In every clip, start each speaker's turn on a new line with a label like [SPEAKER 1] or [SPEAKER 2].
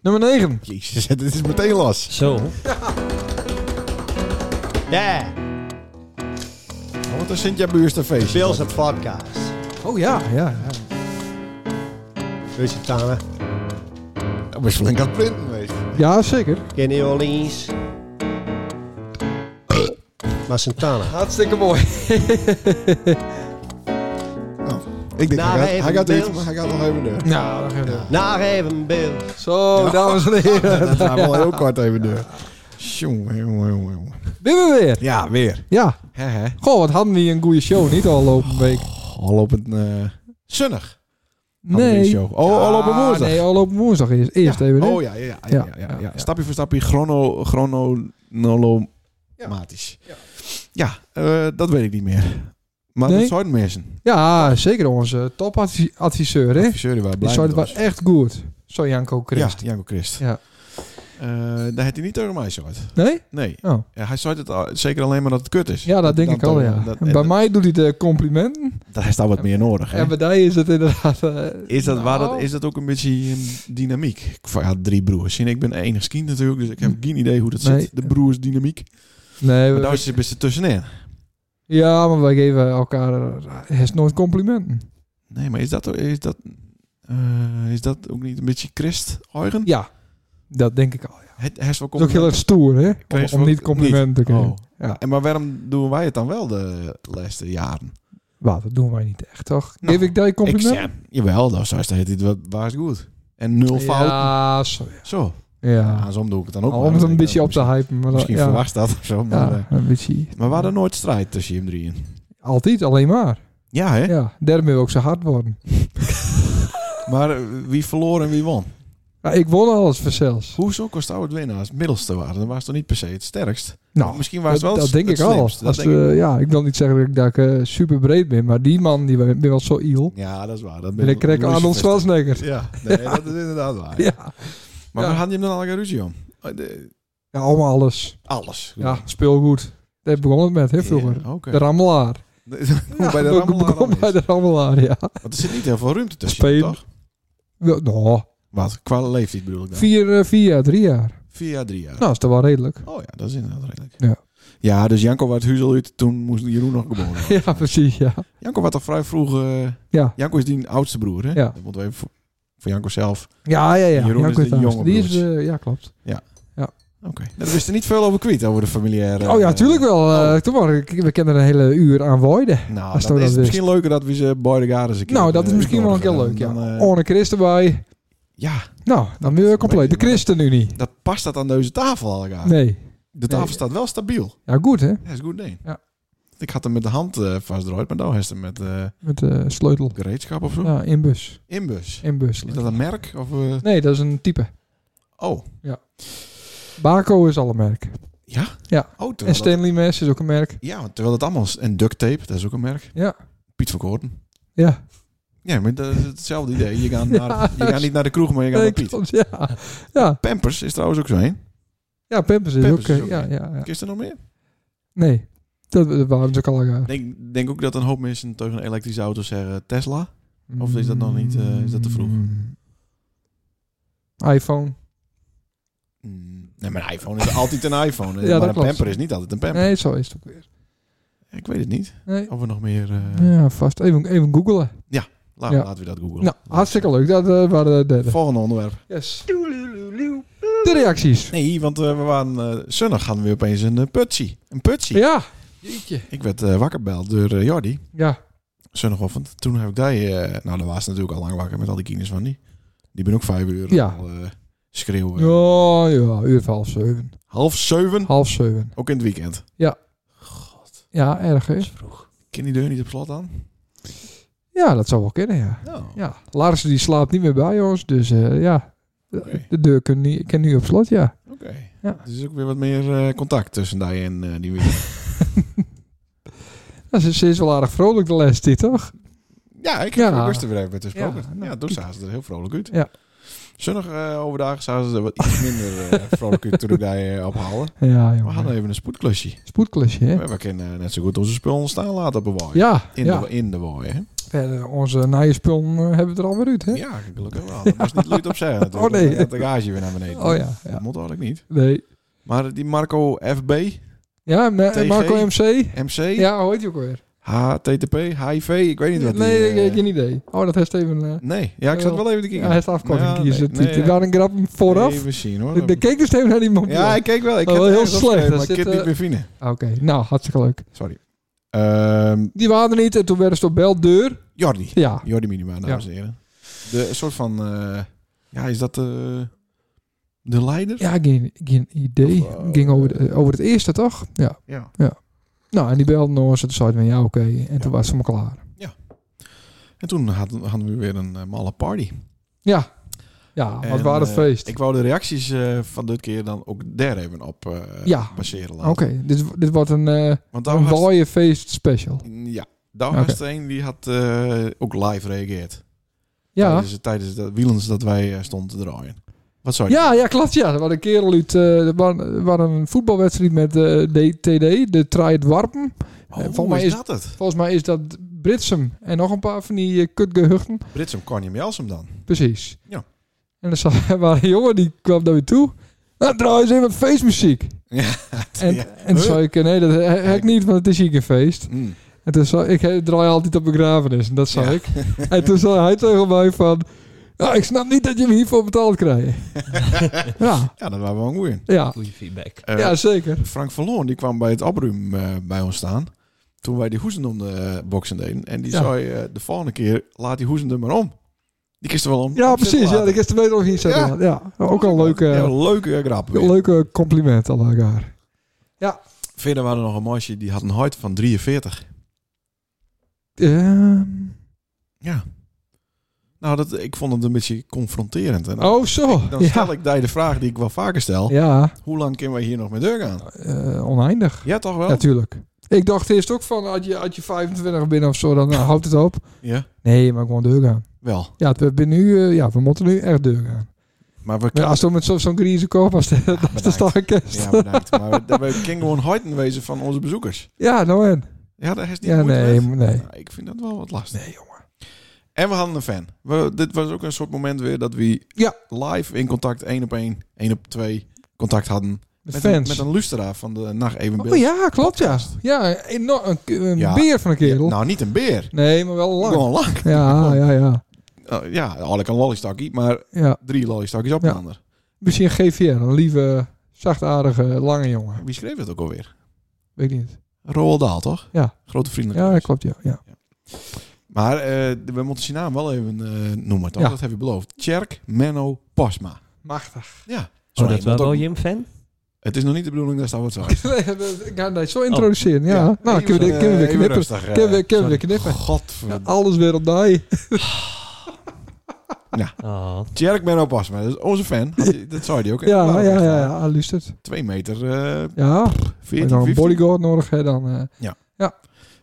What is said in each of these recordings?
[SPEAKER 1] Nummer 9.
[SPEAKER 2] Jezus, dit is meteen las.
[SPEAKER 3] Zo.
[SPEAKER 4] Yeah,
[SPEAKER 2] Wat een Sint-Jabuursterfeest.
[SPEAKER 4] Bills and Podcast.
[SPEAKER 1] Oh ja, ja. ja.
[SPEAKER 4] Wees het samen.
[SPEAKER 2] Dat was flink aan het printen geweest. Oh.
[SPEAKER 1] Ja, zeker.
[SPEAKER 4] In New Orleans. Maar Santana.
[SPEAKER 1] Hartstikke mooi.
[SPEAKER 2] Ik denk,
[SPEAKER 4] Nou,
[SPEAKER 2] hij,
[SPEAKER 4] even
[SPEAKER 2] gaat, hij gaat
[SPEAKER 4] Bills.
[SPEAKER 2] dit, maar hij gaat nog even deur.
[SPEAKER 1] Nou, dan gaan we.
[SPEAKER 4] Naar even Bills.
[SPEAKER 1] Zo, dames en heren.
[SPEAKER 2] Dat gaat wel heel kort even deur. Jongen, jongen, jongen, jongen.
[SPEAKER 1] Winnen we weer.
[SPEAKER 2] Ja, weer.
[SPEAKER 1] Ja.
[SPEAKER 2] Hè, hè.
[SPEAKER 1] Goh, wat hadden we hier een goede show, niet al een week.
[SPEAKER 2] Al op een... eh, zonnig. hadden we die
[SPEAKER 1] Nee.
[SPEAKER 2] Show. Oh, al op een
[SPEAKER 1] Ah,
[SPEAKER 2] woensdag.
[SPEAKER 1] Nee, al op een woensdag eerst. Eerst
[SPEAKER 2] ja.
[SPEAKER 1] even. hè?
[SPEAKER 2] Oh ja, ja, ja, ja, ja, ja,
[SPEAKER 1] Ja, ja.
[SPEAKER 2] Stapje voor stapje, chrono, chronologisch. Ja, ja. eh, dat weet ik niet meer. Maar
[SPEAKER 1] Nee?
[SPEAKER 2] dat zou het missen.
[SPEAKER 1] Ja, zeker onze topadviseur, hè?
[SPEAKER 2] Adviseur die
[SPEAKER 1] Die
[SPEAKER 2] waren blij
[SPEAKER 1] zei
[SPEAKER 2] met
[SPEAKER 1] het wel
[SPEAKER 2] ons.
[SPEAKER 1] echt goed. Zo Janko Christ.
[SPEAKER 2] Ja, Janko Christ.
[SPEAKER 1] Ja.
[SPEAKER 2] Eh, daar had hij niet tegen mij zoiets.
[SPEAKER 1] Nee?
[SPEAKER 2] Nee.
[SPEAKER 1] Oh.
[SPEAKER 2] Ja, hij zei het al, zeker alleen maar dat het kut is.
[SPEAKER 1] Ja, dat denk
[SPEAKER 2] Dan
[SPEAKER 1] ik al,
[SPEAKER 2] toch,
[SPEAKER 1] ja.
[SPEAKER 2] dat-
[SPEAKER 1] Bij
[SPEAKER 2] dat-
[SPEAKER 1] mij doet hij de complimenten.
[SPEAKER 2] Daar is daar wat meer nodig. Hè?
[SPEAKER 1] En bij mij is het inderdaad... eh,
[SPEAKER 2] Is dat, waar dat,
[SPEAKER 1] nou,
[SPEAKER 2] is dat ook een beetje eh, dynamiek? Ik had drie broers. En ik ben enig kind natuurlijk, dus ik heb geen idee hoe dat
[SPEAKER 1] Nee.
[SPEAKER 2] zit. De broersdynamiek.
[SPEAKER 1] Nee, we-
[SPEAKER 2] Maar daar is het best tussenin.
[SPEAKER 1] ja, maar wij geven elkaar eh, eerst nooit complimenten.
[SPEAKER 2] Nee, maar is dat, is dat, eh, is dat ook niet een beetje christ-eigen?
[SPEAKER 1] Ja, dat denk ik al. Ja.
[SPEAKER 2] Het het is wel
[SPEAKER 1] Dat is ook heel erg stoer, hè? Om,
[SPEAKER 2] Christ
[SPEAKER 1] om
[SPEAKER 2] ook
[SPEAKER 1] niet complimenten te geven.
[SPEAKER 2] Oh.
[SPEAKER 1] Ja.
[SPEAKER 2] En maar waarom doen wij het dan wel de laatste jaren?
[SPEAKER 1] Wat, dat doen wij niet echt, toch?
[SPEAKER 2] Nou,
[SPEAKER 1] Geef ik daar je compliment?
[SPEAKER 2] Ik zeg, jawel, dat is het heet wat waar is goed. En nul fouten.
[SPEAKER 1] Ja, zo.
[SPEAKER 2] Zo.
[SPEAKER 1] Ja.
[SPEAKER 2] Ja, soms doe ik het dan ook.
[SPEAKER 1] Al
[SPEAKER 2] maar.
[SPEAKER 1] om het een
[SPEAKER 2] Ik
[SPEAKER 1] beetje
[SPEAKER 2] denk,
[SPEAKER 1] op te hypen. Maar
[SPEAKER 2] Misschien
[SPEAKER 1] ja,
[SPEAKER 2] verwacht dat of zo. Maar, eh,
[SPEAKER 1] Ja, een beetje.
[SPEAKER 2] maar we hadden nooit strijd tussen hem drieën.
[SPEAKER 1] Altijd, alleen maar.
[SPEAKER 2] Ja, hè?
[SPEAKER 1] Ja, daarmee wil ik zo hard worden.
[SPEAKER 2] Maar eh, wie verloor en wie won?
[SPEAKER 1] Ja, ik won alles voor zelfs.
[SPEAKER 2] Hoezo kost het winnaar als middelste waren? Dan was het toch niet per se het sterkst?
[SPEAKER 1] Nou,
[SPEAKER 2] Misschien was het wel
[SPEAKER 1] dat,
[SPEAKER 2] het,
[SPEAKER 1] dat denk
[SPEAKER 2] het
[SPEAKER 1] ik al.
[SPEAKER 2] slimst. Dat
[SPEAKER 1] Als,
[SPEAKER 2] denk ik-
[SPEAKER 1] eh, ja, ik wil niet zeggen dat ik, dat ik super breed ben, maar die man die ben, ben wel zo iel.
[SPEAKER 2] Ja, dat is waar. Dat
[SPEAKER 1] En ik krijg
[SPEAKER 2] Louis
[SPEAKER 1] Arnold
[SPEAKER 2] Sylvester.
[SPEAKER 1] Schwarzenegger.
[SPEAKER 2] Ja, nee, dat is inderdaad waar.
[SPEAKER 1] Ja.
[SPEAKER 2] Maar
[SPEAKER 1] Ja.
[SPEAKER 2] waar had je hem dan al een ruzie om? Eh, de-
[SPEAKER 1] ja, allemaal alles.
[SPEAKER 2] Alles.
[SPEAKER 1] Ja, speelgoed. Daar begon het met, hè, vroeger.
[SPEAKER 2] Ja, Oké.
[SPEAKER 1] De rammelaar.
[SPEAKER 2] Hoe bij de
[SPEAKER 1] Ja,
[SPEAKER 2] rammelaar
[SPEAKER 1] begon
[SPEAKER 2] dan is.
[SPEAKER 1] bij de rammelaar, ja.
[SPEAKER 2] Want er zit niet heel veel ruimte tussen,
[SPEAKER 1] Spelen.
[SPEAKER 2] toch?
[SPEAKER 1] Ja, Nou,
[SPEAKER 2] Wat? Qua leeftijd bedoel ik dan? Vier,
[SPEAKER 1] vier, eh, vier jaar, drie jaar.
[SPEAKER 2] jaar, drie jaar.
[SPEAKER 1] Nou, is dat wel redelijk.
[SPEAKER 2] Oh ja, dat is inderdaad redelijk.
[SPEAKER 1] Ja.
[SPEAKER 2] Ja, dus Janko werd huzel uit, toen moest Jeroen nog geboren worden.
[SPEAKER 1] Ja, precies, ja.
[SPEAKER 2] Janko werd al vrij vroeg... eh,
[SPEAKER 1] Ja.
[SPEAKER 2] Janko is die oudste broer, hè?
[SPEAKER 1] Ja.
[SPEAKER 2] Dat moeten we even voor, voor Janko zelf.
[SPEAKER 1] Ja, ja, ja.
[SPEAKER 2] Jeroen
[SPEAKER 1] Ja,
[SPEAKER 2] is
[SPEAKER 1] ik weet
[SPEAKER 2] de
[SPEAKER 1] het.
[SPEAKER 2] jonge
[SPEAKER 1] Die is,
[SPEAKER 2] broertje.
[SPEAKER 1] eh, ja, klopt.
[SPEAKER 2] Oké. Nou, Daar wist er niet veel over kwijt, over de familiaire...
[SPEAKER 1] oh ja,
[SPEAKER 2] eh,
[SPEAKER 1] tuurlijk wel. eh,
[SPEAKER 2] oh.
[SPEAKER 1] Toen waren we- we kennen er een hele uur aan woorden.
[SPEAKER 2] Nou,
[SPEAKER 1] Als
[SPEAKER 2] dat
[SPEAKER 1] we
[SPEAKER 2] is
[SPEAKER 1] dat wist.
[SPEAKER 2] misschien leuker dat we ze beide garen eens een keer,
[SPEAKER 1] nou, dat is
[SPEAKER 2] eh,
[SPEAKER 1] misschien wel een keer leuk,
[SPEAKER 2] uitnodigen.
[SPEAKER 1] ja.
[SPEAKER 2] Dan, dan, eh,
[SPEAKER 1] Orne Christ erbij.
[SPEAKER 2] ja,
[SPEAKER 1] Nou, dan weer
[SPEAKER 2] is
[SPEAKER 1] compleet. De
[SPEAKER 2] een beetje-
[SPEAKER 1] ChristenUnie.
[SPEAKER 2] dat past dat aan deze tafel al elkaar.
[SPEAKER 1] Nee.
[SPEAKER 2] De tafel
[SPEAKER 1] Nee.
[SPEAKER 2] staat wel stabiel.
[SPEAKER 1] Ja, goed, hè?
[SPEAKER 2] Dat is goed, nee.
[SPEAKER 1] Ja.
[SPEAKER 2] Ik had hem met de hand eh vastdraaid, maar nou heeft hem met eh,
[SPEAKER 1] Met eh, sleutel.
[SPEAKER 2] gereedschap of zo.
[SPEAKER 1] Ja, Nou. inbus.
[SPEAKER 2] Inbus.
[SPEAKER 1] Inbus.
[SPEAKER 2] Hm? Is dat een merk? Of, eh,
[SPEAKER 1] Nee, dat is een type.
[SPEAKER 2] Oh.
[SPEAKER 1] Baco is al een merk.
[SPEAKER 2] Ja?
[SPEAKER 1] Ja.
[SPEAKER 2] Oh, terwijl
[SPEAKER 1] En
[SPEAKER 2] dat,
[SPEAKER 1] Stanley Mess is ook een merk.
[SPEAKER 2] ja, want terwijl dat allemaal... is- En duct tape, dat is ook een merk.
[SPEAKER 1] Ja.
[SPEAKER 2] Piet van Koorten.
[SPEAKER 1] Ja.
[SPEAKER 2] Ja, maar dat is hetzelfde idee. Je gaat,
[SPEAKER 1] Ja,
[SPEAKER 2] naar, je gaat niet naar de kroeg, maar je gaat
[SPEAKER 1] Nee,
[SPEAKER 2] naar Piet.
[SPEAKER 1] klopt, ja. Ja,
[SPEAKER 2] Pampers is trouwens ook zo heen.
[SPEAKER 1] ja Pampers is
[SPEAKER 2] Pampers
[SPEAKER 1] ook...
[SPEAKER 2] is
[SPEAKER 1] eh,
[SPEAKER 2] ook
[SPEAKER 1] ja,
[SPEAKER 2] een-
[SPEAKER 1] ja, ja.
[SPEAKER 2] Is er nog meer?
[SPEAKER 1] Nee. Dat dat waren ze ook al eh, aan.
[SPEAKER 2] Ik denk, denk ook dat een hoop mensen tegen een elektrische auto zeggen Tesla. Of is dat nog niet, eh, is dat te vroeg?
[SPEAKER 1] Mm. iPhone.
[SPEAKER 2] Mm, Nee, maar een iPhone is altijd een iPhone.
[SPEAKER 1] Ja, dat
[SPEAKER 2] maar een
[SPEAKER 1] klopt.
[SPEAKER 2] pamper is niet altijd een pamper.
[SPEAKER 1] Nee, zo is het ook weer.
[SPEAKER 2] Ik weet het niet.
[SPEAKER 1] Nee.
[SPEAKER 2] Of we nog meer... eh,
[SPEAKER 1] Ja, vast. Even, even googelen.
[SPEAKER 2] la-
[SPEAKER 1] Ja.
[SPEAKER 2] Laten we dat googlen.
[SPEAKER 1] Nou, hartstikke leuk. Dat eh, waren de derde.
[SPEAKER 2] Volgende onderwerp.
[SPEAKER 1] Yes. De reacties.
[SPEAKER 2] Nee, want eh, we waren... eh zonnig hadden we opeens een eh, putsie. Een putsie.
[SPEAKER 1] Ja. Jeetje.
[SPEAKER 2] Ik werd eh, wakker gebeld door eh, Jordi.
[SPEAKER 1] Ja.
[SPEAKER 2] Zondagochtend. Toen heb ik daar... eh, nou, dan was ze natuurlijk al lang wakker met al die kinders van die. Die ben ook vijf uur
[SPEAKER 1] Ja.
[SPEAKER 2] al eh, schreeuwen.
[SPEAKER 1] Ja, ja. Uur van half zeven.
[SPEAKER 2] Half zeven.
[SPEAKER 1] Half zeven.
[SPEAKER 2] Ook in het weekend.
[SPEAKER 1] Ja, erg hè?
[SPEAKER 2] Ken die deur niet op slot aan?
[SPEAKER 1] Ja, dat zou wel kunnen, ja.
[SPEAKER 2] Nou.
[SPEAKER 1] Ja. Lars die slaapt niet meer bij ons, dus eh, ja. De,
[SPEAKER 2] Oké.
[SPEAKER 1] de deur kan, niet, kan nu op slot, ja.
[SPEAKER 2] Oké.
[SPEAKER 1] Ja.
[SPEAKER 2] Dus er is ook weer wat meer eh, contact tussen die en eh, die weer.
[SPEAKER 1] Nou, ze, ze is wel aardig vrolijk de les, dit toch?
[SPEAKER 2] Ja, ik heb
[SPEAKER 1] Ja.
[SPEAKER 2] ja. rustig weer even met haar gesproken.
[SPEAKER 1] Ja,
[SPEAKER 2] Ja,
[SPEAKER 1] nou,
[SPEAKER 2] toen
[SPEAKER 1] kijk.
[SPEAKER 2] zagen ze er heel vrolijk uit.
[SPEAKER 1] Ja.
[SPEAKER 2] Zonnig eh, overdag zagen ze er wat iets minder eh, vrolijk uit toen ik daar eh, ophaalde.
[SPEAKER 1] Ja,
[SPEAKER 2] We hadden
[SPEAKER 1] jongen.
[SPEAKER 2] even een spoedklusje.
[SPEAKER 1] Spoedklusje, hè?
[SPEAKER 2] We, we kunnen eh, net zo goed onze spullen staan laten op een waai.
[SPEAKER 1] Ja,
[SPEAKER 2] In,
[SPEAKER 1] ja.
[SPEAKER 2] de, in de waai, hè.
[SPEAKER 1] We verder, onze naaie spullen eh, hebben we er al weer uit, hè? Oh,
[SPEAKER 2] Ja, gelukkig wel. Dat was niet luid opzij. natuurlijk.
[SPEAKER 1] nee.
[SPEAKER 2] Dan gaat De garage weer naar beneden.
[SPEAKER 1] Oh ja, ja.
[SPEAKER 2] Dat moet eigenlijk niet.
[SPEAKER 1] Nee.
[SPEAKER 2] Maar die Marco FB,
[SPEAKER 1] Ja, en, eh, en
[SPEAKER 2] TG?
[SPEAKER 1] Marco MC.
[SPEAKER 2] MC,
[SPEAKER 1] Ja, hoe heet die ook alweer?
[SPEAKER 2] HTTP, HIV, ik weet niet wat die...
[SPEAKER 1] nee,
[SPEAKER 2] eh,
[SPEAKER 1] ik heb geen idee. Oh, dat heeft even... eh
[SPEAKER 2] Nee, ja, ik zat wel even te
[SPEAKER 1] ja,
[SPEAKER 2] kijken.
[SPEAKER 1] hij is de afkorting
[SPEAKER 2] Ja,
[SPEAKER 1] kiezen.
[SPEAKER 2] nou, nee, nee,
[SPEAKER 1] Het waren een grap vooraf.
[SPEAKER 2] Even zien hoor.
[SPEAKER 1] de, de keek dus even naar die mobiel.
[SPEAKER 2] ja, ik keek wel. Ik
[SPEAKER 1] Dat
[SPEAKER 2] heb
[SPEAKER 1] was
[SPEAKER 2] het
[SPEAKER 1] heel
[SPEAKER 2] ergens
[SPEAKER 1] slecht.
[SPEAKER 2] opgeschreven,
[SPEAKER 1] Daar
[SPEAKER 2] Maar ik
[SPEAKER 1] zit,
[SPEAKER 2] kan het niet
[SPEAKER 1] eh,
[SPEAKER 2] meer vinden.
[SPEAKER 1] Oké, nou, hartstikke leuk.
[SPEAKER 2] Sorry. Ehm,
[SPEAKER 1] Die waren er niet en toen werden ze door beldeur.
[SPEAKER 2] Jordi.
[SPEAKER 1] Ja,
[SPEAKER 2] Jordi Minima, dames en heren. De soort van... eh, ja, is dat eh, de leider?
[SPEAKER 1] ja geen, geen idee.
[SPEAKER 2] Of, eh,
[SPEAKER 1] Het ging over, de- over het eerste, toch? Ja.
[SPEAKER 2] Ja.
[SPEAKER 1] Nou, en die belden ons en toen zeiden we, ja, oké. En toen was ze maar klaar.
[SPEAKER 2] En toen hadden, hadden we weer een eh, malle party.
[SPEAKER 1] Ja, wat
[SPEAKER 2] En,
[SPEAKER 1] waren het
[SPEAKER 2] eh,
[SPEAKER 1] feest.
[SPEAKER 2] Ik wou de reacties eh, van dit keer dan ook daar even op eh,
[SPEAKER 1] Ja.
[SPEAKER 2] baseren
[SPEAKER 1] Oké,
[SPEAKER 2] laten.
[SPEAKER 1] dit, dit wordt een, eh
[SPEAKER 2] Want daar
[SPEAKER 1] een
[SPEAKER 2] was...
[SPEAKER 1] waaie feest special.
[SPEAKER 2] Ja. Daar
[SPEAKER 1] Oké.
[SPEAKER 2] was er een die had eh, ook live reageerd.
[SPEAKER 1] Ja.
[SPEAKER 2] Tijdens, tijdens dat wielens dat wij eh, stonden te draaien. Wat zou je
[SPEAKER 1] Ja, ja, klopt. Ja, er was een kerel uit. eh, er was- er was een voetbalwedstrijd met eh, DTD, de Triad Warpen.
[SPEAKER 2] Oh,
[SPEAKER 1] volgens mij
[SPEAKER 2] is
[SPEAKER 1] is-
[SPEAKER 2] dat het?
[SPEAKER 1] Volgens mij is dat Britsum en nog een paar van die eh, kutgehuchten.
[SPEAKER 2] Britsum Connie Melsum dan.
[SPEAKER 1] Precies.
[SPEAKER 2] Ja.
[SPEAKER 1] En er zat- er was een jongen die kwam naar me toe. Nou, trouwens, even wat feestmuziek.
[SPEAKER 2] Ja.
[SPEAKER 1] En,
[SPEAKER 2] Ja.
[SPEAKER 1] en toen zei ik, nee, dat he- heb ik niet, want het is hier geen feest.
[SPEAKER 2] Mm.
[SPEAKER 1] En toen zei ik, ik draai altijd op begrafenis. En dat zei
[SPEAKER 2] Ja.
[SPEAKER 1] ik. En toen zei hij tegen mij van, nou, ik snap niet dat je me hiervoor betaald krijgt. ja,
[SPEAKER 2] Ja, dat waren we wel goed in.
[SPEAKER 1] ja.
[SPEAKER 3] Goede feedback.
[SPEAKER 2] Eh,
[SPEAKER 1] ja, zeker.
[SPEAKER 2] Frank Verloorn die kwam bij het opruim eh, bij ons staan. Toen wij die hoezendom de eh, boksen deden. En die
[SPEAKER 1] Ja.
[SPEAKER 2] zei eh, de volgende keer, laat die hoezendom maar om. Die kist er wel om.
[SPEAKER 1] Ja,
[SPEAKER 2] om
[SPEAKER 1] precies.
[SPEAKER 2] zitten
[SPEAKER 1] Ja,
[SPEAKER 2] laten.
[SPEAKER 1] dat is de beter of hier
[SPEAKER 2] Ja.
[SPEAKER 1] ja. ja, ook al een leuke,
[SPEAKER 2] Ja, een leuke eh, grap. weer.
[SPEAKER 1] leuke compliment aan elkaar.
[SPEAKER 2] Verder waren er nog een meisje, die had een huid van 43.
[SPEAKER 1] Ehm,
[SPEAKER 2] Ja. Nou, dat, ik vond het een beetje confronterend. En dan-
[SPEAKER 1] oh, zo.
[SPEAKER 2] Dan stel
[SPEAKER 1] Ja,
[SPEAKER 2] ik daar de vraag die ik wel vaker stel.
[SPEAKER 1] ja
[SPEAKER 2] Hoe lang kunnen we hier nog met deur gaan?
[SPEAKER 1] eh, oneindig.
[SPEAKER 2] Ja, toch wel?
[SPEAKER 1] Natuurlijk. Ik dacht eerst ook van, als je, als je 25 bent of zo, dan nou, houdt het op.
[SPEAKER 2] Ja,
[SPEAKER 1] Nee, maar gewoon deur gaan.
[SPEAKER 2] wel.
[SPEAKER 1] Ja, we, zijn nu, eh, ja, we moeten nu echt deur gaan.
[SPEAKER 2] Maar we
[SPEAKER 1] Maar als we met zo- zo'n grieze koop als de,
[SPEAKER 2] Ja,
[SPEAKER 1] als de
[SPEAKER 2] bedankt.
[SPEAKER 1] starkerst.
[SPEAKER 2] Ja,
[SPEAKER 1] Ja,
[SPEAKER 2] bedankt. Maar we, we kunnen gewoon huiden wezen van onze bezoekers.
[SPEAKER 1] nou en.
[SPEAKER 2] Ja, daar is niet
[SPEAKER 1] Ja,
[SPEAKER 2] moeite
[SPEAKER 1] nee,
[SPEAKER 2] met.
[SPEAKER 1] nee.
[SPEAKER 2] Nou, ik vind dat wel wat lastig. Nee, jongen. En we hadden een fan. We, dit was ook een soort moment weer dat we
[SPEAKER 1] Ja.
[SPEAKER 2] live in contact, één op één, één op twee, contact hadden.
[SPEAKER 1] De
[SPEAKER 2] met, Een,
[SPEAKER 1] fans.
[SPEAKER 2] met een luisteraar van de Nacht Even
[SPEAKER 1] oh ja, klopt ja. Ja, enorm- een, een
[SPEAKER 2] Ja.
[SPEAKER 1] beer van een kerel.
[SPEAKER 2] Nou, niet een beer.
[SPEAKER 1] Nee, maar wel lang.
[SPEAKER 2] Gewoon lang.
[SPEAKER 1] Ja, ja, ja.
[SPEAKER 2] Eh, ja, eigenlijk een lollystakkie, maar
[SPEAKER 1] ja.
[SPEAKER 2] drie lollystakkies op
[SPEAKER 1] Ja.
[SPEAKER 2] een ander.
[SPEAKER 1] Misschien GVR, een lieve, zachtaardige, lange jongen.
[SPEAKER 2] Wie schreef dat ook alweer?
[SPEAKER 1] Weet ik niet.
[SPEAKER 2] Roald Dahl, toch?
[SPEAKER 1] Ja.
[SPEAKER 2] Grote vrienden.
[SPEAKER 1] Ja, dat klopt, ja. ja.
[SPEAKER 2] Maar eh, we moeten zijn naam wel even eh, noemen, toch?
[SPEAKER 1] Ja.
[SPEAKER 2] Dat heb je beloofd. Tjerk Menno Pasma.
[SPEAKER 1] Machtig.
[SPEAKER 2] Ja.
[SPEAKER 3] Oh,
[SPEAKER 2] Sorry,
[SPEAKER 3] dat Oh, wel
[SPEAKER 2] want
[SPEAKER 3] wel
[SPEAKER 2] ook-
[SPEAKER 3] Jim-fan?
[SPEAKER 2] Het is nog niet de bedoeling dat dat wordt zo.
[SPEAKER 1] Nee, dat- ik ga dat zo introduceren.
[SPEAKER 2] Oh.
[SPEAKER 1] ja. Nou, kunnen we, dit-
[SPEAKER 2] eh,
[SPEAKER 1] kunnen we weer knippen. Kunnen we, kunnen we weer knippen.
[SPEAKER 2] Godver...
[SPEAKER 1] Alles weer op die.
[SPEAKER 3] Oh,
[SPEAKER 2] Tjerk Menno Pasma, dat is onze fan. Had je- dat zei hij ook.
[SPEAKER 1] Ja, ja,
[SPEAKER 2] Nou,
[SPEAKER 1] ja,
[SPEAKER 2] echt,
[SPEAKER 1] ja,
[SPEAKER 2] eh,
[SPEAKER 1] ja luistert.
[SPEAKER 2] Twee meter, eh
[SPEAKER 1] Ja, als
[SPEAKER 2] 14,
[SPEAKER 1] je nog een
[SPEAKER 2] 15.
[SPEAKER 1] bodyguard nodig hè, dan eh,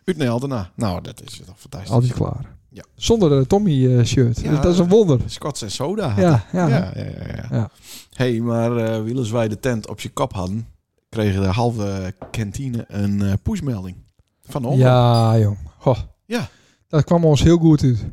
[SPEAKER 2] Uit naar Altena. Nou, dat is toch fantastisch.
[SPEAKER 1] altijd klaar.
[SPEAKER 2] Ja.
[SPEAKER 1] Zonder eh, de Tommy-shirt.
[SPEAKER 2] Ja,
[SPEAKER 1] Dus dat is een wonder.
[SPEAKER 2] Scots en soda. had
[SPEAKER 1] Ja, ja.
[SPEAKER 2] hij. ja, ja, ja, ja.
[SPEAKER 1] Ja.
[SPEAKER 2] hey, maar eh wielens wij de tent op je kap hadden, kregen de halve kantine een eh, pushmelding. Van ons.
[SPEAKER 1] Ja, jong. Ho.
[SPEAKER 2] Ja.
[SPEAKER 1] Dat kwam ons heel goed uit.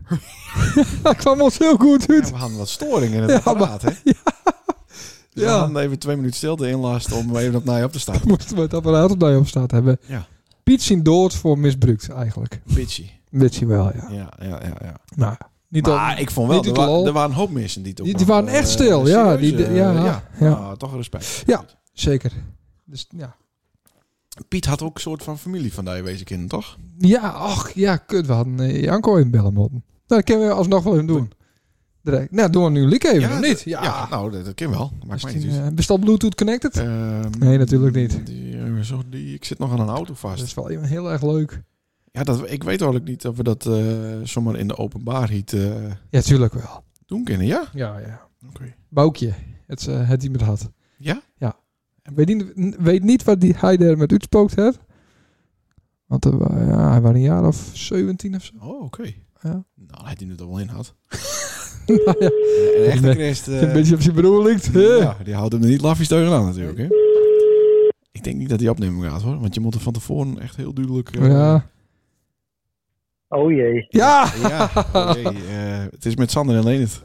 [SPEAKER 1] dat kwam ons heel goed
[SPEAKER 2] Ja,
[SPEAKER 1] uit.
[SPEAKER 2] we hadden wat storingen in het
[SPEAKER 1] Ja,
[SPEAKER 2] apparaat, hè? Ja. Dus we
[SPEAKER 1] Ja.
[SPEAKER 2] hadden even twee minuten stilte inlasten om even opnieuw op te staan.
[SPEAKER 1] Moesten we het apparaat op die op staat hebben.
[SPEAKER 2] Ja.
[SPEAKER 1] Piet zien dood voor misbruikt eigenlijk.
[SPEAKER 2] Bitchy.
[SPEAKER 1] Weet je wel, ja.
[SPEAKER 2] Ja, ja, ja. ja.
[SPEAKER 1] Nou, niet
[SPEAKER 2] maar ik vond wel,
[SPEAKER 1] niet
[SPEAKER 2] er,
[SPEAKER 1] uit de
[SPEAKER 2] wa-
[SPEAKER 1] lol.
[SPEAKER 2] er waren een hoop mensen die toch
[SPEAKER 1] Die-
[SPEAKER 2] nog,
[SPEAKER 1] die waren echt
[SPEAKER 2] eh,
[SPEAKER 1] stil, ja,
[SPEAKER 2] serieus,
[SPEAKER 1] die- die-
[SPEAKER 2] eh,
[SPEAKER 1] ja, ja.
[SPEAKER 2] Nou, toch respect.
[SPEAKER 1] Ja. Zeker. Dus ja.
[SPEAKER 2] Piet had ook een soort van familie van die wezen kinderen, toch?
[SPEAKER 1] Ja, ach, ja, kut. We hadden eh, Janko in bellen moeten. Nou, dat kunnen we alsnog wel even doen. Direct. Nou, doen we nu Liek even, of niet?
[SPEAKER 2] d-
[SPEAKER 1] Ja.
[SPEAKER 2] nou, dat, dat kan wel. Maakt
[SPEAKER 1] Is
[SPEAKER 2] mij
[SPEAKER 1] die,
[SPEAKER 2] niet uit.
[SPEAKER 1] eh, bestel Bluetooth connected?
[SPEAKER 2] Ehm,
[SPEAKER 1] Nee, natuurlijk niet. Dus-
[SPEAKER 2] Die, eh, zo, die, ik zit nog aan een auto
[SPEAKER 1] Dat
[SPEAKER 2] vast.
[SPEAKER 1] is wel even heel erg leuk.
[SPEAKER 2] Ja, dat, ik weet eigenlijk niet of we dat eh, zomaar in de openbaarheid eh
[SPEAKER 1] Ja, tuurlijk wel.
[SPEAKER 2] doen kunnen, ja?
[SPEAKER 1] Ja, ja.
[SPEAKER 2] Oké.
[SPEAKER 1] Boukje. Het, eh, het die met had.
[SPEAKER 2] Ja?
[SPEAKER 1] Ja. Weet niet, weet niet wat die, hij er met uitspookt heeft. Want er wa- ja, hij was een jaar of 17 of zo.
[SPEAKER 2] Oh, oké.
[SPEAKER 1] Ja.
[SPEAKER 2] Nou, hij die het er wel in had.
[SPEAKER 1] nou, ja.
[SPEAKER 2] Een echte
[SPEAKER 1] Nee.
[SPEAKER 2] Christ, eh,
[SPEAKER 1] een beetje op zijn broer lijkt.
[SPEAKER 2] ja, die houdt hem er niet lafjes tegen aan natuurlijk, hè? Ik denk niet dat hij opnemen gaat, hoor. Want je moet er van tevoren echt heel duidelijk... eh,
[SPEAKER 1] Ja.
[SPEAKER 3] Oh jee.
[SPEAKER 1] Ja!
[SPEAKER 2] Ja, hey, eh, het is met Sander en Leendert.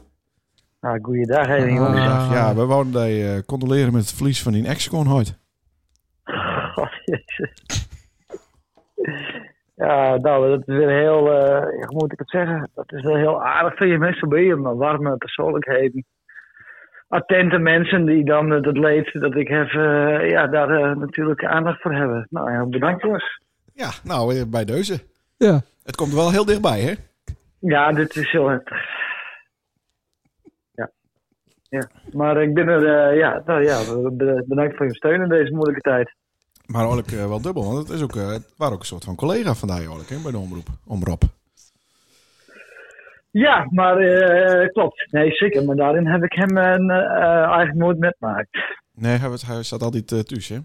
[SPEAKER 3] Nou, goeiedag even,
[SPEAKER 1] Ah.
[SPEAKER 3] jongens.
[SPEAKER 2] Ja, we wouden daar eh condoleren met het verlies van die Excon ooit.
[SPEAKER 3] God, jezus. Ja, nou, dat is weer heel, eh, hoe moet ik het zeggen? Dat is wel heel aardig van je mensen bij je, maar warme persoonlijkheden. Attente mensen die dan eh, dat leed dat ik heb, eh, ja, daar eh, natuurlijk aandacht voor hebben. Nou ja, bedankt jongens.
[SPEAKER 2] Ja, nou, eh, bij deuze.
[SPEAKER 1] Ja.
[SPEAKER 2] Het komt er wel heel dichtbij, hè?
[SPEAKER 3] Ja, dit is heel heftig. Ja. ja. Maar ik ben er, eh, ja, nou ja, be- bedankt voor je steun in deze moeilijke tijd.
[SPEAKER 2] Maar Orlik eh, wel dubbel, want het, is ook, eh, het waren ook een soort van collega vandaag, Orlik, hè, bij de omroep. Omroep.
[SPEAKER 3] Ja, maar eh, klopt. Nee, zeker. Maar daarin heb ik hem eh, eh, eigenlijk nooit metmaakt.
[SPEAKER 2] Nee, hij, was- hij zat altijd eh thuis, hè?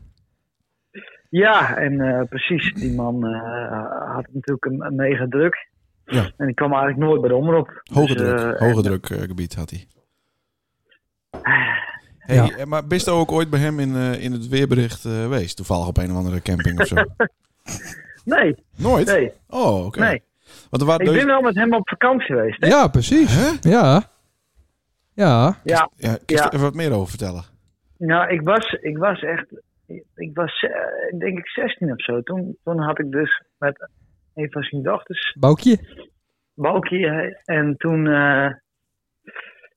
[SPEAKER 3] Ja, en eh, precies. Die man eh, had natuurlijk een, een mega druk.
[SPEAKER 2] Ja.
[SPEAKER 3] En ik kwam eigenlijk nooit bij de omroep.
[SPEAKER 2] Hoge
[SPEAKER 3] Dus,
[SPEAKER 2] druk,
[SPEAKER 3] eh,
[SPEAKER 2] hoge druk eh, gebied had hij. Hey,
[SPEAKER 1] Ja.
[SPEAKER 2] eh, Maar bist u ook ooit bij hem in, eh, in het weerbericht eh geweest? Toevallig op een of andere camping of zo?
[SPEAKER 3] Nee,
[SPEAKER 2] Nooit?
[SPEAKER 3] nee,
[SPEAKER 2] Oh, oké.
[SPEAKER 3] nee.
[SPEAKER 2] Want er waren dus-
[SPEAKER 3] Ik
[SPEAKER 2] deuze-
[SPEAKER 3] ben wel met hem op vakantie geweest. hè?
[SPEAKER 1] Ja, precies.
[SPEAKER 2] Hè?
[SPEAKER 1] Ja. Ja.
[SPEAKER 3] Ja,
[SPEAKER 2] Ja, kun je
[SPEAKER 3] Ja.
[SPEAKER 2] er even wat meer over vertellen?
[SPEAKER 3] nou, ik was, ik was echt... Ik was, eh, denk ik, 16 of zo. Toen, toen had ik dus met een van zijn dochters
[SPEAKER 1] Boukje.
[SPEAKER 3] Balkie. hè. En toen, eh,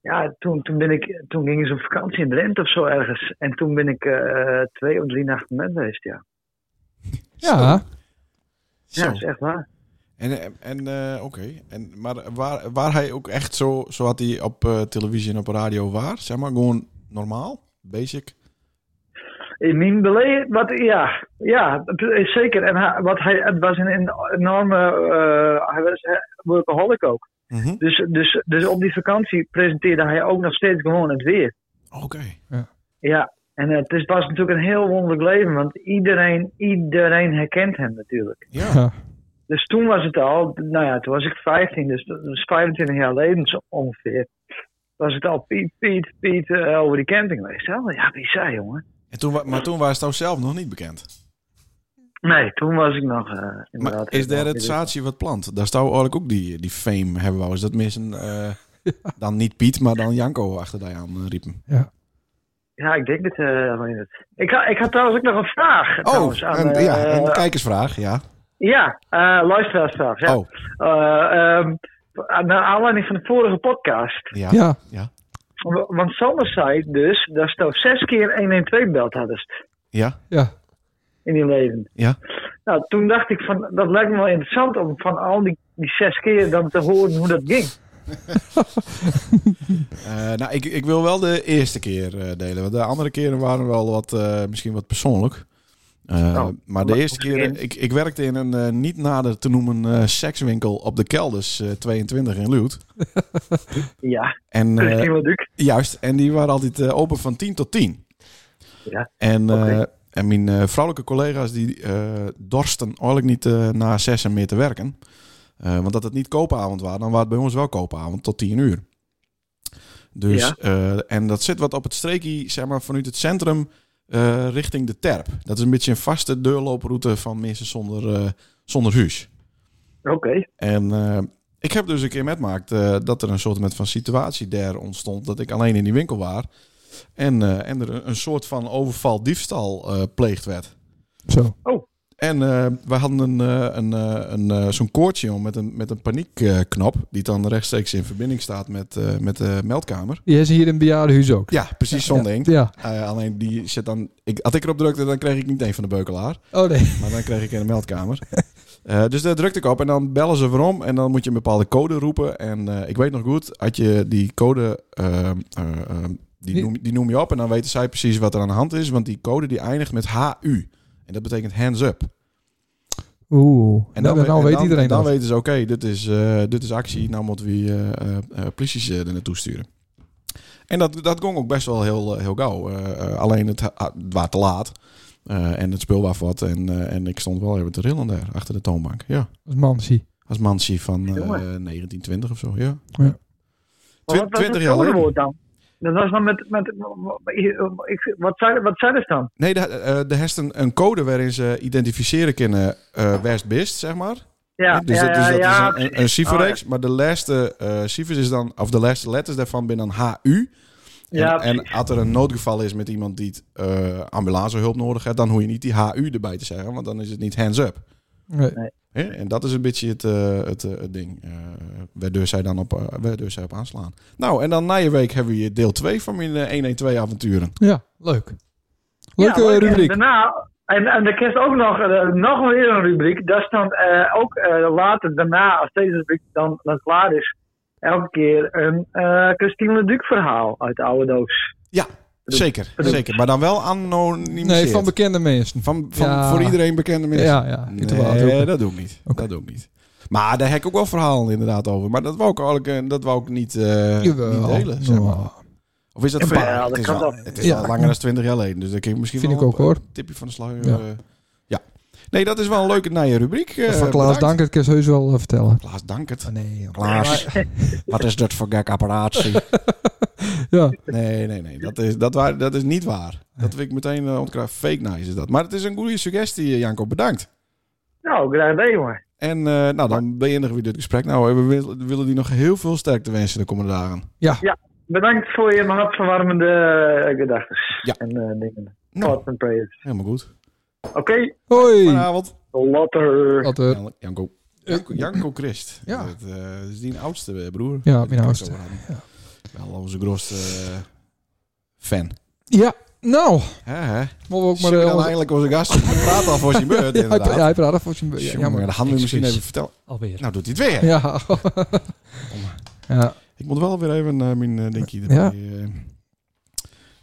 [SPEAKER 3] ja, toen, toen, ben ik, toen gingen ze op vakantie in Drenthe of zo ergens. En toen ben ik eh, twee of drie nachten met geweest, ja.
[SPEAKER 1] Ja.
[SPEAKER 3] Ja, dat is echt waar.
[SPEAKER 2] En, en eh, oké. En, maar waar, waar hij ook echt zo, zo had hij op eh, televisie en op radio waar? Zeg maar gewoon normaal, basic.
[SPEAKER 3] In mijn beleid, wat, ja, ja, dat is zeker. En hij, wat hij, het was een en- enorme, eh, hij was eh, workaholic ook.
[SPEAKER 2] Mhm.
[SPEAKER 3] Dus, dus, dus op die vakantie presenteerde hij ook nog steeds gewoon het weer.
[SPEAKER 2] Oké.
[SPEAKER 3] Ja, en het is pas natuurlijk een heel wonderlijk leven, want iedereen, iedereen herkent hem natuurlijk.
[SPEAKER 2] Ja.
[SPEAKER 1] Ja.
[SPEAKER 3] Dus toen was het al, nou ja, toen was ik 15, dus dat is 25 jaar geleden zo ongeveer. Was het al Piet, Piet, Piet eh, over die camping geweest? Hè? Ja, bizar jongen.
[SPEAKER 2] En toen, wa- maar toen was het nou zelf nog niet bekend.
[SPEAKER 3] Nee, toen was ik nog. eh, inderdaad,
[SPEAKER 2] Maar is daar
[SPEAKER 3] helemaal
[SPEAKER 2] het
[SPEAKER 3] niet-
[SPEAKER 2] zaadje wat plant? Daar zou eigenlijk ook die, die fame hebben wou. Is dat mis een... eh, dan niet Piet, maar dan Janko achter daar aan eh, riepen.
[SPEAKER 3] Ja, ik denk het. eh, alleen het. ik, had, ik had trouwens ook nog een vraag.
[SPEAKER 2] Oh,
[SPEAKER 3] trouwens, aan,
[SPEAKER 2] een,
[SPEAKER 3] eh,
[SPEAKER 2] ja, een kijkersvraag, ja.
[SPEAKER 3] ja eh, luisteraarsvraag. Ja.
[SPEAKER 2] Oh,
[SPEAKER 3] Eh, ehm, naar aanleiding van de vorige podcast.
[SPEAKER 2] ja.
[SPEAKER 1] Ja.
[SPEAKER 3] W- Want Sander zei dus dat ze toch zes keer 112 belt hadden.
[SPEAKER 2] Ja,
[SPEAKER 1] Ja.
[SPEAKER 3] in je leven.
[SPEAKER 2] Ja.
[SPEAKER 3] Nou, toen dacht ik van, dat lijkt me wel interessant om van al die, die zes keer dan te horen hoe dat ging.
[SPEAKER 2] Eh, nou, ik, ik wil wel de eerste keer eh, delen. Want de andere keren waren wel wat, eh, misschien wat persoonlijk. Eh,
[SPEAKER 3] Nou,
[SPEAKER 2] maar de
[SPEAKER 3] maar-
[SPEAKER 2] eerste keer, eh, ik, ik werkte in een eh, niet nader te noemen eh, sekswinkel op de Kelders eh, 22 in Luut.
[SPEAKER 3] Ja,
[SPEAKER 2] En eh,
[SPEAKER 3] Christine Leduc.
[SPEAKER 2] juist, en die waren altijd eh, open van 10 tot 10.
[SPEAKER 3] Ja,
[SPEAKER 2] En, eh,
[SPEAKER 3] oké.
[SPEAKER 2] en mijn eh, vrouwelijke collega's die eh, dorsten eigenlijk niet eh, na zes en meer te werken. Eh, want dat het niet koopavond was, dan was het bij ons wel koopavond tot 10 uur. Dus,
[SPEAKER 3] Ja.
[SPEAKER 2] eh, en dat zit wat op het streekje, zeg maar, vanuit het centrum eh, richting de Terp. Dat is een beetje een vaste deurlooproute van mensen zonder, eh, zonder huis.
[SPEAKER 3] Oké,
[SPEAKER 2] En eh, ik heb dus een keer metmaakt eh, dat er een soort met van situatie daar ontstond. Dat ik alleen in die winkel was. En, eh, en er een, een soort van overval diefstal eh, pleegd werd.
[SPEAKER 1] Zo.
[SPEAKER 2] En eh, we hadden een, eh, een, eh, een, eh, zo'n koordje om met een, met een paniekknop. eh, die dan rechtstreeks in verbinding staat met, eh, met de meldkamer.
[SPEAKER 1] Die is hier in bejaardenhuis ook.
[SPEAKER 2] Ja, precies zo'n ding.
[SPEAKER 1] Ja.
[SPEAKER 2] Eh, alleen die zit dan. Ik, als ik erop drukte, dan kreeg ik niet één van de beukelaar.
[SPEAKER 1] Oh nee.
[SPEAKER 2] Maar dan kreeg ik in de meldkamer. Eh, dus daar drukte ik op en dan bellen ze waarom. En dan moet je een bepaalde code roepen. En eh, ik weet nog goed, had je die code, ehm, eh, ehm, die,
[SPEAKER 1] Die-
[SPEAKER 2] noem, die noem je op. En dan weten zij precies wat er aan de hand is. Want die code die eindigt met HU. En dat betekent hands up.
[SPEAKER 1] Oeh.
[SPEAKER 2] En
[SPEAKER 1] En dan,
[SPEAKER 2] we- Nou, en
[SPEAKER 1] Nou, weet
[SPEAKER 2] dan-
[SPEAKER 1] iedereen
[SPEAKER 2] Dan
[SPEAKER 1] dat.
[SPEAKER 2] weten ze, oké, dit, is, eh, dit is actie. Nou moeten we eh, eh, eh, polities eh, er naartoe sturen. En dat, dat ging ook best wel heel, eh, heel gauw. Eh, eh, alleen het, ha- het was te laat. Eh, en het spul was wat. En, eh, en ik stond wel even te rillen daar, achter de toonbank. Ja,
[SPEAKER 1] Als man zie.
[SPEAKER 2] als mansie van eh
[SPEAKER 3] Jongen.
[SPEAKER 2] 1920 of zo, ja.
[SPEAKER 3] maar wat was
[SPEAKER 2] 20
[SPEAKER 3] het
[SPEAKER 2] jaar
[SPEAKER 3] andere
[SPEAKER 2] geleden.
[SPEAKER 3] woord dan? Dat was dan met, met ik, wat, zei, wat zei dat dan?
[SPEAKER 2] Nee, de- eh, er is een, een code waarin ze identificeren kunnen eh West Bist, zeg maar.
[SPEAKER 3] Ja,
[SPEAKER 2] dus
[SPEAKER 3] ja,
[SPEAKER 2] dat is,
[SPEAKER 3] ja,
[SPEAKER 2] dat
[SPEAKER 3] ja,
[SPEAKER 2] is een- een, een
[SPEAKER 3] precies.
[SPEAKER 2] ciferreeks, maar de laatste eh cifers is dan, of de laatste letters daarvan zijn dan HU. En,
[SPEAKER 3] Ja,
[SPEAKER 2] en
[SPEAKER 3] precies.
[SPEAKER 2] als er een noodgeval is met iemand die het, eh, ambulancehulp nodig heeft, dan hoef je niet die HU erbij te zeggen, want dan is het niet hands up.
[SPEAKER 1] Nee.
[SPEAKER 2] Hè? En dat is een beetje het, eh, het, eh, het ding. eh waardoor zij dan op, eh, waardoor zij op aanslaan. Nou, en dan na je week hebben we hier deel 2 van mijn 112-avonturen.
[SPEAKER 1] Ja, leuk. Leuke
[SPEAKER 3] Ja, leuk. En
[SPEAKER 1] rubriek.
[SPEAKER 3] Daarna, en, en er kerst ook nog, eh, nog weer een rubriek. Dat is dan eh, ook eh, later, daarna, als deze rubriek dan, dan klaar is, elke keer een eh Christine Leduc verhaal uit de oude doos.
[SPEAKER 2] Ja, zeker. zeker. Maar dan wel anonimiseerd.
[SPEAKER 1] Nee, van bekende mensen.
[SPEAKER 2] van, van
[SPEAKER 1] Ja.
[SPEAKER 2] voor iedereen bekende mensen.
[SPEAKER 1] Ja, ja.
[SPEAKER 2] Nee,
[SPEAKER 1] Interwaal ook.
[SPEAKER 2] dat doe ik niet.
[SPEAKER 1] Oké.
[SPEAKER 2] Dat doe ik niet. Maar daar heb ik ook wel verhalen inderdaad over. Maar dat wou ik, eigenlijk, eh, dat wou ik niet, eh niet
[SPEAKER 1] Jawel.
[SPEAKER 2] delen. Zeg maar.
[SPEAKER 1] Nou,
[SPEAKER 2] Of is dat
[SPEAKER 3] Ja,
[SPEAKER 2] ver?
[SPEAKER 3] dat
[SPEAKER 2] het is,
[SPEAKER 3] kan
[SPEAKER 2] wel,
[SPEAKER 3] toch.
[SPEAKER 2] het is
[SPEAKER 1] Ja.
[SPEAKER 2] al langer dan 20 jaar geleden. Dus daar kan ik misschien
[SPEAKER 1] Vind
[SPEAKER 2] wel
[SPEAKER 1] ik ook,
[SPEAKER 2] een
[SPEAKER 1] hoor.
[SPEAKER 2] tipje van de sluier.
[SPEAKER 1] Ja.
[SPEAKER 2] Ja. ja. Nee, dat is wel een leuke nieuwe rubriek. eh,
[SPEAKER 1] van Klaas
[SPEAKER 2] bedankt.
[SPEAKER 1] Dankert kan ze heus wel eh, vertellen.
[SPEAKER 2] Klaas Dankert.
[SPEAKER 1] nee, joh.
[SPEAKER 2] Klaas, wat is dat voor gek apparatie?
[SPEAKER 1] Ja.
[SPEAKER 2] Nee, nee, nee. Dat is, dat waar, dat is niet waar. Dat wil ik meteen eh, ontkrachten. Fake nice is dat. Maar het is een goede suggestie, eh, Janko. Bedankt.
[SPEAKER 3] Nou, graag gedaan, jongen.
[SPEAKER 2] En eh, nou, dan beëindigen we dit gesprek. Nou, we wil- willen die nog heel veel sterkte wensen de komende dagen.
[SPEAKER 3] Bedankt voor je hartverwarmende eh, gedachten.
[SPEAKER 2] Ja.
[SPEAKER 3] En eh, dingen.
[SPEAKER 2] Nou.
[SPEAKER 3] Thoughts and prayers.
[SPEAKER 2] Helemaal goed.
[SPEAKER 3] Oké,
[SPEAKER 1] Hoi.
[SPEAKER 2] Vanavond.
[SPEAKER 3] later.
[SPEAKER 1] Wat, eh,
[SPEAKER 2] Jan- Janko. Janko, Janko Christ.
[SPEAKER 1] Ja.
[SPEAKER 2] Dat, eh, is die een oudste eh, broer.
[SPEAKER 1] Ja,
[SPEAKER 2] Die
[SPEAKER 1] mijn
[SPEAKER 2] ik
[SPEAKER 1] oudste.
[SPEAKER 2] zo had. Wel onze grootste eh, fan.
[SPEAKER 1] Ja, nou.
[SPEAKER 2] Hè, hè?
[SPEAKER 1] Mogen we ook maar...
[SPEAKER 2] Zullen we
[SPEAKER 1] eh,
[SPEAKER 2] dan
[SPEAKER 1] onze-
[SPEAKER 2] eigenlijk onze gast praat al voor zijn beurt,
[SPEAKER 1] ja, hij,
[SPEAKER 2] inderdaad.
[SPEAKER 1] pra- ja, hij praat voor zijn... Ja,
[SPEAKER 2] Jongen,
[SPEAKER 1] jammer.
[SPEAKER 2] dat hadden we misschien
[SPEAKER 5] Excuus.
[SPEAKER 2] even vertellen.
[SPEAKER 5] Alweer.
[SPEAKER 2] Nou, doet hij het weer.
[SPEAKER 1] Ja. ja.
[SPEAKER 2] Ik moet wel weer even eh, mijn eh, dingetje erbij...
[SPEAKER 1] Ja.
[SPEAKER 2] eh,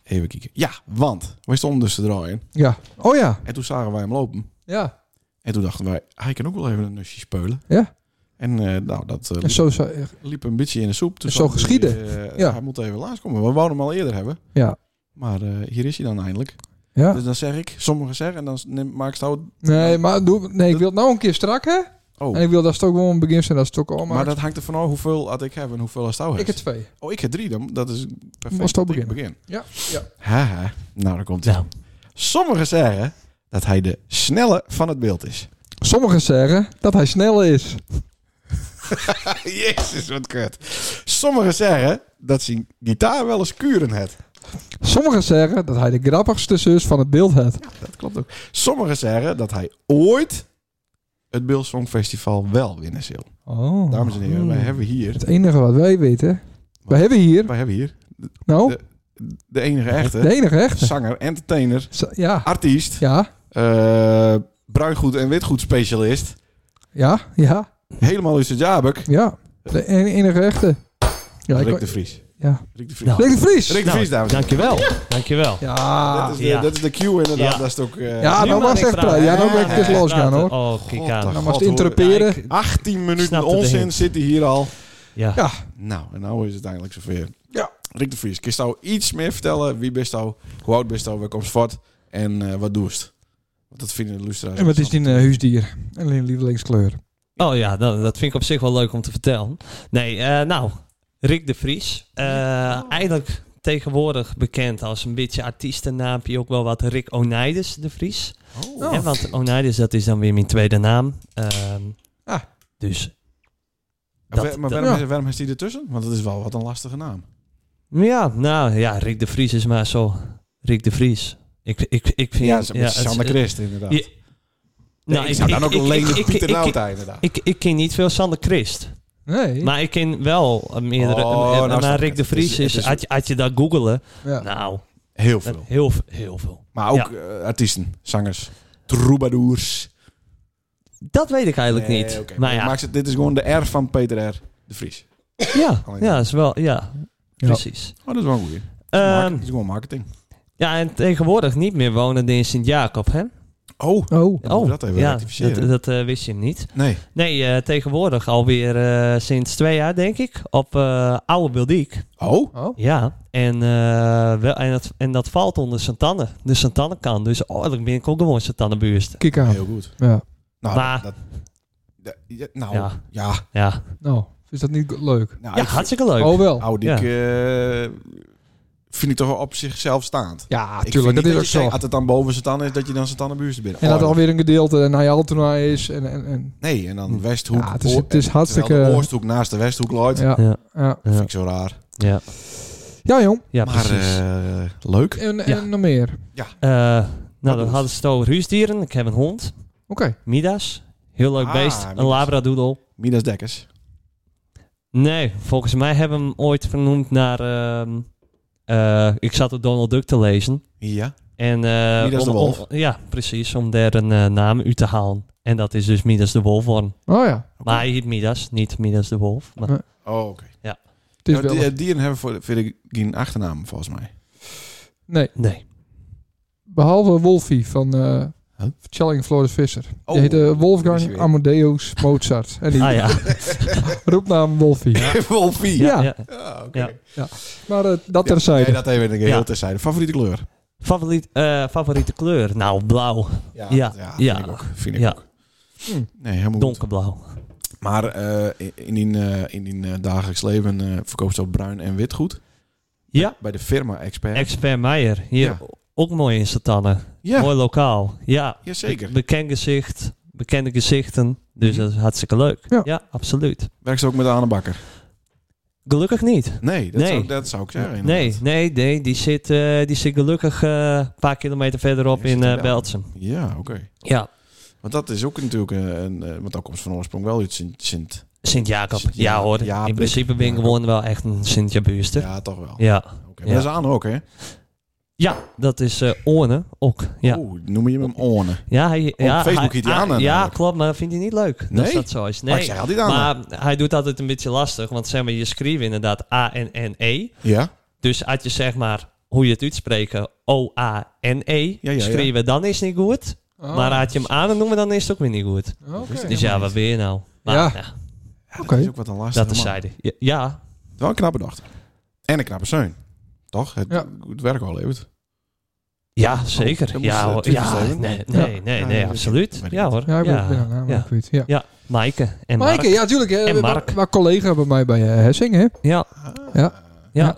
[SPEAKER 2] even kijken. Ja, want wij stonden dus te draaien.
[SPEAKER 1] Ja. Oh ja.
[SPEAKER 2] En toen zagen wij hem lopen.
[SPEAKER 1] Ja.
[SPEAKER 2] En toen dachten wij, hij kan ook wel even een nusje speulen.
[SPEAKER 1] Ja.
[SPEAKER 2] En eh, nou, dat eh,
[SPEAKER 1] En
[SPEAKER 2] liep,
[SPEAKER 1] zo... zou-
[SPEAKER 2] liep een beetje in de soep. Toen
[SPEAKER 1] En
[SPEAKER 2] zat
[SPEAKER 1] zo geschieden.
[SPEAKER 2] Hij, eh,
[SPEAKER 1] Ja.
[SPEAKER 2] hij moet even langskomen. We wouden hem al eerder hebben.
[SPEAKER 1] Ja.
[SPEAKER 2] Maar eh, hier is hij dan eindelijk.
[SPEAKER 1] Ja.
[SPEAKER 2] Dus dan zeg ik, sommigen zeggen, en dan neem, maak ik het oud-
[SPEAKER 1] Nee, maar doe, nee, ik wil het nou een keer strak, hè?
[SPEAKER 2] Oh,
[SPEAKER 1] En ik wil dat het ook wel een begin zijn, dat is het ook al
[SPEAKER 2] maar
[SPEAKER 1] maar
[SPEAKER 2] dat hangt er vanaf hoeveel had ik heb en hoeveel als touw
[SPEAKER 1] Ik
[SPEAKER 2] heeft.
[SPEAKER 1] heb twee.
[SPEAKER 2] Oh, ik heb drie, dan, dat is perfect.
[SPEAKER 1] Was het al
[SPEAKER 2] dat ik
[SPEAKER 1] beginnen? Ja, ja.
[SPEAKER 2] Haha, nou daar komt hij.
[SPEAKER 5] Nou.
[SPEAKER 2] Sommigen zeggen dat hij de snelle van het beeld is.
[SPEAKER 1] Sommigen zeggen dat hij snel is.
[SPEAKER 2] Jezus, wat kut. Sommigen zeggen dat zijn gitaar wel eens kuren het.
[SPEAKER 1] Sommigen zeggen dat hij de grappigste zus van het beeld had.
[SPEAKER 2] Dat klopt ook. Sommigen zeggen dat hij ooit het Bill Song Festival wel winnen zal.
[SPEAKER 1] Oh.
[SPEAKER 2] Dames en heren, wij hebben hier,
[SPEAKER 1] Het enige wat wij weten. We hebben hier,
[SPEAKER 2] wij hebben hier
[SPEAKER 1] nou,
[SPEAKER 2] de enige
[SPEAKER 1] de
[SPEAKER 2] echte
[SPEAKER 1] enige echte.
[SPEAKER 2] zanger, entertainer,
[SPEAKER 1] Zo- Ja,
[SPEAKER 2] artiest,
[SPEAKER 1] ja,
[SPEAKER 2] eh, bruingoed en witgoed specialist.
[SPEAKER 1] ja, ja,
[SPEAKER 2] Helemaal uit zijn jabek.
[SPEAKER 1] ja. De en- enige echte. Ja, ik,
[SPEAKER 2] Rick
[SPEAKER 1] Rick
[SPEAKER 2] de Vries.
[SPEAKER 1] ja.
[SPEAKER 2] Rick de Vries.
[SPEAKER 5] Nou.
[SPEAKER 1] Rick de Vries!
[SPEAKER 2] Rick de Vries, dames en heren.
[SPEAKER 5] Dankjewel. Dankjewel.
[SPEAKER 2] Dat
[SPEAKER 1] Ja,
[SPEAKER 2] is de,
[SPEAKER 5] Ja.
[SPEAKER 2] dat is de cue inderdaad.
[SPEAKER 5] Ja.
[SPEAKER 2] Dat is het ook... eh,
[SPEAKER 1] Ja,
[SPEAKER 5] Nu
[SPEAKER 1] nou
[SPEAKER 5] mag
[SPEAKER 1] was
[SPEAKER 5] ik
[SPEAKER 1] echt
[SPEAKER 5] praten.
[SPEAKER 1] praai. Ja, nou
[SPEAKER 5] Ja,
[SPEAKER 1] ben ik het
[SPEAKER 5] mag ik
[SPEAKER 1] losgaan,
[SPEAKER 5] praten.
[SPEAKER 1] hoor.
[SPEAKER 5] Oh, kijk aan.
[SPEAKER 1] Nou was het
[SPEAKER 2] God, hoor.
[SPEAKER 1] interperen.
[SPEAKER 5] Ja, ik-
[SPEAKER 2] 18 minuten
[SPEAKER 5] snapte de
[SPEAKER 2] onzin
[SPEAKER 5] hint.
[SPEAKER 2] zit hij hier al.
[SPEAKER 5] Ja.
[SPEAKER 1] Ja.
[SPEAKER 2] Nou, en nou is het eindelijk zover.
[SPEAKER 1] Ja.
[SPEAKER 2] Rick de Vries, kun je jou iets meer vertellen? Wie bist jou? Hoe oud bist jou? Waar komt voort? En eh, wat doest? Want dat vinden de lustra's.
[SPEAKER 1] En wat is die een eh, huisdier? En een lievelingskleur.
[SPEAKER 5] Oh ja, nou, dat vind ik op zich wel leuk om te vertellen. Nee, eh, nou, Rick de Vries. Eh,
[SPEAKER 2] Oh.
[SPEAKER 5] Eigenlijk tegenwoordig bekend als een beetje artiestennaampje. Ook wel wat Rick Onijdes de Vries.
[SPEAKER 2] Oh.
[SPEAKER 5] Hè, want Onijdes, dat is dan weer mijn tweede naam. Ehm,
[SPEAKER 1] Ah.
[SPEAKER 5] Dus
[SPEAKER 2] En
[SPEAKER 5] dat-
[SPEAKER 2] wa- maar
[SPEAKER 5] dat-
[SPEAKER 2] waarom, is, waarom is die ertussen? Want dat is wel wat een lastige naam.
[SPEAKER 5] Ja, nou ja, Rick de Vries is maar zo. Rick de Vries. Ik, ik, ik vind...
[SPEAKER 2] Ja, ja
[SPEAKER 5] het-
[SPEAKER 2] Sander Christ inderdaad.
[SPEAKER 5] Ja,
[SPEAKER 2] Ja,
[SPEAKER 5] nou,
[SPEAKER 2] ik zou dan ook
[SPEAKER 5] ik-
[SPEAKER 2] alleen
[SPEAKER 5] ik-
[SPEAKER 2] Pieter
[SPEAKER 5] ik-
[SPEAKER 2] Nauta inderdaad.
[SPEAKER 5] Ik, ik ken niet veel Sander Christ.
[SPEAKER 1] Nee.
[SPEAKER 5] Maar ik ken wel eh, meerdere...
[SPEAKER 2] Oh,
[SPEAKER 5] eh, eh,
[SPEAKER 2] nou snap
[SPEAKER 5] maar
[SPEAKER 2] ik
[SPEAKER 5] Rick
[SPEAKER 2] het.
[SPEAKER 5] de Vries
[SPEAKER 2] Het is-
[SPEAKER 5] is...
[SPEAKER 2] het is-
[SPEAKER 5] Had je, had je dat googelen?
[SPEAKER 1] Ja.
[SPEAKER 5] Nou,
[SPEAKER 2] Heel
[SPEAKER 5] dat-
[SPEAKER 2] veel.
[SPEAKER 5] heel, v- heel veel.
[SPEAKER 2] Maar ook eh, artiesten, zangers, troubadours.
[SPEAKER 5] Dat weet ik eigenlijk
[SPEAKER 2] Nee,
[SPEAKER 5] niet.
[SPEAKER 2] oké.
[SPEAKER 5] Maar ja,
[SPEAKER 2] Maakt het- dit is gewoon de R van Peter R. de Vries.
[SPEAKER 5] ja,
[SPEAKER 2] Alleen
[SPEAKER 5] ja, is wel... Ja, precies.
[SPEAKER 2] Oh, dat is wel een goeie.
[SPEAKER 5] Ja,
[SPEAKER 2] Mark- het is gewoon marketing.
[SPEAKER 5] ja en tegenwoordig niet meer wonen in Sint-Jacob, hè?
[SPEAKER 2] Oh,
[SPEAKER 5] Nou.
[SPEAKER 1] Oh.
[SPEAKER 2] moeten we dat even
[SPEAKER 5] ja,
[SPEAKER 2] rectificeren.
[SPEAKER 5] dat, dat eh, wist je niet.
[SPEAKER 2] nee.
[SPEAKER 5] Nee, eh, tegenwoordig alweer eh, sinds twee jaar, denk ik, op eh, Oude Bildiek.
[SPEAKER 2] Oh,
[SPEAKER 1] Oh.
[SPEAKER 5] Ja, en, eh, wel, en, dat, en dat valt onder Santanne, de Santannekan. Dus eigenlijk ben ik ook gewoon Santannebuurst.
[SPEAKER 1] Kijk aan.
[SPEAKER 2] heel goed.
[SPEAKER 1] Ja.
[SPEAKER 2] Nou,
[SPEAKER 5] Maar-
[SPEAKER 2] dat, dat- ja, nou, ja.
[SPEAKER 5] Ja.
[SPEAKER 2] ja,
[SPEAKER 5] Ja,
[SPEAKER 1] Nou, is dat niet leuk?
[SPEAKER 2] nou,
[SPEAKER 5] ja Oh,
[SPEAKER 2] ik-
[SPEAKER 5] hartstikke leuk.
[SPEAKER 1] Oh wel.
[SPEAKER 2] Nou, die,
[SPEAKER 5] Ja.
[SPEAKER 2] ik, eh, vind ik toch wel op zichzelf staand.
[SPEAKER 1] Ja,
[SPEAKER 2] Ik
[SPEAKER 1] tuurlijk, dat
[SPEAKER 2] vind niet
[SPEAKER 1] is ook
[SPEAKER 2] je-
[SPEAKER 1] zo.
[SPEAKER 2] Kijk, als het dan boven zijn tanden is, dat je dan zijn tanden buurste bent.
[SPEAKER 1] En dat
[SPEAKER 2] Oh,
[SPEAKER 1] er alweer een gedeelte naar jouw toernooi is. En, en, en.
[SPEAKER 2] Nee, en dan Westhoek.
[SPEAKER 1] Hm. Ja, het is,
[SPEAKER 2] Oor-
[SPEAKER 1] het is
[SPEAKER 2] terwijl
[SPEAKER 1] hartstikke...
[SPEAKER 2] de Oosthoek naast de Westhoek looit.
[SPEAKER 1] Ja,
[SPEAKER 5] Ja,
[SPEAKER 1] ja.
[SPEAKER 2] Dat vind ik zo raar.
[SPEAKER 5] ja,
[SPEAKER 1] ja jong.
[SPEAKER 5] ja
[SPEAKER 2] maar
[SPEAKER 5] precies.
[SPEAKER 2] eh, leuk.
[SPEAKER 1] En,
[SPEAKER 5] Ja.
[SPEAKER 1] en nog meer. Oké.
[SPEAKER 5] Eh, nou, dan
[SPEAKER 2] doet-
[SPEAKER 5] hadden ze het over huisdieren. Ik heb een hond, Midas. Heel leuk
[SPEAKER 2] Ah,
[SPEAKER 5] beest. Een
[SPEAKER 2] Midas.
[SPEAKER 5] labradoodle.
[SPEAKER 2] Midas Dekkers.
[SPEAKER 5] Nee, volgens mij hebben we hem ooit vernoemd naar... ehm, eh, ik zat op Donald Duck te lezen.
[SPEAKER 2] Ja.
[SPEAKER 5] En, eh,
[SPEAKER 2] Midas de
[SPEAKER 5] om-
[SPEAKER 2] Wolf.
[SPEAKER 5] om- ja, precies. Om daar een eh, naam uit te halen. En dat is dus Midas de Wolf worden.
[SPEAKER 1] Oh ja.
[SPEAKER 2] Oké.
[SPEAKER 5] Maar hij heet Midas, niet Midas de Wolf. Maar,
[SPEAKER 1] Nee.
[SPEAKER 2] Oh, oké.
[SPEAKER 1] Het is
[SPEAKER 2] Nou,
[SPEAKER 1] wel...
[SPEAKER 2] die- eh, dieren hebben voor, vind ik geen achternaam, volgens mij.
[SPEAKER 1] Nee,
[SPEAKER 5] nee.
[SPEAKER 1] behalve Wolfie van eh
[SPEAKER 2] Huh?
[SPEAKER 1] Challing Floris Visser.
[SPEAKER 2] Oh,
[SPEAKER 1] die heette
[SPEAKER 2] is hij
[SPEAKER 1] Wolfgang
[SPEAKER 2] weer.
[SPEAKER 1] Amadeus Mozart. En die
[SPEAKER 5] Ah ja.
[SPEAKER 1] roepnaam Wolfie.
[SPEAKER 2] Wolfie.
[SPEAKER 1] Ja.
[SPEAKER 5] ja.
[SPEAKER 2] Ah, oké.
[SPEAKER 5] Ja.
[SPEAKER 1] Maar eh, dat
[SPEAKER 2] Ja,
[SPEAKER 1] terzijde.
[SPEAKER 2] Nee, dat even een
[SPEAKER 5] Ja.
[SPEAKER 2] heel terzijde. Favoriete kleur?
[SPEAKER 5] Favoriet, eh, favoriete kleur? Nou, blauw. Ja,
[SPEAKER 2] dat- ja,
[SPEAKER 5] ja.
[SPEAKER 2] Vind ik ook. Vind ik
[SPEAKER 5] Ja.
[SPEAKER 2] ook. Nee, helemaal goed.
[SPEAKER 5] Donkerblauw.
[SPEAKER 2] Maar eh, in die, eh, in die eh, dagelijks leven eh, verkoopt ze ook bruin en wit goed.
[SPEAKER 5] Ja,
[SPEAKER 2] Bij de firma Expert.
[SPEAKER 5] Expert Meijer. Hier
[SPEAKER 2] Ja.
[SPEAKER 5] ook mooi in Satannen.
[SPEAKER 2] ja,
[SPEAKER 5] Mooi lokaal. Ja,
[SPEAKER 2] jazeker.
[SPEAKER 5] bekend gezicht, bekende gezichten. Dus
[SPEAKER 2] Mhm.
[SPEAKER 5] dat is hartstikke leuk.
[SPEAKER 1] Ja.
[SPEAKER 5] Ja, absoluut.
[SPEAKER 2] Werkt ze ook met Anne Bakker?
[SPEAKER 5] Gelukkig niet.
[SPEAKER 2] Nee, dat,
[SPEAKER 5] Nee.
[SPEAKER 2] Zou, dat zou ik zeggen.
[SPEAKER 5] Nee,
[SPEAKER 2] inderdaad.
[SPEAKER 5] nee, nee. Die zit, eh, die zit gelukkig eh, een paar kilometer verderop
[SPEAKER 2] Die zit
[SPEAKER 5] in
[SPEAKER 2] in
[SPEAKER 5] eh,
[SPEAKER 2] België.
[SPEAKER 5] Beltsum.
[SPEAKER 2] Ja, oké.
[SPEAKER 5] Ja,
[SPEAKER 2] Want dat is ook natuurlijk een, een, eh, want dat komt van oorsprong wel uit Sint... Sint
[SPEAKER 5] Sint-Jacob.
[SPEAKER 2] Sint-
[SPEAKER 5] ja, hoor.
[SPEAKER 2] Jaap-
[SPEAKER 5] in principe ben ik
[SPEAKER 2] Jacob.
[SPEAKER 5] gewoon wel echt een Sint-Jabuurster.
[SPEAKER 2] ja, toch wel.
[SPEAKER 5] Ja.
[SPEAKER 2] Oké,
[SPEAKER 5] Ja.
[SPEAKER 2] Maar dat is Anne ook, hè?
[SPEAKER 5] ja, dat is eh Orne ook. Ja.
[SPEAKER 2] Oeh, noem je hem Orne.
[SPEAKER 5] Ja, hij, ja,
[SPEAKER 2] Oh. Facebook heet hij
[SPEAKER 5] ah,
[SPEAKER 2] Anna
[SPEAKER 5] Ja,
[SPEAKER 2] namelijk.
[SPEAKER 5] klopt, maar dat vindt hij niet leuk. Dat
[SPEAKER 2] Nee?
[SPEAKER 5] is dat zo is.
[SPEAKER 2] Maar ik
[SPEAKER 5] Nee.
[SPEAKER 2] zeg altijd Anne.
[SPEAKER 5] Maar hij doet altijd een beetje lastig, want zeg maar, je schreef inderdaad A-N-N-E.
[SPEAKER 2] ja?
[SPEAKER 5] E. Dus als je zeg maar, hoe je het uitspreken, O-A-N-E,
[SPEAKER 2] Ja, ja, ja.
[SPEAKER 5] E, schreeuwen, dan is het niet goed.
[SPEAKER 1] Oh.
[SPEAKER 5] Maar had je hem aan en noemen, dan is het ook weer niet goed.
[SPEAKER 1] Oké.
[SPEAKER 5] Dus ja, wat weer nou? Maar,
[SPEAKER 1] Ja.
[SPEAKER 5] ja,
[SPEAKER 2] Ja,
[SPEAKER 1] Oké.
[SPEAKER 2] Dat is ook wat een lastige
[SPEAKER 5] dat is
[SPEAKER 2] man.
[SPEAKER 5] zijde. Ja, ja,
[SPEAKER 2] Wel een knappe dochter. En een knappe zoon. Toch? Het,
[SPEAKER 1] Ja.
[SPEAKER 2] het werk wel even.
[SPEAKER 5] ja, zeker.
[SPEAKER 2] dat moest,
[SPEAKER 5] ja,
[SPEAKER 2] eh,
[SPEAKER 5] hoor.
[SPEAKER 2] Twitter
[SPEAKER 5] ja,
[SPEAKER 2] zijn.
[SPEAKER 5] nee,
[SPEAKER 1] Ja.
[SPEAKER 5] nee, nee,
[SPEAKER 2] Ja,
[SPEAKER 5] nee,
[SPEAKER 2] ja,
[SPEAKER 5] absoluut.
[SPEAKER 2] weet ik
[SPEAKER 5] Ja
[SPEAKER 2] niet.
[SPEAKER 5] hoor.
[SPEAKER 1] Ja, ik ben, ik ben haar naam
[SPEAKER 5] ja.
[SPEAKER 1] ook kwijt. Ja.
[SPEAKER 5] Ja, Maaike en
[SPEAKER 1] Maaike,
[SPEAKER 5] Mark.
[SPEAKER 1] ja, tuurlijk. hè.
[SPEAKER 5] En
[SPEAKER 1] Waar-
[SPEAKER 5] Mark.
[SPEAKER 1] Waar collega bij mij bij eh, Hessing, hè?
[SPEAKER 5] Ja,
[SPEAKER 1] Ja.
[SPEAKER 5] ja.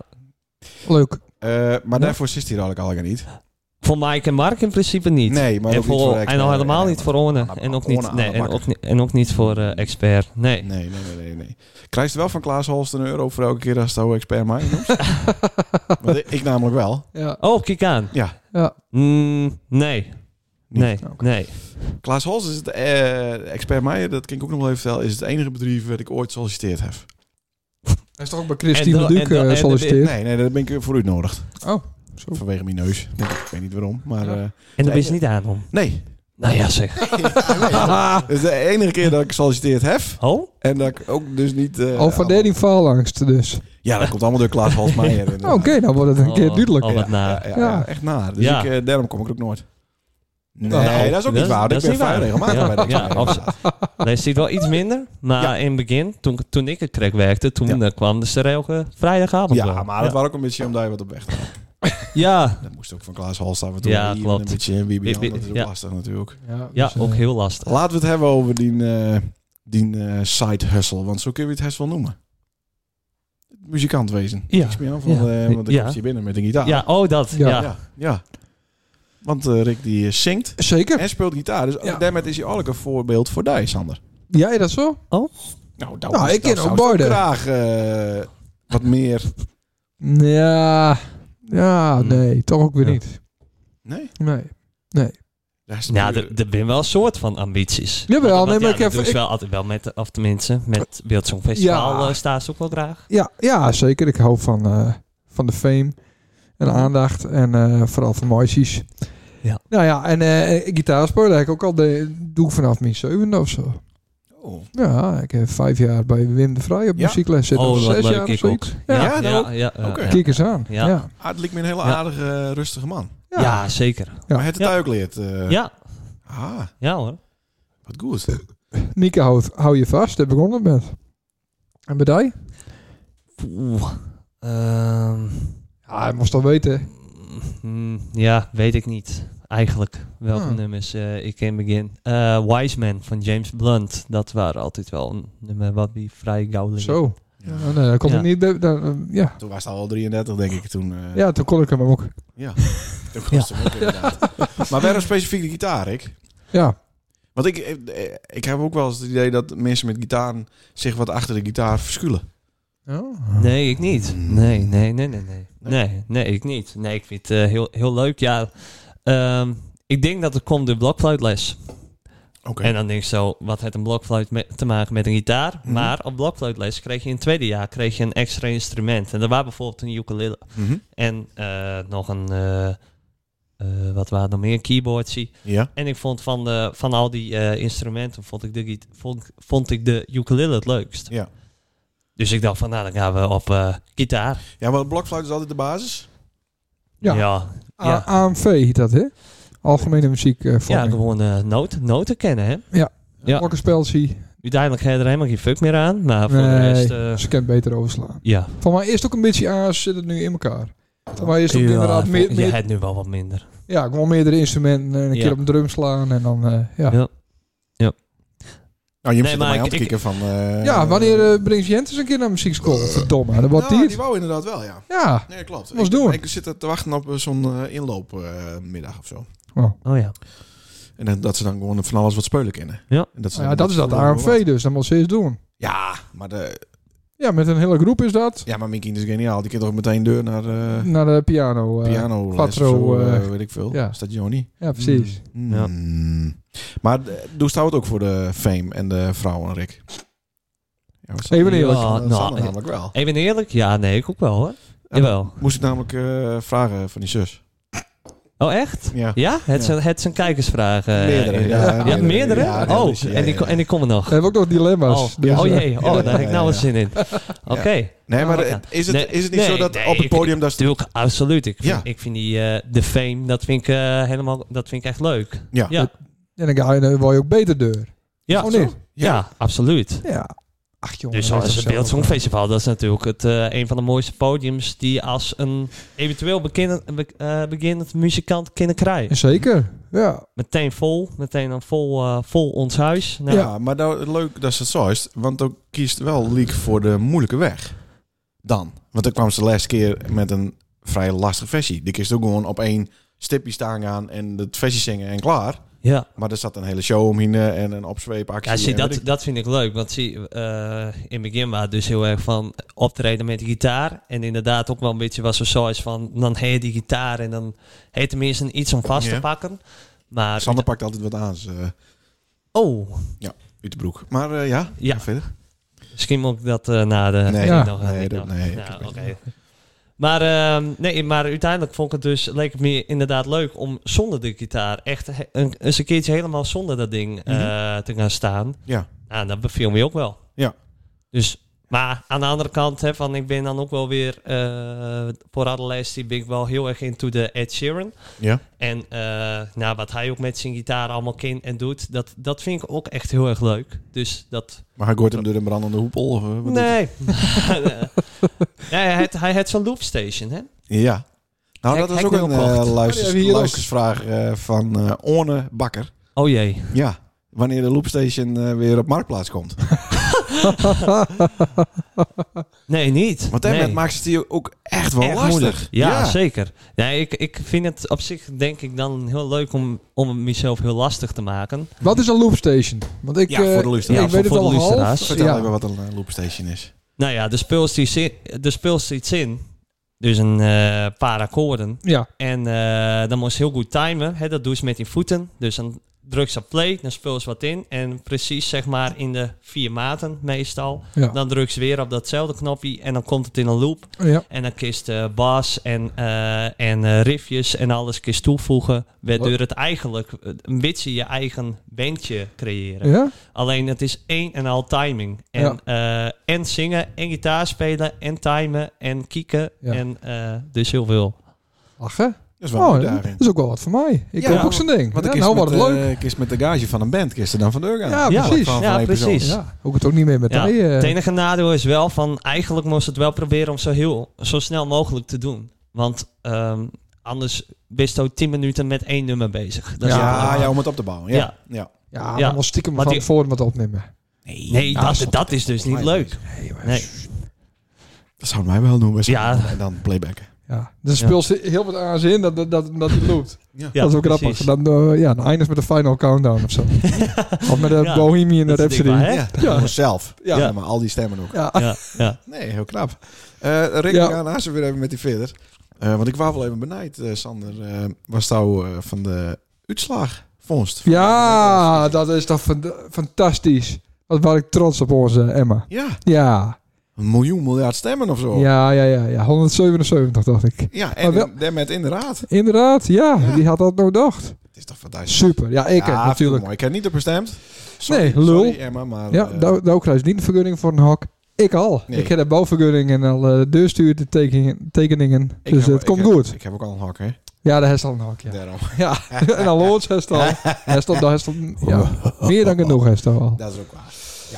[SPEAKER 1] Leuk.
[SPEAKER 2] Eh, maar
[SPEAKER 1] Ja.
[SPEAKER 2] daarvoor zit hij er eigenlijk al niet.
[SPEAKER 5] Voor Mike en Mark in principe niet.
[SPEAKER 2] Nee, maar
[SPEAKER 5] en,
[SPEAKER 2] ook niet
[SPEAKER 5] voor,
[SPEAKER 2] voor
[SPEAKER 5] en
[SPEAKER 2] expert.
[SPEAKER 5] al helemaal niet voor Orne.
[SPEAKER 2] Anna-
[SPEAKER 5] En ook
[SPEAKER 2] Orne
[SPEAKER 5] niet, nee, en,
[SPEAKER 2] Annebakker.
[SPEAKER 5] ook, niet- en ook niet voor eh, expert. Nee.
[SPEAKER 2] Nee, nee, nee, nee. nee. Krijgt ze wel van Klaas Holst een euro voor elke keer als het expert mij noemt? Want ik- ik namelijk wel.
[SPEAKER 1] Ja.
[SPEAKER 5] Oh, kijk aan.
[SPEAKER 2] Ja.
[SPEAKER 1] Ja.
[SPEAKER 5] Mm, nee.
[SPEAKER 2] Niet.
[SPEAKER 5] Nee,
[SPEAKER 1] Oké.
[SPEAKER 5] nee.
[SPEAKER 2] Klaas Holst is het eh, expert Meijer, dat kan ik ook nog wel even vertellen, is het enige bedrijf waar ik ooit solliciteerd heb.
[SPEAKER 1] Hij is toch ook bij Christine
[SPEAKER 5] dan- en
[SPEAKER 1] Duc
[SPEAKER 5] dan- en
[SPEAKER 1] eh
[SPEAKER 5] dan-
[SPEAKER 1] solliciteerd?
[SPEAKER 2] Nee, nee, daar ben ik voor uitnodigd.
[SPEAKER 1] Oh, zo.
[SPEAKER 2] Vanwege mijn neus. Ik weet niet waarom, maar...
[SPEAKER 1] Ja.
[SPEAKER 2] eh,
[SPEAKER 5] En daar
[SPEAKER 2] Nee.
[SPEAKER 5] ben je niet aan om.
[SPEAKER 2] nee.
[SPEAKER 5] Nou ja, zeg. Ah.
[SPEAKER 2] Dat is de enige keer dat ik gesolliciteerd heb.
[SPEAKER 5] Oh?
[SPEAKER 2] En dat ik ook dus niet... eh,
[SPEAKER 1] Al Oh, van dertien faalangst dus.
[SPEAKER 2] Ja, dat komt allemaal door Klaas Holst Meijer.
[SPEAKER 1] Oké, dan wordt het een keer
[SPEAKER 5] Oh,
[SPEAKER 1] duidelijk.
[SPEAKER 5] oh, wat
[SPEAKER 2] Ja,
[SPEAKER 5] naar.
[SPEAKER 2] Ja, ja,
[SPEAKER 1] Ja.
[SPEAKER 2] ja, echt naar. Dus
[SPEAKER 5] Ja.
[SPEAKER 2] ik, eh, daarom kom ik er ook nooit. Nee,
[SPEAKER 5] Nou,
[SPEAKER 2] dat is ook niet waar. want
[SPEAKER 5] dat
[SPEAKER 2] Ik ben
[SPEAKER 5] is niet
[SPEAKER 2] vrij
[SPEAKER 5] waar.
[SPEAKER 2] regelmatig
[SPEAKER 5] Ja,
[SPEAKER 2] bij de
[SPEAKER 5] ja,
[SPEAKER 2] expert.
[SPEAKER 5] absoluut. Nee, ziet wel iets minder. Maar
[SPEAKER 2] Ja.
[SPEAKER 5] in het begin, toen, toen ik het krek werkte, toen
[SPEAKER 2] Ja.
[SPEAKER 5] eh, kwam de er elke vrijdagavond
[SPEAKER 2] Ja,
[SPEAKER 5] wel.
[SPEAKER 2] maar dat was ook een beetje omdat je wat op weg had.
[SPEAKER 5] Ja,
[SPEAKER 2] Dat moest ook van Klaas Hals af en toe.
[SPEAKER 5] Ja,
[SPEAKER 2] Hier en
[SPEAKER 5] klopt.
[SPEAKER 2] Een beetje in Bibi,
[SPEAKER 5] Ik- ik-
[SPEAKER 2] dat is ook
[SPEAKER 5] ja.
[SPEAKER 2] lastig natuurlijk.
[SPEAKER 5] ja
[SPEAKER 1] dus, eh,
[SPEAKER 5] ook heel lastig.
[SPEAKER 2] Laten we het hebben over die, eh, die eh, side hustle, want zo kun je het hustle noemen. Muzikant wezen.
[SPEAKER 5] Ja.
[SPEAKER 2] Niks meer aan van,
[SPEAKER 5] Ja.
[SPEAKER 2] eh, want dan
[SPEAKER 5] Ja.
[SPEAKER 2] komt je binnen met een gitaar.
[SPEAKER 5] Ja, oh dat.
[SPEAKER 1] Ja.
[SPEAKER 5] Ja.
[SPEAKER 2] ja. ja. Want eh, Rick die eh, zingt
[SPEAKER 1] Zeker.
[SPEAKER 2] en speelt gitaar. Dus
[SPEAKER 1] Ja.
[SPEAKER 2] daarmee is hij ook een voorbeeld voor die, Sander.
[SPEAKER 1] Jij dat zo?
[SPEAKER 2] Nou, dat
[SPEAKER 1] Nou,
[SPEAKER 2] was-
[SPEAKER 1] ik ken
[SPEAKER 2] dat
[SPEAKER 1] ook
[SPEAKER 2] zou ik
[SPEAKER 1] beide.
[SPEAKER 2] graag eh, wat meer.
[SPEAKER 1] Ja. Ja,
[SPEAKER 5] Hmm.
[SPEAKER 1] nee. Toch ook weer
[SPEAKER 5] Ja.
[SPEAKER 1] niet.
[SPEAKER 2] Nee?
[SPEAKER 1] Nee. Nee.
[SPEAKER 2] Dat is eh,
[SPEAKER 5] Nou,
[SPEAKER 2] puur-
[SPEAKER 5] er- er zijn wel een soort van ambities.
[SPEAKER 1] Jawel,
[SPEAKER 5] Want- want
[SPEAKER 1] nee, maar ik
[SPEAKER 5] ja, dat
[SPEAKER 1] heb-
[SPEAKER 5] doen ze
[SPEAKER 1] ik-
[SPEAKER 5] wel altijd wel met, of tenminste, met Beeldsongfestival
[SPEAKER 1] Ja.
[SPEAKER 5] Festival staan ze ook wel graag.
[SPEAKER 1] Ja, ja zeker. Ik hou van, eh, van de fame en aandacht en eh, vooral van mooisies.
[SPEAKER 5] Ja.
[SPEAKER 1] Nou ja, en eh gitaar spelen heb ik ook al de, doe ik vanaf mijn zevende of zo.
[SPEAKER 2] Oh.
[SPEAKER 1] Ja, ik heb vijf jaar bij Wim de Vrij op
[SPEAKER 2] Ja?
[SPEAKER 1] muziekles zitten.
[SPEAKER 5] oh,
[SPEAKER 1] of
[SPEAKER 5] wat
[SPEAKER 1] zes jaar
[SPEAKER 5] leuk,
[SPEAKER 1] of
[SPEAKER 5] ik ook.
[SPEAKER 1] zoiets.
[SPEAKER 5] Ja,
[SPEAKER 1] Ja,
[SPEAKER 5] ja,
[SPEAKER 2] dat
[SPEAKER 5] ja,
[SPEAKER 2] ook?
[SPEAKER 5] ja, ja,
[SPEAKER 2] Oké.
[SPEAKER 5] ja.
[SPEAKER 1] kijk eens aan. Ja.
[SPEAKER 5] Ja.
[SPEAKER 1] Ja.
[SPEAKER 2] Ah, het lijkt me een hele
[SPEAKER 5] Ja.
[SPEAKER 2] aardige, eh, rustige man.
[SPEAKER 5] Ja, zeker.
[SPEAKER 1] Ja.
[SPEAKER 2] Maar het het
[SPEAKER 5] Ja.
[SPEAKER 2] ook leert. eh,
[SPEAKER 5] Ja,
[SPEAKER 2] Ah,
[SPEAKER 5] ja hoor.
[SPEAKER 2] wat goed.
[SPEAKER 1] Nieke, hou, hou je vast. Daar begonnen met. En bij die?
[SPEAKER 5] Oeh. Ehm,
[SPEAKER 1] Ja, hij moest al weten.
[SPEAKER 5] mm, ja, weet ik niet. Eigenlijk welke
[SPEAKER 1] Hmm.
[SPEAKER 5] nummers eh, ik in begin. Eh Wise Man van James Blunt. Dat waren altijd wel een nummer wat die vrij gauw liggen.
[SPEAKER 1] Zo.
[SPEAKER 2] Ja.
[SPEAKER 1] Oh, nee, dat kon
[SPEAKER 5] Ja.
[SPEAKER 1] ik niet. dat- dat- eh, ja.
[SPEAKER 2] Toen was het al 33, denk ik. Toen, eh,
[SPEAKER 1] ja, toen kon ik hem ook.
[SPEAKER 2] ja. Toen was het ook inderdaad. Maar waarom specifiek de gitaar, ik?
[SPEAKER 1] Ja,
[SPEAKER 2] Want ik, eh, eh, ik heb ook wel eens het idee dat mensen met gitaar zich wat achter de gitaar verschuilen.
[SPEAKER 1] Ja.
[SPEAKER 5] Nee, ik niet.
[SPEAKER 2] Mm.
[SPEAKER 5] Nee, nee, nee, nee, nee. Nee, nee, ik niet. Nee, ik vind het eh, heel, heel leuk. Ja, ehm, ik denk dat het komt door blokfluitles.
[SPEAKER 2] Oké.
[SPEAKER 5] En dan denk ik zo, wat heeft een blokfluit me- te maken met een gitaar?
[SPEAKER 2] Mhm.
[SPEAKER 5] Maar op blokfluitles kreeg je in het tweede jaar kreeg je een extra instrument. En dat was bijvoorbeeld een ukulele.
[SPEAKER 2] Mhm.
[SPEAKER 5] En eh, nog een, eh, eh, wat waren er nog meer, een keyboardje.
[SPEAKER 2] Ja.
[SPEAKER 5] En ik vond van, de, van al die eh, instrumenten, vond ik, de, giet- vond, vond ik de ukulele het leukst.
[SPEAKER 2] Ja.
[SPEAKER 5] Dus ik dacht van, nou dan gaan we op eh, gitaar.
[SPEAKER 2] ja, maar blokfluit is altijd de basis.
[SPEAKER 1] Ja.
[SPEAKER 5] ja.
[SPEAKER 1] A- AMV heet dat, hè? Algemene muziek eh
[SPEAKER 5] Ja,
[SPEAKER 1] vorming.
[SPEAKER 5] gewoon eh, noten, noten kennen, hè. Ja.
[SPEAKER 1] Orkenspelsie.
[SPEAKER 5] Uiteindelijk ga je er helemaal geen fuck meer aan, maar voor de
[SPEAKER 1] Nee,
[SPEAKER 5] rest...
[SPEAKER 1] ze
[SPEAKER 5] eh,
[SPEAKER 1] kan beter overslaan.
[SPEAKER 5] ja.
[SPEAKER 1] Van mij is het ook een beetje aan, ze zit het nu in elkaar. Van mij is het ook inderdaad
[SPEAKER 5] Ja,
[SPEAKER 1] meer,
[SPEAKER 5] Je
[SPEAKER 1] meer,
[SPEAKER 5] hebt nu wel wat minder.
[SPEAKER 1] ja, gewoon meerdere instrumenten. En een
[SPEAKER 5] Ja.
[SPEAKER 1] keer op een drum slaan en dan, eh, ja.
[SPEAKER 5] Ja.
[SPEAKER 2] Nou, je
[SPEAKER 5] Nee,
[SPEAKER 2] moet
[SPEAKER 5] maar
[SPEAKER 2] er mij aan
[SPEAKER 5] ik-
[SPEAKER 2] te
[SPEAKER 5] ik-
[SPEAKER 2] kijken van... eh,
[SPEAKER 1] Ja, wanneer eh, brengt Jentes een keer naar muziekschool? Verdomme, dat wordt
[SPEAKER 2] nou,
[SPEAKER 1] die
[SPEAKER 2] die
[SPEAKER 1] het.
[SPEAKER 2] wou inderdaad wel, ja.
[SPEAKER 1] Ja.
[SPEAKER 2] Nee, klopt.
[SPEAKER 1] Was
[SPEAKER 2] ik,
[SPEAKER 1] doen.
[SPEAKER 2] Ik zit te wachten op eh, zo'n inloopmiddag eh, of zo.
[SPEAKER 1] Oh.
[SPEAKER 5] Oh ja.
[SPEAKER 2] En dat, dat ze dan gewoon van alles wat speulen kennen.
[SPEAKER 5] Ja.
[SPEAKER 2] En dat, ze
[SPEAKER 1] Nou ja,
[SPEAKER 2] dan
[SPEAKER 1] dat is dat
[SPEAKER 2] voelen hoe wat.
[SPEAKER 1] AMV dus. Dat moet ze eens doen.
[SPEAKER 2] Ja, maar, de,
[SPEAKER 1] Ja, met een hele groep is dat.
[SPEAKER 2] ja, maar Minky is geniaal. Die kan toch meteen deur naar eh
[SPEAKER 1] Naar de piano. Mm, eh.
[SPEAKER 2] piano
[SPEAKER 1] quattro,
[SPEAKER 2] of zo, eh,
[SPEAKER 1] eh,
[SPEAKER 2] weet ik veel.
[SPEAKER 1] ja.
[SPEAKER 2] Is dat Johnny?
[SPEAKER 1] Ja, precies.
[SPEAKER 5] Ja.
[SPEAKER 2] Mm. Maar eh, doe staan het ook voor de fame en de vrouwen, Rick? Ja, wat zal-
[SPEAKER 1] Even eerlijk.
[SPEAKER 5] Ja,
[SPEAKER 2] dat zal
[SPEAKER 5] nou,
[SPEAKER 2] er
[SPEAKER 5] eh,
[SPEAKER 2] namelijk wel.
[SPEAKER 5] Even eerlijk? Ja, nee, ik ook wel hoor.
[SPEAKER 2] maar-
[SPEAKER 5] Jawel.
[SPEAKER 2] Moest ik namelijk eh, vragen van die zus.
[SPEAKER 5] Oh echt?
[SPEAKER 2] Ja.
[SPEAKER 5] Ja? Het zijn, het zijn kijkersvragen. eh,
[SPEAKER 2] Meerdere, ja,
[SPEAKER 5] Ja,
[SPEAKER 2] meerdere.
[SPEAKER 5] meerdere?
[SPEAKER 2] Ja, dat
[SPEAKER 5] oh,
[SPEAKER 2] is- ja,
[SPEAKER 5] en, die,
[SPEAKER 2] ja,
[SPEAKER 5] ko-
[SPEAKER 2] ja.
[SPEAKER 5] en die komen
[SPEAKER 1] We
[SPEAKER 5] nog.
[SPEAKER 1] hebben ook nog dilemma's.
[SPEAKER 5] Oh,
[SPEAKER 1] dus,
[SPEAKER 5] oh
[SPEAKER 1] eh,
[SPEAKER 5] jee, oh,
[SPEAKER 2] ja,
[SPEAKER 5] daar heb ik
[SPEAKER 2] ja,
[SPEAKER 5] nou wel
[SPEAKER 2] ja.
[SPEAKER 5] zin in. Oké.
[SPEAKER 2] Nee, maar eh,
[SPEAKER 5] Ja.
[SPEAKER 2] is het,
[SPEAKER 5] Ah, Nee,
[SPEAKER 2] is het niet
[SPEAKER 5] nee,
[SPEAKER 2] zo dat
[SPEAKER 5] nee,
[SPEAKER 2] op het
[SPEAKER 5] ik-
[SPEAKER 2] podium... dat
[SPEAKER 5] Natuurlijk, absoluut. Ik vind,
[SPEAKER 2] Ja.
[SPEAKER 5] ik vind die eh, de fame, dat vind ik eh, helemaal, dat vind ik echt leuk.
[SPEAKER 2] Ja.
[SPEAKER 5] Ja,
[SPEAKER 1] En dan ga je, dan word je ook beter deur.
[SPEAKER 5] ja,
[SPEAKER 1] Oh, niet?
[SPEAKER 5] ja absoluut.
[SPEAKER 1] Ja. Ach jongen.
[SPEAKER 5] Dus
[SPEAKER 1] dat
[SPEAKER 5] zoals
[SPEAKER 1] is
[SPEAKER 5] het
[SPEAKER 1] zelf-
[SPEAKER 5] Beeldsongfestival, dat is natuurlijk het, eh, een van de mooiste podiums die als een eventueel beginnend, be- eh, beginnend muzikant kunnen krijgen.
[SPEAKER 1] Zeker, ja.
[SPEAKER 5] Meteen vol, meteen een vol, eh, vol ons huis. Nou,
[SPEAKER 2] Ja, maar nou, leuk dat ze het zo is. Want dan kiest wel Leek voor de moeilijke weg. Dan. Want dan kwam ze de laatste keer met een vrij lastige versie. Die kiest ook gewoon op één stipje staan gaan en het versie zingen en klaar.
[SPEAKER 5] ja.
[SPEAKER 2] Maar er zat een hele show omheen eh, en een opzweepactie.
[SPEAKER 5] Ja, zie,
[SPEAKER 2] en
[SPEAKER 5] dat,
[SPEAKER 2] weet ik-
[SPEAKER 5] dat vind ik leuk. Want zie, eh, in het begin was het dus heel erg van optreden met de gitaar. En inderdaad ook wel een beetje was er zo is van... dan heet die gitaar en dan heet tenminste iets om vast
[SPEAKER 2] Ja.
[SPEAKER 5] te pakken. Maar...
[SPEAKER 2] Sander pakt altijd wat aan, ze, eh,
[SPEAKER 5] Oh,
[SPEAKER 2] uit de broek. Maar eh, ja,
[SPEAKER 5] Ja.
[SPEAKER 2] ja. verder.
[SPEAKER 5] misschien moet ik dat eh, na de...
[SPEAKER 2] Nee,
[SPEAKER 1] Ja.
[SPEAKER 5] nog, eh,
[SPEAKER 2] nee,
[SPEAKER 5] niet
[SPEAKER 2] dat-
[SPEAKER 5] nog.
[SPEAKER 2] nee, ik
[SPEAKER 5] Ja,
[SPEAKER 2] heb het
[SPEAKER 5] oké. Maar, ehm, nee, maar uiteindelijk vond ik het dus, leek het me inderdaad leuk om zonder de gitaar echt he- een, eens een keertje helemaal zonder dat ding eh,
[SPEAKER 2] Mhm.
[SPEAKER 5] te gaan staan.
[SPEAKER 2] Ja.
[SPEAKER 5] Nou, dat beviel me ook wel.
[SPEAKER 2] Ja.
[SPEAKER 5] Dus, maar aan de andere kant, hè, van, ik ben dan ook wel weer, eh, voor Adelaide ben ik wel heel erg into de Ed Sheeran.
[SPEAKER 2] Ja.
[SPEAKER 5] En eh, nou, wat hij ook met zijn gitaar allemaal kent en doet, dat, dat vind ik ook echt heel erg leuk. Dus dat,
[SPEAKER 2] Maar hij gooit hem door een brandende hoepel? Of, eh, wat doet hij?
[SPEAKER 5] Nee. nee hij had, hij had zo'n loopstation, hè?
[SPEAKER 2] Ja. Nou,
[SPEAKER 5] Hek-
[SPEAKER 2] dat was
[SPEAKER 5] hek
[SPEAKER 2] ook een
[SPEAKER 1] Oh,
[SPEAKER 2] eh,
[SPEAKER 5] Wilcocht.
[SPEAKER 1] die hebben
[SPEAKER 2] luisters,
[SPEAKER 1] we hier ook.
[SPEAKER 2] luistersvraag eh, van eh Orne Bakker.
[SPEAKER 5] Oh jee.
[SPEAKER 2] Ja, wanneer de loopstation eh, weer op marktplaats komt.
[SPEAKER 5] Nee, niet.
[SPEAKER 2] Want
[SPEAKER 5] nee.
[SPEAKER 2] daarmee maakt ze het hier ook echt wel
[SPEAKER 5] Erg
[SPEAKER 2] lastig.
[SPEAKER 5] moeilijk. Ja, zeker. Nee, ik, ik vind het op zich denk ik dan heel leuk om, om mezelf heel lastig te maken.
[SPEAKER 1] Wat is een loopstation? Want ik,
[SPEAKER 2] Ja, voor de
[SPEAKER 1] eh,
[SPEAKER 2] luisteraars.
[SPEAKER 1] ik
[SPEAKER 5] Ja,
[SPEAKER 1] weet
[SPEAKER 5] voor
[SPEAKER 1] het
[SPEAKER 5] de
[SPEAKER 1] al half.
[SPEAKER 5] luisteraars.
[SPEAKER 2] Vertel
[SPEAKER 1] Ja.
[SPEAKER 2] even wat een eh, loopstation is.
[SPEAKER 5] Nou ja, er speelt iets in. Er speelt iets in. Dus een eh, paar akkoorden.
[SPEAKER 1] Ja,
[SPEAKER 5] En eh, dan moest je heel goed timen. Hè? Dat doe je met die voeten. Dus dan druk ze op play, dan speel ze wat in. En precies zeg maar in de vier maten meestal.
[SPEAKER 1] Ja.
[SPEAKER 5] Dan druk ze weer op datzelfde knopje en dan komt het in een loop.
[SPEAKER 1] ja.
[SPEAKER 5] En dan kist je bas en, eh, en eh, riffjes en alles kist toevoegen. Waardoor het eigenlijk eh, een beetje je eigen bandje creëren.
[SPEAKER 1] ja?
[SPEAKER 5] Alleen het is één en al timing. En, eh, en zingen, en gitaar spelen, en timen, en kieken.
[SPEAKER 1] Ja.
[SPEAKER 5] En eh, dus heel veel.
[SPEAKER 1] Lachen.
[SPEAKER 2] Dat is wel
[SPEAKER 1] Oh,
[SPEAKER 2] een
[SPEAKER 1] ja,
[SPEAKER 2] daarin.
[SPEAKER 1] dat is ook wel wat voor mij. Ik
[SPEAKER 2] Ja,
[SPEAKER 1] heb ook zo'n ding.
[SPEAKER 2] Want
[SPEAKER 1] Ja,
[SPEAKER 2] ik is
[SPEAKER 1] nou
[SPEAKER 2] met,
[SPEAKER 1] wordt het leuk.
[SPEAKER 2] eh, ik is met de gage van een band gisteren dan van de Urga.
[SPEAKER 1] Ja,
[SPEAKER 5] Ja,
[SPEAKER 1] precies.
[SPEAKER 2] Van- van
[SPEAKER 5] ja,
[SPEAKER 2] één persoon.
[SPEAKER 5] precies.
[SPEAKER 1] Ja, hoef ik het ook niet meer met
[SPEAKER 5] Ja,
[SPEAKER 1] hij. eh,
[SPEAKER 5] Het enige nadeel is wel van eigenlijk moest het wel proberen om zo, heel, zo snel mogelijk te doen. Want ehm, anders bist je 10 minuten met één nummer bezig. Dat is
[SPEAKER 2] Ja,
[SPEAKER 5] ook wel-
[SPEAKER 2] ja, om het op te bouwen. Ja.
[SPEAKER 5] Ja.
[SPEAKER 2] ja.
[SPEAKER 1] ja,
[SPEAKER 5] ja.
[SPEAKER 1] dan was stiekem
[SPEAKER 5] Want
[SPEAKER 1] van
[SPEAKER 5] die-
[SPEAKER 1] tevoren wat opnemen.
[SPEAKER 5] Nee,
[SPEAKER 1] Ja,
[SPEAKER 5] dat,
[SPEAKER 1] soms-
[SPEAKER 5] dat is dus niet leuk.
[SPEAKER 1] Nee, maar-
[SPEAKER 5] Nee.
[SPEAKER 2] Dat zou mij wel noemen.
[SPEAKER 5] Ja.
[SPEAKER 2] En dan playbacken.
[SPEAKER 1] Ja. Dus speel ze heel wat aan zin dat, dat, dat, dat die loopt.
[SPEAKER 5] Ja,
[SPEAKER 1] dat is ook
[SPEAKER 5] precies.
[SPEAKER 1] grappig. Dan, eh, ja, dan eindigt met de final countdown of zo. of met de
[SPEAKER 5] Ja,
[SPEAKER 1] Bohemian
[SPEAKER 5] dat is
[SPEAKER 1] Rhapsody.
[SPEAKER 5] dikbaar, hè?
[SPEAKER 2] Ja, gewoon zelf.
[SPEAKER 1] Ja.
[SPEAKER 2] Ja. maar al die stemmen ook.
[SPEAKER 1] Ja.
[SPEAKER 5] Ja, ja.
[SPEAKER 2] Nee, heel knap. Eh Rick,
[SPEAKER 1] Ja.
[SPEAKER 2] we gaan haast weer even met die verder. Eh, want ik wou wel even benijd, eh, Sander. eh, was jou eh, van de uitslag vondst?
[SPEAKER 1] Ja, dat is toch fant- fantastisch. Wat was ik trots op onze Emma.
[SPEAKER 2] Ja,
[SPEAKER 1] Ja,
[SPEAKER 2] een miljoen miljard stemmen of zo.
[SPEAKER 1] ja, ja, ja, ja. 177 dacht ik.
[SPEAKER 2] Ja, en
[SPEAKER 1] Maar wel-
[SPEAKER 2] daarmee inderdaad.
[SPEAKER 1] Inderdaad, ja,
[SPEAKER 2] Ja.
[SPEAKER 1] die had dat nooit gedacht.
[SPEAKER 2] Het is toch fantastisch.
[SPEAKER 1] Super, ja, ik heb natuurlijk.
[SPEAKER 2] Mooi. Ik heb niet op bestemd.
[SPEAKER 1] Nee, lul.
[SPEAKER 2] Sorry, Emma, maar...
[SPEAKER 1] Ja,
[SPEAKER 2] eh,
[SPEAKER 1] daar daar krijg je niet een vergunning voor een hok. Ik al.
[SPEAKER 2] Nee.
[SPEAKER 1] Ik heb de bouwvergunning en al eh, de deurstuur, de tekeningen. tekeningen.
[SPEAKER 2] ik
[SPEAKER 1] dus
[SPEAKER 2] heb-
[SPEAKER 1] het
[SPEAKER 2] ik
[SPEAKER 1] komt
[SPEAKER 2] heb-
[SPEAKER 1] goed.
[SPEAKER 2] Ik heb ook al een hak, hè.
[SPEAKER 1] Ja, de hest al een hok, ja.
[SPEAKER 2] Daarom.
[SPEAKER 1] Ja, en dan Lords hest al. Hest al, daar hest al. Ja, meer dan genoeg hest al.
[SPEAKER 2] Dat is ook waar. Ja.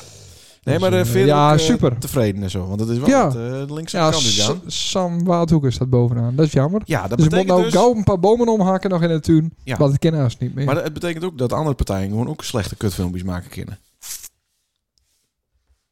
[SPEAKER 2] Nee, maar eh
[SPEAKER 1] eh,
[SPEAKER 2] verder
[SPEAKER 1] ja,
[SPEAKER 2] ook, eh,
[SPEAKER 1] super.
[SPEAKER 2] tevreden en zo. Want het is wel
[SPEAKER 1] Ja.
[SPEAKER 2] het, eh, de linkse
[SPEAKER 1] Ja,
[SPEAKER 2] kant nu
[SPEAKER 1] Sa-
[SPEAKER 2] gaan.
[SPEAKER 1] Sam Waadhoeker staat bovenaan. Dat is jammer.
[SPEAKER 2] Ja, dat
[SPEAKER 1] dus je moet
[SPEAKER 2] betekent
[SPEAKER 1] nou
[SPEAKER 2] dus...
[SPEAKER 1] gauw een paar bomen omhakken nog in het tuin.
[SPEAKER 2] Ja.
[SPEAKER 1] Want het kennen haast niet meer.
[SPEAKER 2] Maar het betekent ook dat andere partijen gewoon ook slechte kutfilmpjes maken kunnen.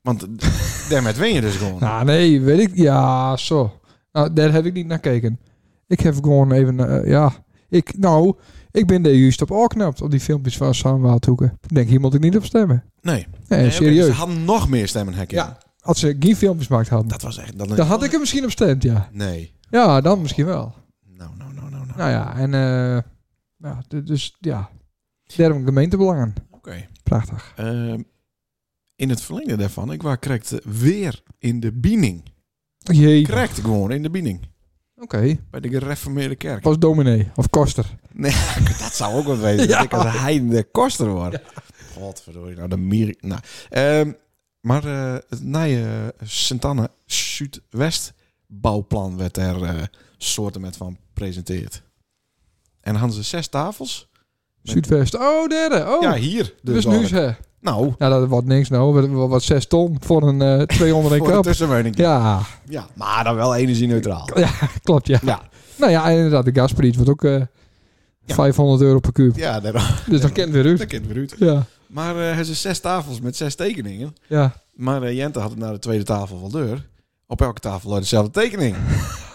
[SPEAKER 2] Want daarmee win je dus gewoon.
[SPEAKER 1] Nou, nee, weet ik. Ja, zo. Nou, daar heb ik niet naar gekeken. Ik heb gewoon even, eh, ja. Ik, nou, ik ben daar juist op afgeknapt op die filmpjes van Sam Waadhoeken. Ik denk, hier moet ik niet op stemmen.
[SPEAKER 2] nee.
[SPEAKER 1] Nee,
[SPEAKER 2] Nee, oké,
[SPEAKER 1] eh, serieus.
[SPEAKER 2] dus ze hadden nog meer stemmen hacken.
[SPEAKER 1] Ja. Als ze geen filmpjes maakt hadden,
[SPEAKER 2] Dat was echt... Dat
[SPEAKER 1] dan had ik hem misschien op stemd, ja.
[SPEAKER 2] Nee.
[SPEAKER 1] Ja, dan misschien wel.
[SPEAKER 2] Nou, nou, nou, nou, nou.
[SPEAKER 1] Nou ja, en eh ja, d- dus ja. Daarom gemeentebelangen.
[SPEAKER 2] Oké.
[SPEAKER 1] Prachtig.
[SPEAKER 2] Ehm, in het verlengde daarvan, ik waar correct weer in de biening.
[SPEAKER 1] Jee. Oké.
[SPEAKER 2] Correct gewoon in de biening. Bij de gereformeerde kerk.
[SPEAKER 1] Was dominee of koster.
[SPEAKER 2] Dat zou ook wat wezen.
[SPEAKER 1] Ja.
[SPEAKER 2] Dat ik als hij de koster word. Godverdorie, nou de mier... Nou, ehm, maar eh het nieuwe Sint-Anne Zuidwest bouwplan werd er eh, soorten met van presenteerd. En hadden ze zes tafels.
[SPEAKER 1] Zuidwest. Oh, derde. Oh.
[SPEAKER 2] ja, hier.
[SPEAKER 1] dus
[SPEAKER 2] Dus,
[SPEAKER 1] nu
[SPEAKER 2] eigenlijk.
[SPEAKER 1] ze.
[SPEAKER 2] Nou,
[SPEAKER 1] Nou, dat wordt niks nou. Wat, wat, wat 6 ton voor een eh 200
[SPEAKER 2] voor
[SPEAKER 1] en
[SPEAKER 2] een
[SPEAKER 1] kap.
[SPEAKER 2] tussenwoning. Ja.
[SPEAKER 1] Ja,
[SPEAKER 2] maar dan wel energie-neutraal.
[SPEAKER 1] klopt ja.
[SPEAKER 2] Ja.
[SPEAKER 1] Nou ja, en inderdaad, de gasprijs wordt ook eh,
[SPEAKER 2] Ja.
[SPEAKER 1] 500 euro per kuub.
[SPEAKER 2] Ja, daar
[SPEAKER 1] Dus dan kent weer
[SPEAKER 2] dat
[SPEAKER 1] uit.
[SPEAKER 2] kent weer uit.
[SPEAKER 1] Ja,
[SPEAKER 2] Maar eh er zijn zes tafels met zes tekeningen.
[SPEAKER 1] ja.
[SPEAKER 2] Maar eh, Jente had het naar de tweede tafel wel deur. Op elke tafel had dezelfde tekening.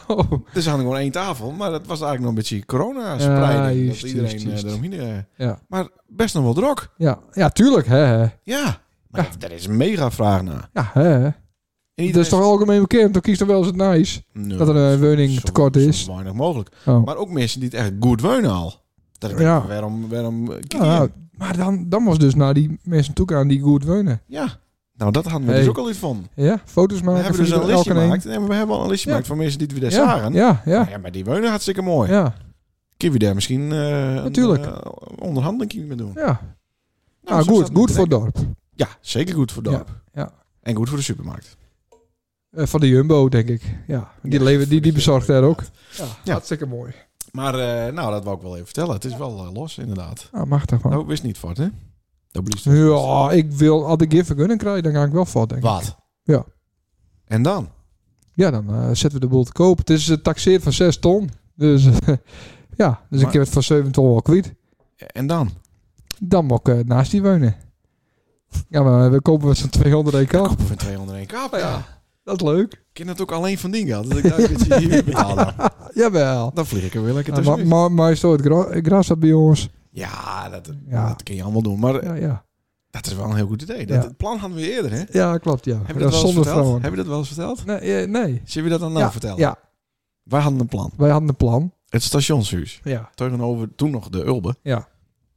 [SPEAKER 1] Oh,
[SPEAKER 2] Dus ze hadden gewoon één tafel, maar dat was eigenlijk nog een beetje corona-spreiding.
[SPEAKER 1] Ja,
[SPEAKER 2] dat
[SPEAKER 1] juist,
[SPEAKER 2] iedereen
[SPEAKER 1] juist, juist.
[SPEAKER 2] eh, eromheen... eh,
[SPEAKER 1] Ja.
[SPEAKER 2] Maar best nog wel drok.
[SPEAKER 1] ja. ja, tuurlijk. Hè, hè.
[SPEAKER 2] Ja. Maar
[SPEAKER 1] Ja.
[SPEAKER 2] dat- daar is een mega vraag naar.
[SPEAKER 1] Ja, hè.
[SPEAKER 2] En
[SPEAKER 1] Dat is toch algemeen bekend? Dan kiest er wel eens het nice.
[SPEAKER 2] Nee,
[SPEAKER 1] dat er een woning
[SPEAKER 2] zo-
[SPEAKER 1] tekort
[SPEAKER 2] zo
[SPEAKER 1] is.
[SPEAKER 2] weinig mogelijk.
[SPEAKER 1] Oh.
[SPEAKER 2] Maar ook mensen die het echt goed wonen al. Dat ik denk,
[SPEAKER 1] Ja.
[SPEAKER 2] waarom, waarom eh, kies
[SPEAKER 1] Nou,
[SPEAKER 2] je?
[SPEAKER 1] nou, maar dan, dan was dus naar die mensen toe gaan die goed wonen.
[SPEAKER 2] Ja. Nou, dat hadden we
[SPEAKER 1] Hey.
[SPEAKER 2] dus ook al iets van.
[SPEAKER 1] Ja, foto's
[SPEAKER 2] We
[SPEAKER 1] maken.
[SPEAKER 2] hebben dus
[SPEAKER 1] van
[SPEAKER 2] een
[SPEAKER 1] elke
[SPEAKER 2] listje
[SPEAKER 1] een.
[SPEAKER 2] gemaakt. Nee, maar we hebben al een listje
[SPEAKER 1] Ja.
[SPEAKER 2] gemaakt van mensen die we daar
[SPEAKER 1] Ja,
[SPEAKER 2] zagen.
[SPEAKER 1] ja, ja.
[SPEAKER 2] Nou ja, maar die wonen hartstikke mooi.
[SPEAKER 1] ja,
[SPEAKER 2] Kun je daar misschien eh
[SPEAKER 1] Natuurlijk.
[SPEAKER 2] een eh, onderhandeling mee doen?
[SPEAKER 1] ja.
[SPEAKER 2] Nou,
[SPEAKER 1] Nou,
[SPEAKER 2] zo
[SPEAKER 1] goed,
[SPEAKER 2] staat het
[SPEAKER 1] goed
[SPEAKER 2] te
[SPEAKER 1] voor het
[SPEAKER 2] denken.
[SPEAKER 1] dorp.
[SPEAKER 2] Ja, zeker goed voor het dorp.
[SPEAKER 1] ja.
[SPEAKER 2] En goed voor de supermarkt.
[SPEAKER 1] Eh, van de Jumbo, denk ik. Ja, die,
[SPEAKER 2] Ja,
[SPEAKER 1] leven, die, die bezorgt daar ook. Ja,
[SPEAKER 2] Ja.
[SPEAKER 1] hartstikke mooi.
[SPEAKER 2] Maar eh, nou, dat wou ik wel even vertellen. Het is wel eh, los, inderdaad.
[SPEAKER 1] Ah, machtig man.
[SPEAKER 2] Nou, ik wist niet voor het, hè? Dat blieft.
[SPEAKER 1] Ja, ik wil, als ik hier vergunning krijg, dan ga ik wel fout, denk ik.
[SPEAKER 2] Wat?
[SPEAKER 1] Ja.
[SPEAKER 2] En dan?
[SPEAKER 1] Ja, dan eh, zetten we de boel te koop. Het is eh, taxeerd van 6 ton. Dus eh, ja, dus
[SPEAKER 2] Maar-
[SPEAKER 1] ik heb het van 7 ton wel kwijt.
[SPEAKER 2] En dan?
[SPEAKER 1] Dan moet ik eh, naast die wonen. Ja, maar we kopen met z'n 200 EK.
[SPEAKER 2] Kopen van 201 kap, ja.
[SPEAKER 1] Ja. Dat is leuk.
[SPEAKER 2] Ik ken het ook alleen van Dinga. Dat ik dacht dat je hier betaalde.
[SPEAKER 1] Jawel.
[SPEAKER 2] Dan vlieg ik er weer lekker
[SPEAKER 1] Ja, maar,
[SPEAKER 2] tussen.
[SPEAKER 1] maar, maar is toch het gra- gras dat bij ons?
[SPEAKER 2] Ja, dat,
[SPEAKER 1] Ja.
[SPEAKER 2] dat kun je allemaal doen. Maar eh,
[SPEAKER 1] Ja, ja.
[SPEAKER 2] dat is wel een heel goed idee. Dat,
[SPEAKER 1] Ja.
[SPEAKER 2] Het plan hadden we eerder, hè?
[SPEAKER 1] ja klopt, ja.
[SPEAKER 2] Heb je dat wel eens
[SPEAKER 1] zonder
[SPEAKER 2] verteld?
[SPEAKER 1] vrouwen.
[SPEAKER 2] Heb je dat wel eens verteld?
[SPEAKER 1] Nee, eh, nee.
[SPEAKER 2] Zullen we dat dan nou
[SPEAKER 1] ja,
[SPEAKER 2] vertellen?
[SPEAKER 1] ja,
[SPEAKER 2] Wij hadden een plan.
[SPEAKER 1] wij hadden een plan.
[SPEAKER 2] Het stationshuis.
[SPEAKER 1] Ja.
[SPEAKER 2] Tegenover toen nog de Ulbe.
[SPEAKER 1] Ja.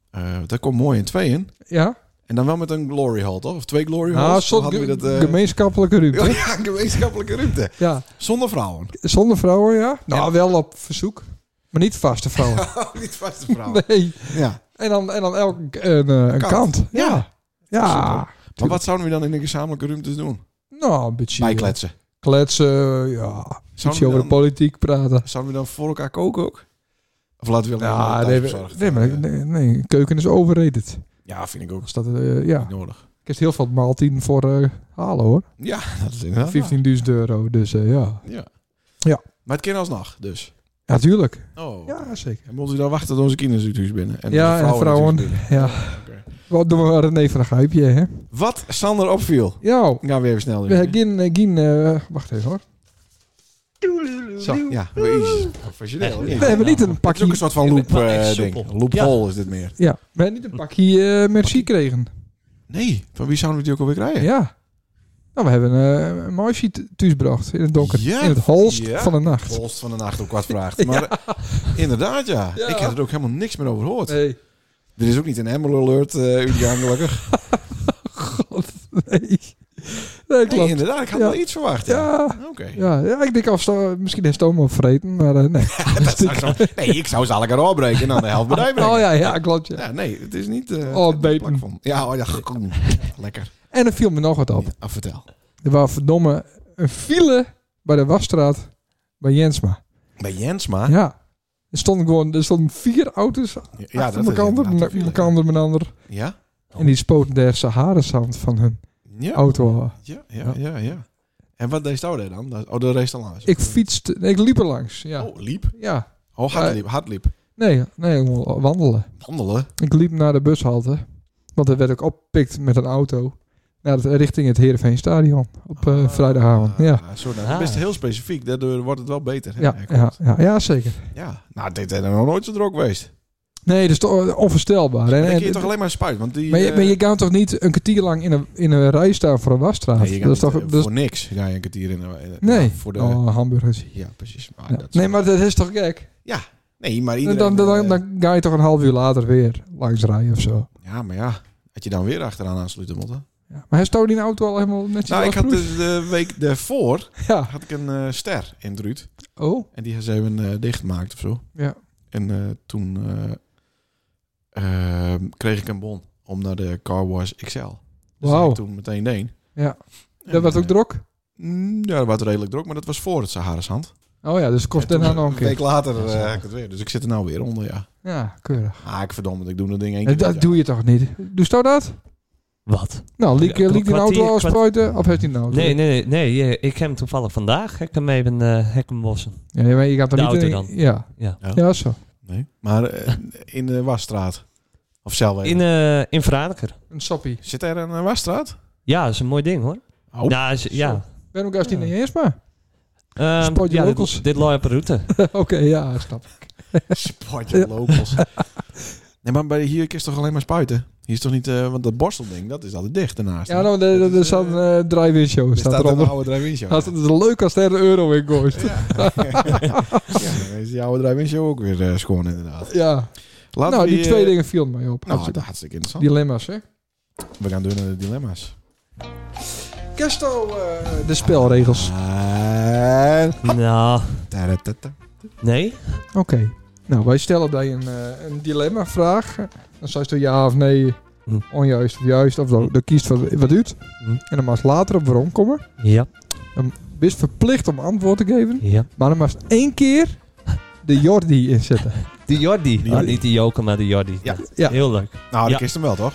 [SPEAKER 2] Eh, daar komt mooi in twee in.
[SPEAKER 1] Ja?
[SPEAKER 2] En dan wel met een glory hole, toch? Of twee glory holes?
[SPEAKER 1] Nou,
[SPEAKER 2] Dan
[SPEAKER 1] soort
[SPEAKER 2] hadden we dat, eh,
[SPEAKER 1] gemeenschappelijke ruimte.
[SPEAKER 2] Ja, gemeenschappelijke ruimte.
[SPEAKER 1] ja.
[SPEAKER 2] Zonder vrouwen.
[SPEAKER 1] Zonder vrouwen, ja? Nou, wel op verzoek. Maar niet vaste vrouwen.
[SPEAKER 2] Oh, Niet vaste vrouwen.
[SPEAKER 1] nee.
[SPEAKER 2] Ja.
[SPEAKER 1] En dan, en dan elke k- een, eh, een
[SPEAKER 2] Kant.
[SPEAKER 1] kant. Ja. Ja.
[SPEAKER 2] Super. Maar wat zouden we dan in de gezamenlijke ruimtes doen?
[SPEAKER 1] Nou, een beetje...
[SPEAKER 2] Bijkletsen.
[SPEAKER 1] Kletsen, ja.
[SPEAKER 2] Zouden
[SPEAKER 1] Ietsje
[SPEAKER 2] we,
[SPEAKER 1] over de
[SPEAKER 2] dan,
[SPEAKER 1] politiek praten.
[SPEAKER 2] zouden we dan voor elkaar koken ook? Of laten we alleen maar
[SPEAKER 1] Ja,
[SPEAKER 2] thuis
[SPEAKER 1] nee,
[SPEAKER 2] bezorgd,
[SPEAKER 1] nee,
[SPEAKER 2] eh,
[SPEAKER 1] maar nee, nee, keuken is overrated.
[SPEAKER 2] Ja, vind ik ook
[SPEAKER 1] Dus dat, eh, ja.
[SPEAKER 2] niet nodig.
[SPEAKER 1] Ik heb heel veel maaltijden voor eh, halen, hoor.
[SPEAKER 2] Ja, dat is inderdaad
[SPEAKER 1] 15.000 euro, dus eh, ja.
[SPEAKER 2] waar. Ja.
[SPEAKER 1] Ja.
[SPEAKER 2] Maar het kan alsnog, dus.
[SPEAKER 1] Ja, tuurlijk.
[SPEAKER 2] Oh.
[SPEAKER 1] Ja, zeker.
[SPEAKER 2] En moeten we dan wachten tot onze kinderen natuurlijk thuis binnen? En
[SPEAKER 1] Ja,
[SPEAKER 2] onze
[SPEAKER 1] en vrouwen.
[SPEAKER 2] natuurlijk binnen.
[SPEAKER 1] Ja.
[SPEAKER 2] Oké.
[SPEAKER 1] Wat doen we René van een Gijpje, hè?
[SPEAKER 2] Wat Sander opviel.
[SPEAKER 1] Ja,
[SPEAKER 2] Gaan we even snel
[SPEAKER 1] we
[SPEAKER 2] doen. hè?
[SPEAKER 1] hebben geen... eh, geen eh, wacht even, hoor.
[SPEAKER 2] Zo, ja. Jezus, Professioneel.
[SPEAKER 5] Nee,
[SPEAKER 1] We hebben niet een
[SPEAKER 2] Het is ook een
[SPEAKER 1] pakje,
[SPEAKER 2] soort van
[SPEAKER 5] Ik
[SPEAKER 2] loop,
[SPEAKER 5] ben wel echt
[SPEAKER 2] eh
[SPEAKER 5] soepel.
[SPEAKER 2] ding. Loophole is dit meer.
[SPEAKER 1] ja, we hebben niet een pakje eh merci gekregen.
[SPEAKER 2] Nee, van wie zouden we die ook alweer krijgen?
[SPEAKER 1] Ja. Nou, we hebben eh, een mooi sheet thuisgebracht in het donker.
[SPEAKER 2] Ja.
[SPEAKER 1] In het holst
[SPEAKER 2] Ja.
[SPEAKER 1] van de nacht.
[SPEAKER 2] Volst van de nacht op kwart vraagt. Maar eh, inderdaad, ja.
[SPEAKER 1] Ja.
[SPEAKER 2] Ik heb er ook helemaal niks meer over gehoord.
[SPEAKER 1] Nee,
[SPEAKER 2] Er is ook niet een Amber Alert, eh Udian, gelukkig.
[SPEAKER 1] god, nee. Nee,
[SPEAKER 2] Nee,
[SPEAKER 1] klopt.
[SPEAKER 2] inderdaad, ik had
[SPEAKER 1] Ja.
[SPEAKER 2] wel iets verwacht. Ja.
[SPEAKER 1] Ja,
[SPEAKER 2] Oké.
[SPEAKER 1] ja, ja, ik denk als eh, misschien heeft Tomo vreten, maar eh, nee.
[SPEAKER 2] Dat zou zo- nee, ik zou ze elkaar opbreken en dan de helft bedrijf brengen.
[SPEAKER 1] Oh ja, ja, klopt. Ja.
[SPEAKER 2] Ja, nee, het is niet... eh,
[SPEAKER 1] Oh,
[SPEAKER 2] het is niet
[SPEAKER 1] beten.
[SPEAKER 2] plakvol. Ja, oh, ja, gewoon. lekker.
[SPEAKER 1] En er viel me nog wat op.
[SPEAKER 2] Ja, vertel.
[SPEAKER 1] Er was verdomme een file bij de wasstraat bij Jensma.
[SPEAKER 2] Bij Jensma...
[SPEAKER 1] Ja. Er stonden gewoon er stonden vier auto's ja, achter elkaar,
[SPEAKER 2] inderdaad
[SPEAKER 1] elkaar,
[SPEAKER 2] een
[SPEAKER 1] elkaar,
[SPEAKER 2] file.
[SPEAKER 1] elkaar.
[SPEAKER 2] Ja?
[SPEAKER 1] En die spoten daar Sahara-zand van hun
[SPEAKER 2] Ja,
[SPEAKER 1] auto. af.
[SPEAKER 2] ja, ja, ja, ja. En wat deed jou daar dan? Oh, de race dan langs.
[SPEAKER 1] Ik fietste, nee, ik liep er langs. Ja.
[SPEAKER 2] Oh, liep.
[SPEAKER 1] ja.
[SPEAKER 2] Oh,
[SPEAKER 1] Eh.
[SPEAKER 2] hardliep. Hardliep.
[SPEAKER 1] Nee, nee, ik moet wandelen.
[SPEAKER 2] Wandelen.
[SPEAKER 1] Ik liep naar de bushalte. Want er werd ook opgepikt met een auto. Naar het, richting het Heerenveen Stadion. Op eh, vrijdagavond. Ja.
[SPEAKER 2] Ah, Zo, nou, best
[SPEAKER 5] Ah.
[SPEAKER 2] heel specifiek. Daardoor wordt het wel beter. hè?
[SPEAKER 1] Ja,
[SPEAKER 2] Ja,
[SPEAKER 1] ja,
[SPEAKER 2] klopt.
[SPEAKER 1] ja, ja, zeker.
[SPEAKER 2] Ja. Nou, dit is nog nooit zo druk geweest.
[SPEAKER 1] Nee, dat is toch eh, onvoorstelbaar. En,
[SPEAKER 2] Dan kun je
[SPEAKER 1] en-
[SPEAKER 2] toch alleen maar spuit, want die...
[SPEAKER 1] Maar je,
[SPEAKER 2] eh,
[SPEAKER 1] maar je kan toch niet een kwartier lang in een, in een rij staan voor een wasstraat?
[SPEAKER 2] nee, je kan
[SPEAKER 1] dat is
[SPEAKER 2] niet,
[SPEAKER 1] toch...
[SPEAKER 2] eh,
[SPEAKER 1] dat is-
[SPEAKER 2] voor niks ga je een kwartier in. eh, eh,
[SPEAKER 1] nee.
[SPEAKER 2] ja, Voor de,
[SPEAKER 1] Oh, hamburgers.
[SPEAKER 2] Ja, precies. Maar
[SPEAKER 1] Ja.
[SPEAKER 2] dat is-
[SPEAKER 1] Nee, maar dat is toch gek?
[SPEAKER 2] nee, maar
[SPEAKER 1] Dan,
[SPEAKER 2] iedereen...
[SPEAKER 1] dan, dan,
[SPEAKER 2] eh,
[SPEAKER 1] dan ga je toch een half uur later weer langs rijden of zo.
[SPEAKER 2] Ja, maar ja. Had je dan weer achteraan aansluiten moeten?
[SPEAKER 1] Ja. Maar hij stoot die auto al helemaal netjes
[SPEAKER 2] Nou, ik had
[SPEAKER 1] afgeproefd?
[SPEAKER 2] de, de week daarvoor
[SPEAKER 1] Ja.
[SPEAKER 2] had ik een eh, ster in Druut.
[SPEAKER 1] Oh.
[SPEAKER 2] En die hebben ze even eh, dichtgemaakt of zo.
[SPEAKER 1] Ja.
[SPEAKER 2] En eh, toen eh, eh, kreeg ik een bon om naar de Car Wash XL. Dus dat
[SPEAKER 1] Wauw.
[SPEAKER 2] ik toen meteen deed.
[SPEAKER 1] Ja.
[SPEAKER 2] En,
[SPEAKER 1] Dat was ook
[SPEAKER 2] eh,
[SPEAKER 1] druk?
[SPEAKER 2] mm, Ja, dat was redelijk druk, maar dat was voor het Saharashand.
[SPEAKER 1] Oh ja, dus het kost
[SPEAKER 2] En toen,
[SPEAKER 1] daarna nog een
[SPEAKER 2] Een week
[SPEAKER 1] keer.
[SPEAKER 2] later eh, heb ik het weer. Dus ik zit er nou weer onder, ja.
[SPEAKER 1] Ja, keurig.
[SPEAKER 2] Ah, ik verdomme, ik doe dat ding één
[SPEAKER 1] En
[SPEAKER 2] keer.
[SPEAKER 1] dat
[SPEAKER 2] per
[SPEAKER 1] doe je toch niet? Doe je dat?
[SPEAKER 5] Wat?
[SPEAKER 1] Nou, liek,
[SPEAKER 5] Ja,
[SPEAKER 1] eh, liek die
[SPEAKER 5] kwartier-
[SPEAKER 1] auto al
[SPEAKER 5] kwart-
[SPEAKER 1] spuiten? Of heeft hij nou- een auto?
[SPEAKER 5] Nee, nee, nee. nee, Ik heb hem toevallig vandaag. Ik hem even eh hekkenbossen.
[SPEAKER 1] Ja, nee, maar je gaat er
[SPEAKER 5] De
[SPEAKER 1] niet
[SPEAKER 5] auto
[SPEAKER 1] in.
[SPEAKER 5] dan.
[SPEAKER 1] Ja.
[SPEAKER 5] Ja.
[SPEAKER 2] Ja.
[SPEAKER 1] Ja, zo.
[SPEAKER 2] jaar. Nee. Maar eh, in de Wasstraat. Of zelf
[SPEAKER 5] In, eh in Vraneker.
[SPEAKER 1] Een soppie.
[SPEAKER 2] Zit er een eh, Wasstraat?
[SPEAKER 5] Ja, is een mooi ding hoor.
[SPEAKER 2] Oh.
[SPEAKER 5] ja, is, ja.
[SPEAKER 1] Ben ook als die
[SPEAKER 5] Ja.
[SPEAKER 1] niet eens maar.
[SPEAKER 5] Ehm,
[SPEAKER 1] Spot je
[SPEAKER 5] ja,
[SPEAKER 1] locals.
[SPEAKER 5] dit, dit loopt op de route.
[SPEAKER 1] Oké, ja, ik snap.
[SPEAKER 2] Sport je locals. Nee, maar bij, hier is toch alleen maar spuiten? Hier is toch niet... eh, want dat borstelding, dat is altijd dicht daarnaast.
[SPEAKER 1] Ja, nou, er- er- er staat een eh, drive-in show.
[SPEAKER 2] Er
[SPEAKER 1] Staat
[SPEAKER 2] staat een
[SPEAKER 1] eronder.
[SPEAKER 2] oude
[SPEAKER 1] Ja.
[SPEAKER 2] Dravinshow.
[SPEAKER 1] Het is leuk als er een euro in gooit. Ja.
[SPEAKER 2] Ja, dan is die oude Dravinshow ook weer eh, schoon inderdaad. Laten
[SPEAKER 1] Nou,
[SPEAKER 2] we,
[SPEAKER 1] die
[SPEAKER 2] eh,
[SPEAKER 1] twee dingen vielen mij op.
[SPEAKER 2] Nou,
[SPEAKER 1] Hartstikke-
[SPEAKER 2] dat is hartstikke interessant.
[SPEAKER 1] Dilemma's, hè?
[SPEAKER 2] We gaan door naar de dilemma's.
[SPEAKER 1] Kesto, eh, de spelregels.
[SPEAKER 2] En...
[SPEAKER 5] nou,
[SPEAKER 2] Tadatata.
[SPEAKER 5] nee.
[SPEAKER 1] Oké. Nou, wij stellen bij een, eh, een dilemma-vraag. Dan zou je ja of nee,
[SPEAKER 5] Hm.
[SPEAKER 1] onjuist of juist. Of dan, dan kiest wat, wat uit.
[SPEAKER 5] Hm.
[SPEAKER 1] En dan mag later op waarom komen.
[SPEAKER 5] Ja,
[SPEAKER 1] Dan bist verplicht om antwoord te geven.
[SPEAKER 5] ja.
[SPEAKER 1] Maar dan mag één keer de Jordi inzetten.
[SPEAKER 5] De Jordi.
[SPEAKER 2] Jordi.
[SPEAKER 5] Oh, niet de Joker, maar de Jordi.
[SPEAKER 2] Ja.
[SPEAKER 1] Ja.
[SPEAKER 5] Heel leuk.
[SPEAKER 2] Nou, dat
[SPEAKER 5] Ja.
[SPEAKER 2] is hem wel, toch?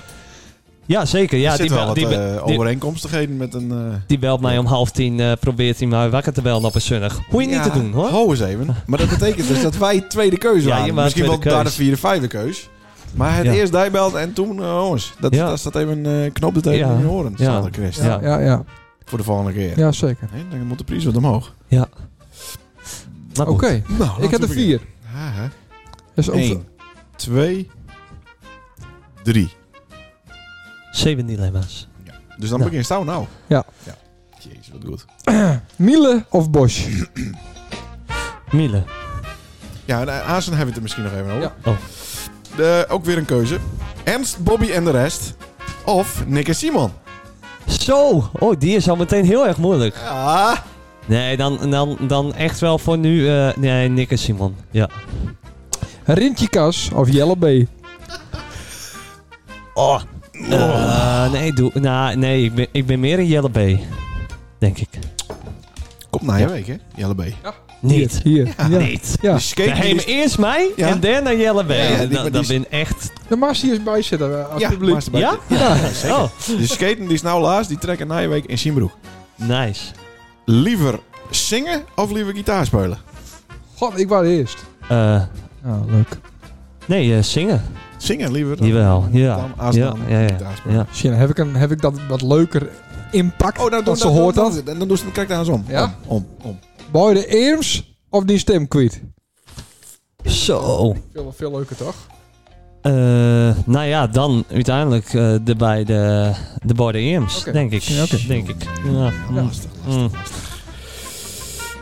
[SPEAKER 5] Ja, zeker. Ja,
[SPEAKER 2] er
[SPEAKER 5] die,
[SPEAKER 2] zitten wel
[SPEAKER 5] bel,
[SPEAKER 2] wat
[SPEAKER 5] die,
[SPEAKER 2] eh,
[SPEAKER 5] die-
[SPEAKER 2] overeenkomstigheden met een... eh,
[SPEAKER 5] die belt mij om half tien. eh, probeert hij mij wakker te bellen op een zonnig. Hoe je
[SPEAKER 2] Ja,
[SPEAKER 5] niet te doen hoor.
[SPEAKER 2] Hou eens even. Maar dat betekent dus dat wij tweede keuze
[SPEAKER 5] Ja, je
[SPEAKER 2] waren.
[SPEAKER 5] was
[SPEAKER 2] Misschien wel
[SPEAKER 5] tweede
[SPEAKER 2] daar de
[SPEAKER 5] keus.
[SPEAKER 2] vierde, vijfde keus. Maar het
[SPEAKER 5] Ja.
[SPEAKER 2] eerst dijbelt en toen, eh, jongens, dat,
[SPEAKER 5] Ja.
[SPEAKER 2] dat staat even een knop dat even
[SPEAKER 5] Ja.
[SPEAKER 2] in je horen.
[SPEAKER 5] Ja.
[SPEAKER 2] staat er, Christ.
[SPEAKER 5] Ja.
[SPEAKER 1] ja, ja.
[SPEAKER 2] Voor de volgende keer.
[SPEAKER 1] ja zeker.
[SPEAKER 2] Nee, dan moet de prijs wat omhoog.
[SPEAKER 5] Maar
[SPEAKER 1] Oké,
[SPEAKER 5] goed.
[SPEAKER 2] Nou, laten
[SPEAKER 1] ik heb
[SPEAKER 2] we
[SPEAKER 1] er vier.
[SPEAKER 2] beginnen. Ja, hè.
[SPEAKER 1] Dus ook-
[SPEAKER 2] Eén, twee, drie.
[SPEAKER 5] Zeven dilemma's.
[SPEAKER 2] Dus dan
[SPEAKER 5] Nou.
[SPEAKER 2] begin staan we nou.
[SPEAKER 1] Ja.
[SPEAKER 2] Jezus, wat goed.
[SPEAKER 1] Miele of Bosch?
[SPEAKER 5] Miele.
[SPEAKER 2] Ja, en eh, Azen hebben we het er misschien nog even over.
[SPEAKER 1] Ja.
[SPEAKER 5] Oh.
[SPEAKER 2] De- ook weer een keuze. Ernst, Bobby en de rest. Of Nick en Simon.
[SPEAKER 5] Zo. Oh, die is al meteen heel erg moeilijk.
[SPEAKER 2] Ah.
[SPEAKER 5] Nee, dan, dan, dan echt wel voor nu. eh, nee, Nick en Simon. Ja.
[SPEAKER 1] Rintje Kas of Jelle B?
[SPEAKER 5] Oh. Eh, nee, doe, nou, nee ik, ben, ik ben meer een Jelle B. Denk ik.
[SPEAKER 2] Komt na je week, hè? Jelle B.
[SPEAKER 5] Niet.
[SPEAKER 1] Hier. hier. Ja.
[SPEAKER 5] Niet.
[SPEAKER 1] Ja.
[SPEAKER 2] De skate
[SPEAKER 5] Dan
[SPEAKER 2] die
[SPEAKER 5] heem
[SPEAKER 2] is-
[SPEAKER 5] eerst mij
[SPEAKER 2] Ja.
[SPEAKER 5] en daarna Jelle B.
[SPEAKER 2] Ja, ja, die-
[SPEAKER 5] En dan,
[SPEAKER 2] die-
[SPEAKER 5] dan ben echt...
[SPEAKER 1] De mag hier eens bij zitten, eh,
[SPEAKER 2] Ja,
[SPEAKER 1] alsjeblieft.
[SPEAKER 2] maar-
[SPEAKER 5] Ja?
[SPEAKER 1] Ja.
[SPEAKER 5] Oh,
[SPEAKER 2] De skaten die is nou laatst, die trekken na je week in Simbroek.
[SPEAKER 5] nice.
[SPEAKER 2] Liever zingen of liever gitaar spelen?
[SPEAKER 1] God, ik was eerst.
[SPEAKER 5] Eh,
[SPEAKER 1] Ja, leuk.
[SPEAKER 5] nee, eh, zingen.
[SPEAKER 2] Zingen liever dan,
[SPEAKER 5] Jawel, ja.
[SPEAKER 2] dan, als dan
[SPEAKER 5] Ja, ja, ja.
[SPEAKER 2] gitaar spelen.
[SPEAKER 5] Ja.
[SPEAKER 1] Misschien heb ik, een, heb ik dat wat leuker impact.
[SPEAKER 2] Oh, nou,
[SPEAKER 1] dat ze hoort dat.
[SPEAKER 2] En dan, doen ze, dan krijg ik daar eens om.
[SPEAKER 1] Ja?
[SPEAKER 2] Om, om, om.
[SPEAKER 1] Boy de Eems of die stem kwijt?
[SPEAKER 5] Zo.
[SPEAKER 1] Veel, veel leuker toch?
[SPEAKER 5] Eh, nou ja, dan uiteindelijk eh, de bij de, de Borden Eems,
[SPEAKER 1] Oké.
[SPEAKER 5] denk ik.
[SPEAKER 1] Ja, oké.
[SPEAKER 5] Denk ik. Ja. mm,
[SPEAKER 2] Lastig,
[SPEAKER 5] mm.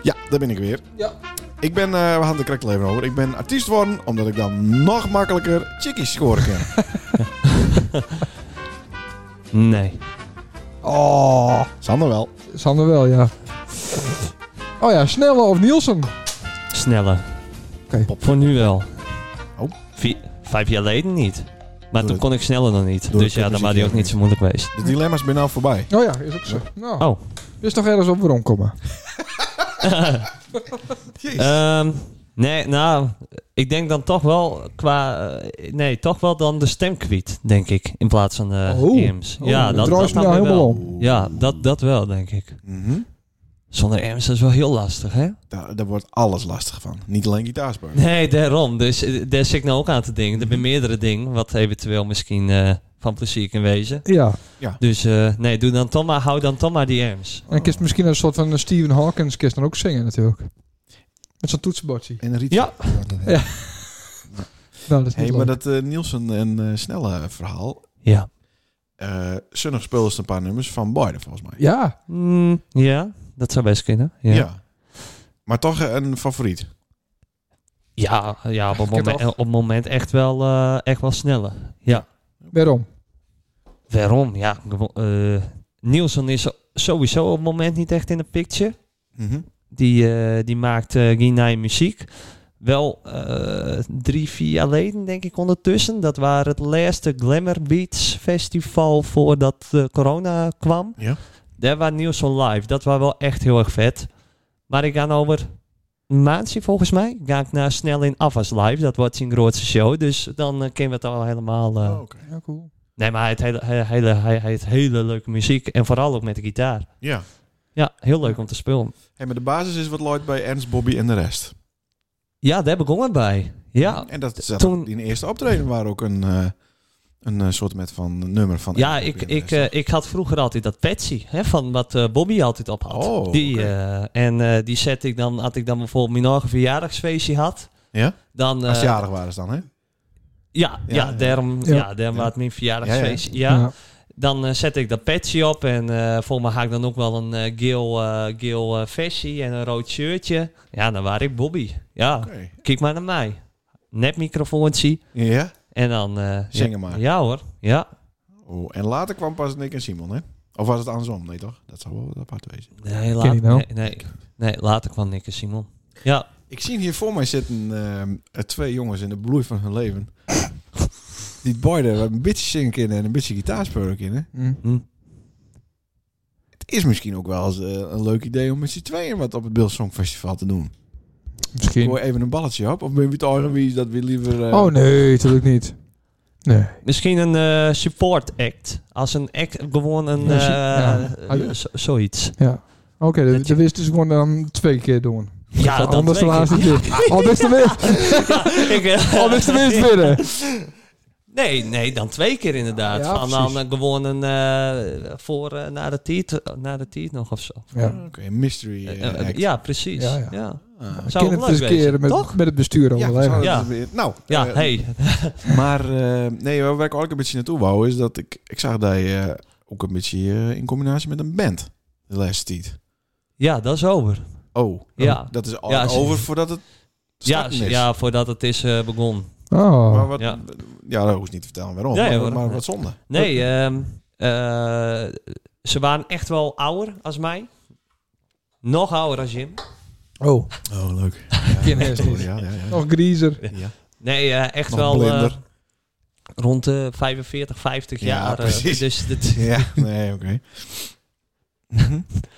[SPEAKER 2] Ja, daar ben ik weer.
[SPEAKER 1] Ja.
[SPEAKER 2] Ik ben, eh, we hadden het er correct al even over. Ik ben artiest geworden omdat ik dan nog makkelijker chickies scoren kan.
[SPEAKER 5] Nee.
[SPEAKER 1] Oh,
[SPEAKER 2] Sander wel.
[SPEAKER 1] Sander wel, ja. Oh ja, Snelle of Nielsen?
[SPEAKER 5] Sneller.
[SPEAKER 1] Oké.
[SPEAKER 5] Voor nu wel.
[SPEAKER 2] Oh.
[SPEAKER 5] Vi- vijf jaar geleden niet. Maar
[SPEAKER 2] Door
[SPEAKER 5] toen
[SPEAKER 2] het-
[SPEAKER 5] kon ik sneller dan niet.
[SPEAKER 2] door
[SPEAKER 5] Dus
[SPEAKER 2] het
[SPEAKER 5] ja, dan
[SPEAKER 2] muziekje
[SPEAKER 5] waren die ook
[SPEAKER 2] ook
[SPEAKER 5] niet zo moeilijk geweest.
[SPEAKER 2] De dilemma's zijn nou voorbij.
[SPEAKER 1] Oh ja, is ook zo. Nou,
[SPEAKER 5] Oh.
[SPEAKER 1] is toch ergens op waarom komen?
[SPEAKER 5] Ehm, nee, nou, ik denk dan toch wel qua... eh, nee, toch wel dan de stemkwiet, denk ik. In plaats van de
[SPEAKER 1] Oh.
[SPEAKER 5] Eems. ja,
[SPEAKER 1] Oh,
[SPEAKER 5] dat,
[SPEAKER 1] draai
[SPEAKER 5] dat
[SPEAKER 1] ze
[SPEAKER 5] dan
[SPEAKER 1] nou
[SPEAKER 5] weer
[SPEAKER 1] helemaal
[SPEAKER 5] wel.
[SPEAKER 1] om.
[SPEAKER 5] Ja, dat, dat wel, denk ik.
[SPEAKER 2] Mhm.
[SPEAKER 5] Zonder Eems, dat is wel heel lastig, hè?
[SPEAKER 2] Daar, daar wordt alles lastig van. Niet alleen gitaarspelen.
[SPEAKER 5] Nee, daarom. Dus eh, daar zit ik nou ook aan te denken. Er zijn meerdere dingen wat eventueel misschien eh, van plezier kan wezen.
[SPEAKER 1] Ja,
[SPEAKER 5] Dus eh, nee, doe dan toch maar, hou dan toch maar die Eems.
[SPEAKER 1] en dan kun je misschien een soort van eh, Stephen Hawkins kun je dan ook zingen natuurlijk. Met zo'n toetsenbordje.
[SPEAKER 2] En Riet.
[SPEAKER 5] Ja.
[SPEAKER 1] Ja. Nou, dat is
[SPEAKER 2] Hey,
[SPEAKER 1] niet
[SPEAKER 2] maar
[SPEAKER 1] leuk.
[SPEAKER 2] dat eh, Nielsen en eh, Snelle verhaal.
[SPEAKER 5] Ja.
[SPEAKER 2] eh Sunnig speelde ze een paar nummers van Boyden volgens mij.
[SPEAKER 1] Ja,
[SPEAKER 5] Mm, ja, dat zou best kunnen. Ja, ja.
[SPEAKER 2] Maar toch eh, een favoriet.
[SPEAKER 5] ja, op,
[SPEAKER 1] Kijk
[SPEAKER 5] het moment,
[SPEAKER 1] af.
[SPEAKER 5] op het moment echt wel, eh, echt wel sneller. Ja.
[SPEAKER 1] waarom?
[SPEAKER 5] Waarom? Ja, gewo- eh, Nielsen is sowieso op het moment niet echt in de picture.
[SPEAKER 2] Mhm.
[SPEAKER 5] Die, eh, die maakt eh Guinea muziek. Wel eh, drie, vier jaar geleden, denk ik, ondertussen. Dat waren het laatste Glamour Beats festival voordat eh, corona kwam.
[SPEAKER 2] Ja.
[SPEAKER 5] Daar was Nielsen live. Dat was wel echt heel erg vet. Maar ik ga nou over een maandje, volgens mij, ga ik naar Snel in Afas live. Dat wordt zijn grootste show. Dus dan eh, kennen we het al helemaal... eh.
[SPEAKER 2] Oh, oké.
[SPEAKER 1] Ja, cool.
[SPEAKER 5] Nee, maar hij heeft hele, hele, hele, hij heeft hele leuke muziek. En vooral ook met de gitaar.
[SPEAKER 2] Ja.
[SPEAKER 5] Ja, heel leuk om te spelen.
[SPEAKER 2] Hey, maar de basis is wat Lloyd bij Ernst, Bobby en de rest.
[SPEAKER 5] Ja, daar begonnen bij. Ja,
[SPEAKER 2] En dat zat
[SPEAKER 5] toen-
[SPEAKER 2] in de eerste optreden waar ook een, eh, een eh, soort met van nummer van.
[SPEAKER 5] Ja,
[SPEAKER 2] Ernst,
[SPEAKER 5] ik,
[SPEAKER 2] Bobby en
[SPEAKER 5] ik,
[SPEAKER 2] de rest.
[SPEAKER 5] eh, ik had vroeger altijd dat Patsy, hè, van wat eh, Bobby altijd op had.
[SPEAKER 2] Oh,
[SPEAKER 5] die,
[SPEAKER 2] oké.
[SPEAKER 5] eh, en eh, die zette ik dan, had ik dan bijvoorbeeld mijn eigen verjaardagsfeestje had.
[SPEAKER 2] ja?
[SPEAKER 5] Dan, eh,
[SPEAKER 2] Als ze jarig waren ze dan, hè?
[SPEAKER 5] Ja, ja,
[SPEAKER 2] Ja, ja.
[SPEAKER 5] daarom,
[SPEAKER 1] Ja.
[SPEAKER 5] ja. daarom
[SPEAKER 2] Ja.
[SPEAKER 5] was het mijn verjaardagsfeestje. Ja,
[SPEAKER 1] Ja.
[SPEAKER 5] Dan eh, zette ik dat Patsy op en eh voor me haak ik dan ook wel een eh, geel, eh, geel eh, vestie en een rood shirtje. Ja, dan was ik Bobby. Ja,
[SPEAKER 2] Oké.
[SPEAKER 5] kijk maar naar mij. Net microfoontje
[SPEAKER 2] Ja?
[SPEAKER 5] en dan... eh,
[SPEAKER 2] Zingen
[SPEAKER 5] ja,
[SPEAKER 2] maar.
[SPEAKER 5] Ja hoor, ja.
[SPEAKER 2] Oh, en later kwam pas Nick en Simon, hè? Of was het andersom? Nee, toch? Dat zou wel wat apart wezen.
[SPEAKER 5] Nee,
[SPEAKER 1] Ken je
[SPEAKER 5] later,
[SPEAKER 1] nou?
[SPEAKER 5] nee, nee, nee, later kwam Nick en Simon. Ja,
[SPEAKER 2] Ik zie hier voor mij zitten ehm, eh, twee jongens in de bloei van hun leven. Die boyden een beetje zingen kunnen en een beetje gitaar spelen kunnen.
[SPEAKER 1] Hm.
[SPEAKER 5] hm.
[SPEAKER 2] Het is misschien ook wel eens eh, een leuk idee om met z'n tweeën wat op het Bill Song Festival te doen.
[SPEAKER 1] Misschien.
[SPEAKER 2] Gooi even een balletje op. Of ben je het eigen wie is dat we liever... eh,
[SPEAKER 1] Oh nee, natuurlijk niet. Nee.
[SPEAKER 5] misschien een eh, support act. Als een act, gewoon een...
[SPEAKER 1] Ja,
[SPEAKER 5] eh,
[SPEAKER 1] ja.
[SPEAKER 5] eh, zo- zoiets.
[SPEAKER 1] Ja. Oké, dat
[SPEAKER 5] Dat je-
[SPEAKER 1] dat wist dus gewoon dan twee keer doen.
[SPEAKER 5] Ja, dat
[SPEAKER 1] Anders de
[SPEAKER 5] weet ik.
[SPEAKER 1] laatste keer. Al best de winst.
[SPEAKER 5] Ik, eh,
[SPEAKER 1] Al best de winst winnen.
[SPEAKER 5] nee, nee, dan twee keer inderdaad.
[SPEAKER 1] Ja,
[SPEAKER 5] Van dan
[SPEAKER 1] precies.
[SPEAKER 5] eh, gewoon een... eh, voor, eh, na de tiet, na de tiet nog of zo.
[SPEAKER 1] Ja.
[SPEAKER 2] Oké, mystery eh,
[SPEAKER 5] Eh, eh,
[SPEAKER 2] act.
[SPEAKER 5] ja, precies.
[SPEAKER 1] Ja,
[SPEAKER 5] Ja,
[SPEAKER 1] ja.
[SPEAKER 2] Ah.
[SPEAKER 5] Zou
[SPEAKER 1] Ken
[SPEAKER 5] ook
[SPEAKER 1] het
[SPEAKER 5] leuk
[SPEAKER 1] eens
[SPEAKER 5] wezen,
[SPEAKER 1] keren met,
[SPEAKER 5] toch?
[SPEAKER 1] met het bestuur
[SPEAKER 2] Ja,
[SPEAKER 1] overleggen.
[SPEAKER 2] zou
[SPEAKER 5] Ja.
[SPEAKER 2] dat weer- Nou,
[SPEAKER 5] Ja,
[SPEAKER 2] eh,
[SPEAKER 5] hey.
[SPEAKER 2] Maar eh, nee, waar ik ook een beetje naartoe wou, is dat ik, ik zag dat je eh, ook een beetje eh, in combinatie met een band de laatste tijd.
[SPEAKER 5] Ja, dat is over.
[SPEAKER 2] Oh,
[SPEAKER 5] Ja.
[SPEAKER 2] dat is al
[SPEAKER 5] Ja, ze-
[SPEAKER 2] over voordat het
[SPEAKER 5] Ja,
[SPEAKER 2] starten is.
[SPEAKER 5] ja, voordat het is eh begonnen.
[SPEAKER 2] Maar
[SPEAKER 1] Oh.
[SPEAKER 2] wat, ja.
[SPEAKER 5] Ja.
[SPEAKER 2] dat hoef je niet te vertellen waarom.
[SPEAKER 5] Ja, ja,
[SPEAKER 2] maar,
[SPEAKER 5] waarom?
[SPEAKER 2] maar wat zonde.
[SPEAKER 5] Nee, ehm, eh, ze waren echt wel ouder als mij. Nog ouder als Jim.
[SPEAKER 1] Oh.
[SPEAKER 2] Oh, leuk.
[SPEAKER 1] Geen hersen niet.
[SPEAKER 2] Oh, Ja, ja,
[SPEAKER 5] Oh.
[SPEAKER 2] ja.
[SPEAKER 1] Nog griezer.
[SPEAKER 2] Ja.
[SPEAKER 5] Nee, eh, echt
[SPEAKER 2] Nog
[SPEAKER 5] wel eh,
[SPEAKER 2] blinder.
[SPEAKER 5] rond de 45, 50
[SPEAKER 2] Ja,
[SPEAKER 5] jaar. eh,
[SPEAKER 2] precies.
[SPEAKER 5] dus dit,
[SPEAKER 2] Ja, nee, oké. Mhm.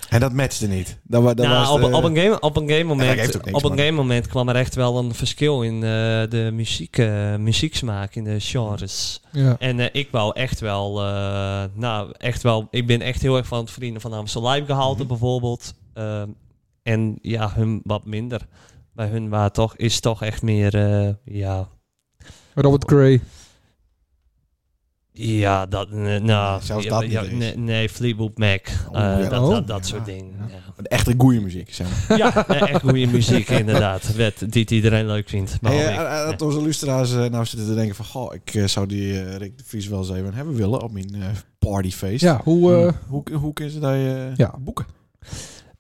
[SPEAKER 2] en dat matchte niet. Dat, wa- dat
[SPEAKER 5] Nou,
[SPEAKER 2] was
[SPEAKER 5] op,
[SPEAKER 2] de-
[SPEAKER 5] op, een game, op een game
[SPEAKER 2] dat geeft
[SPEAKER 5] moment,
[SPEAKER 2] ook niks,
[SPEAKER 5] op een
[SPEAKER 2] man.
[SPEAKER 5] game moment kwam er echt wel een verschil in eh, de muziek, eh, muzieksmaak, in de genres.
[SPEAKER 1] Ja.
[SPEAKER 5] En eh, ik wou echt wel, eh, nou, echt wel, ik ben echt heel erg van het Vrienden van Amstel Live gehalte
[SPEAKER 2] Mhm.
[SPEAKER 5] bijvoorbeeld. Ehm, en ja, hun wat minder. Bij hun waar toch, is toch echt meer, eh, ja,
[SPEAKER 1] Robert Gray.
[SPEAKER 5] Ja, dat... nee, nou,
[SPEAKER 2] Zelfs
[SPEAKER 5] ja,
[SPEAKER 2] dat
[SPEAKER 5] ja,
[SPEAKER 2] niet eens.
[SPEAKER 5] nee, nee, Fleetwood Mac. eh,
[SPEAKER 2] ja.
[SPEAKER 5] dat, dat, dat
[SPEAKER 2] Oh.
[SPEAKER 5] soort
[SPEAKER 2] Ja,
[SPEAKER 5] dingen. Ja,
[SPEAKER 2] De echte goede muziek, zeg maar.
[SPEAKER 5] ja. nee, echt goede muziek inderdaad. Wet, die iedereen leuk vindt.
[SPEAKER 2] Hey,
[SPEAKER 5] behalve
[SPEAKER 2] eh,
[SPEAKER 5] ik.
[SPEAKER 2] eh, dat onze luisteraars eh, nou zitten te denken van... Goh, ik eh, zou die eh, Rick de Vries wel eens even hebben willen op mijn eh, partyfeest.
[SPEAKER 1] Ja, hoe... eh,
[SPEAKER 2] Hoe, hoe kunnen ze dat eh,
[SPEAKER 1] Ja.
[SPEAKER 2] Hm. boeken?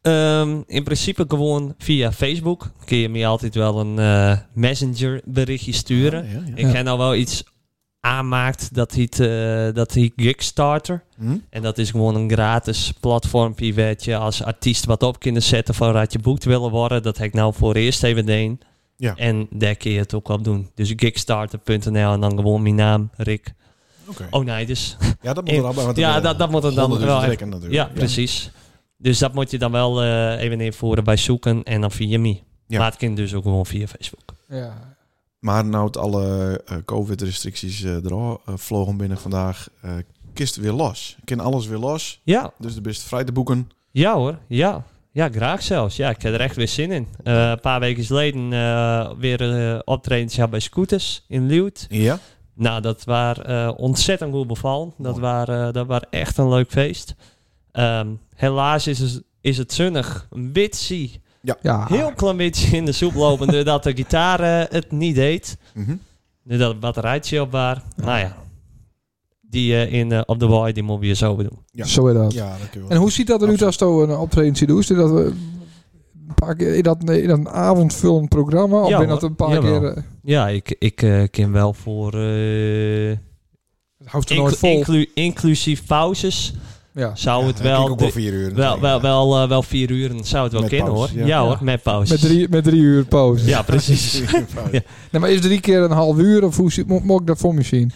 [SPEAKER 5] Ehm, in principe gewoon via Facebook. Kun je me altijd wel een eh, messenger berichtje sturen.
[SPEAKER 2] Ja, ja, ja.
[SPEAKER 5] Ik ken nou wel iets aanmaakt dat heet, eh, dat heet Kickstarter.
[SPEAKER 2] Hm?
[SPEAKER 5] En dat is gewoon een gratis platformpje waar je als artiest wat op kunt zetten van wat je boekt willen worden. Dat heb ik nou voor eerst even deed.
[SPEAKER 2] Ja.
[SPEAKER 5] En daar kun je het ook op doen. Dus kickstarter.nl en dan gewoon mijn naam, Rick.
[SPEAKER 2] Oké.
[SPEAKER 5] Oh nee, dus.
[SPEAKER 2] Ja, dat moet er
[SPEAKER 5] eh,
[SPEAKER 2] al bij. want
[SPEAKER 5] ja,
[SPEAKER 2] er, eh,
[SPEAKER 5] dat- dat moet er dan
[SPEAKER 2] honderden
[SPEAKER 5] wel
[SPEAKER 2] vertrekken natuurlijk.
[SPEAKER 5] Ja, precies. Dus dat moet je dan wel eh, even invoeren bij zoeken en dan via me.
[SPEAKER 2] Ja.
[SPEAKER 5] Maar het kan dus ook gewoon via Facebook.
[SPEAKER 1] ja.
[SPEAKER 2] Maar nou het alle eh, covid-restricties eh eraf eh, vlogen binnen vandaag... eh kist weer los. Ik ken alles weer los.
[SPEAKER 5] Ja,
[SPEAKER 2] Dus de beste vrij te boeken.
[SPEAKER 5] Ja hoor, ja. Ja, graag zelfs. Ja, ik heb er echt weer zin in. Eh, een paar weken geleden eh, weer eh optredens gehad bij Scooters in Leeuwarden.
[SPEAKER 2] Ja.
[SPEAKER 5] Nou, dat was ontzettend goed bevallen. Dat
[SPEAKER 2] Mooi.
[SPEAKER 5] was dat waren echt een leuk feest. Ehm, helaas is het, is het zonnig. Een beetje,
[SPEAKER 1] ja.
[SPEAKER 5] heel klein beetje in de soep lopen doordat de gitaar eh, het niet deed.
[SPEAKER 2] Mhm.
[SPEAKER 5] Nu dat het batterijtje op was. Nou ja, die eh, in, eh, op de waai, die moet je zo weer doen.
[SPEAKER 2] Ja.
[SPEAKER 1] Zo is dat.
[SPEAKER 2] Ja, dat kun je wel.
[SPEAKER 1] En hoe ziet dat er uit als je een optreden ziet doen? Is dit dat we een paar keer in dat, in dat avondvullend programma? Of
[SPEAKER 5] Ja,
[SPEAKER 1] ben dat
[SPEAKER 5] hoor.
[SPEAKER 1] een paar
[SPEAKER 5] Jawel.
[SPEAKER 1] keer... eh,
[SPEAKER 5] Ja, ik, ik eh, ken wel voor... eh,
[SPEAKER 1] het houdt er
[SPEAKER 5] Inclu-
[SPEAKER 1] nooit vol.
[SPEAKER 5] inclu- inclusief pauzes
[SPEAKER 1] Ja.
[SPEAKER 5] zou
[SPEAKER 2] Ja,
[SPEAKER 5] het
[SPEAKER 2] dat kun ik
[SPEAKER 5] wel,
[SPEAKER 2] ook wel
[SPEAKER 5] de-
[SPEAKER 2] vier uur.
[SPEAKER 5] wel, wel, wel, eh, wel vier uur zou het wel
[SPEAKER 2] Met
[SPEAKER 5] kunnen
[SPEAKER 2] pauze,
[SPEAKER 5] hoor. Ja,
[SPEAKER 2] ja.
[SPEAKER 5] hoor, met pauze.
[SPEAKER 1] Met drie, met drie uur pauze.
[SPEAKER 5] Ja, precies.
[SPEAKER 2] ja.
[SPEAKER 1] Nee, maar is drie keer een half uur? Of hoe zit- mo- moet ik dat voor me zien?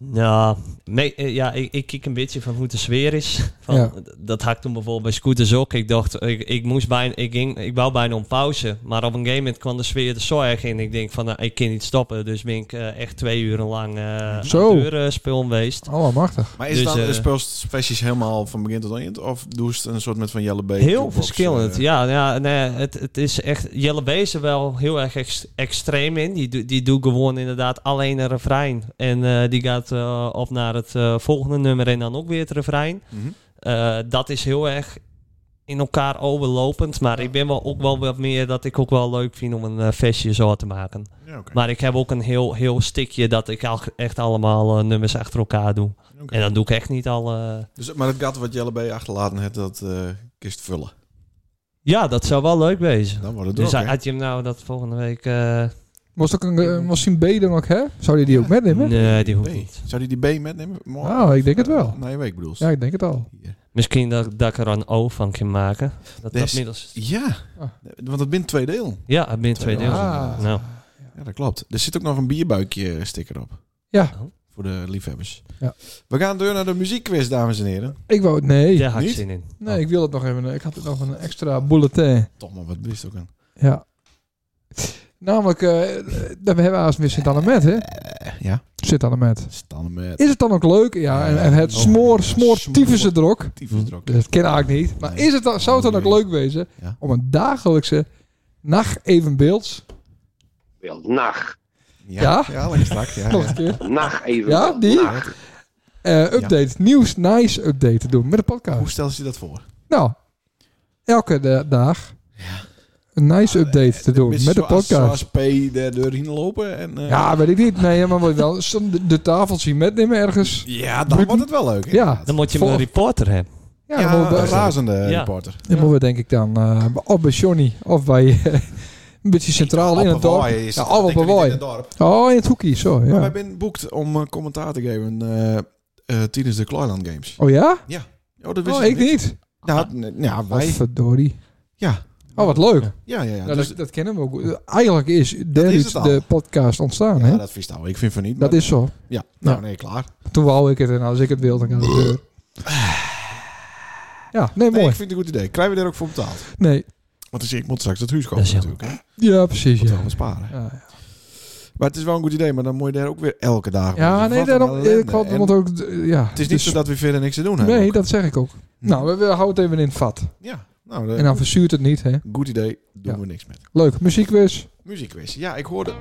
[SPEAKER 5] nou, me- eh, ja, ik, ik kijk een beetje van hoe de sfeer is. Van,
[SPEAKER 1] Ja.
[SPEAKER 5] Dat had ik toen bijvoorbeeld bij scooters ook. Ik dacht, ik, ik moest bijna, ik, ging, ik wou bijna om pauze. Maar op een gegeven moment kwam de sfeer er zo erg in. Ik denk van, nou, ik kan niet stoppen. Dus ben ik eh, echt twee uur lang eh
[SPEAKER 1] Zo.
[SPEAKER 5] spul geweest.
[SPEAKER 1] Oh, machtig.
[SPEAKER 2] Maar is
[SPEAKER 5] Dus,
[SPEAKER 2] dan
[SPEAKER 5] eh,
[SPEAKER 2] de speelfestjes helemaal van begin tot eind? Of doe je het een soort met van Jelle B? eh?
[SPEAKER 5] Heel verschillend, ja. ja nee, het, het is echt, Jelle B is er wel heel erg ex- extreem in. Die, doet- die doet gewoon inderdaad alleen een refrein. En eh, die gaat eh, op naar het eh, volgende nummer en dan ook weer het refrein.
[SPEAKER 2] Mhm.
[SPEAKER 5] Eh, dat is heel erg in elkaar overlopend. Maar ik ben wel ook wel wat meer dat ik ook wel leuk vind om een eh, festje zo te maken.
[SPEAKER 2] Ja, oké.
[SPEAKER 5] Maar ik heb ook een heel, heel stikje dat ik al, echt allemaal eh, nummers achter elkaar doe.
[SPEAKER 2] Oké.
[SPEAKER 5] En dan doe ik echt niet eh, alle...
[SPEAKER 2] Dus, maar het gat wat Jelle B achterlaten heeft, dat eh kist vullen.
[SPEAKER 5] Ja, dat zou wel leuk wezen.
[SPEAKER 2] Dan wordt het
[SPEAKER 5] Dus
[SPEAKER 2] druk, hè?
[SPEAKER 5] had je hem nou dat volgende week... eh,
[SPEAKER 1] Was ook een, eh, was een B dan ook, hè? Zou die die ook metnemen?
[SPEAKER 5] Nee, die hoeft
[SPEAKER 2] B.
[SPEAKER 5] niet.
[SPEAKER 2] Zou die die B metnemen? Morgen?
[SPEAKER 1] Nou, ik denk het wel.
[SPEAKER 2] Na je week bedoel je?
[SPEAKER 1] Ja, ik denk het al.
[SPEAKER 2] Hier.
[SPEAKER 5] Misschien dat, dat ik er een O van kan maken. Dat, dat
[SPEAKER 2] Des-
[SPEAKER 5] middels,
[SPEAKER 2] Ja,
[SPEAKER 1] Ah.
[SPEAKER 2] want het bindt twee deel.
[SPEAKER 5] ja, het bent twee
[SPEAKER 2] Twee
[SPEAKER 5] delen.
[SPEAKER 1] Ah.
[SPEAKER 5] Nou,
[SPEAKER 2] Ja, dat klopt. Er zit ook nog een bierbuikje eh, sticker op.
[SPEAKER 1] Ja.
[SPEAKER 5] Oh.
[SPEAKER 2] Voor de liefhebbers.
[SPEAKER 1] Ja.
[SPEAKER 2] We gaan door naar de muziekquiz, dames en heren.
[SPEAKER 1] Ik wou... Nee.
[SPEAKER 5] daar had ik
[SPEAKER 2] niet?
[SPEAKER 5] zin in.
[SPEAKER 1] Nee, ik wil het nog even... eh, Ik had nog een extra bulletin.
[SPEAKER 2] Toch maar, wat wist ook een...
[SPEAKER 1] Ja. Namelijk, eh, eh, dat we hebben haast weer sint annemet hè?
[SPEAKER 2] Eh, ja, eh,
[SPEAKER 1] sint annemet
[SPEAKER 2] staan met...
[SPEAKER 1] Is het dan ook leuk? Ja, en, en het
[SPEAKER 2] Oh,
[SPEAKER 1] smoor,
[SPEAKER 2] ja,
[SPEAKER 1] smoor,
[SPEAKER 2] smoor.
[SPEAKER 1] tyfus er ook.
[SPEAKER 2] Tyfus er ook.
[SPEAKER 1] Dat ken ik niet. Maar
[SPEAKER 2] Nee.
[SPEAKER 1] is het dan, zou het dan ook
[SPEAKER 2] Nee.
[SPEAKER 1] leuk wezen
[SPEAKER 2] Ja.
[SPEAKER 1] om een dagelijkse nacht evenbeelds...
[SPEAKER 6] Nacht.
[SPEAKER 1] Ja?
[SPEAKER 2] Ja, lekker strak. Ja,
[SPEAKER 1] Nog
[SPEAKER 2] ja.
[SPEAKER 1] een keer.
[SPEAKER 6] Nacht even.
[SPEAKER 1] Ja, die?
[SPEAKER 6] Nacht.
[SPEAKER 1] eh, update, nieuws, nice update te doen met de podcast.
[SPEAKER 2] Hoe stel je dat voor?
[SPEAKER 1] Nou, elke da- dag een nice update te doen
[SPEAKER 2] Beetje
[SPEAKER 1] met de
[SPEAKER 2] zoals-
[SPEAKER 1] podcast.
[SPEAKER 2] Zoals P daar doorheen lopen en... eh,
[SPEAKER 1] Ja, weet ik niet. Nee, maar moet je wel eens de, de tafel zien metnemen ergens.
[SPEAKER 2] ja, dan wordt het wel leuk. inderdaad.
[SPEAKER 5] Oh. Dan moet je hem
[SPEAKER 1] Vol-
[SPEAKER 5] een reporter hebben.
[SPEAKER 1] Ja,
[SPEAKER 2] Ja,
[SPEAKER 1] dan moeten
[SPEAKER 2] een
[SPEAKER 1] we- eh,
[SPEAKER 2] razende
[SPEAKER 5] Ja.
[SPEAKER 2] reporter.
[SPEAKER 1] dan moeten we denk ik dan eh, of bij Johnny of bij eh, een beetje centraal in het dorp.
[SPEAKER 2] Hawaii is
[SPEAKER 1] Ja,
[SPEAKER 2] het,
[SPEAKER 1] of op
[SPEAKER 2] denk ik,
[SPEAKER 1] Hawaii.
[SPEAKER 2] in het dorp.
[SPEAKER 1] Oh, in het hoekje, zo.
[SPEAKER 2] Maar
[SPEAKER 1] Ja.
[SPEAKER 2] wij zijn boekt om eh, commentaar te geven eh, eh, tijdens de Kloiland Games.
[SPEAKER 1] Oh ja?
[SPEAKER 2] Oh, dat wist
[SPEAKER 1] Oh, ik niet.
[SPEAKER 2] Nou, n- ja,
[SPEAKER 1] Wat
[SPEAKER 2] wij...
[SPEAKER 1] verdorie.
[SPEAKER 2] Ja,
[SPEAKER 1] Oh, wat leuk.
[SPEAKER 2] ja, ja. ja.
[SPEAKER 1] Nou,
[SPEAKER 2] dus,
[SPEAKER 1] dat, dat kennen we ook. Eigenlijk is daaruit
[SPEAKER 2] het al.
[SPEAKER 1] de podcast ontstaan, hè?
[SPEAKER 2] ja,
[SPEAKER 1] Dat,
[SPEAKER 2] dat vies nou. Ik vind van niet. maar-
[SPEAKER 1] is zo.
[SPEAKER 2] Ja, nou
[SPEAKER 1] Ja.
[SPEAKER 2] nee, klaar.
[SPEAKER 1] Toen wou ik het en als ik het wil, dan kan het gebeuren. Ja, nee,
[SPEAKER 2] Nee,
[SPEAKER 1] mooi.
[SPEAKER 2] ik vind het een goed idee. Krijgen we daar ook voor betaald?
[SPEAKER 1] Nee,
[SPEAKER 2] Want dus ik moet straks het huis kopen
[SPEAKER 5] Dat is jammer.
[SPEAKER 2] natuurlijk. Hè.
[SPEAKER 1] ja, precies.
[SPEAKER 2] Moet
[SPEAKER 1] Ja.
[SPEAKER 2] wel wat sparen.
[SPEAKER 1] Ja, ja.
[SPEAKER 2] Maar het is wel een goed idee, maar dan moet je daar ook weer elke dag...
[SPEAKER 1] Ja,
[SPEAKER 2] Wat
[SPEAKER 1] nee,
[SPEAKER 2] een
[SPEAKER 1] daarom.
[SPEAKER 2] ellende.
[SPEAKER 1] Ik had
[SPEAKER 2] En
[SPEAKER 1] want ook. d- Ja, dus-
[SPEAKER 2] Het is niet zo dat we verder niks te doen hebben.
[SPEAKER 1] Nee,
[SPEAKER 2] ook.
[SPEAKER 1] dat zeg ik ook. Nou, we, we houden het even in het vat.
[SPEAKER 2] Ja, nou, de-
[SPEAKER 1] En dan verzuurt het niet, hè?
[SPEAKER 2] goed idee. Doen
[SPEAKER 1] Ja.
[SPEAKER 2] we niks mee.
[SPEAKER 1] Leuk, muziekquiz.
[SPEAKER 2] Muziekquiz. Ja, ik hoorde...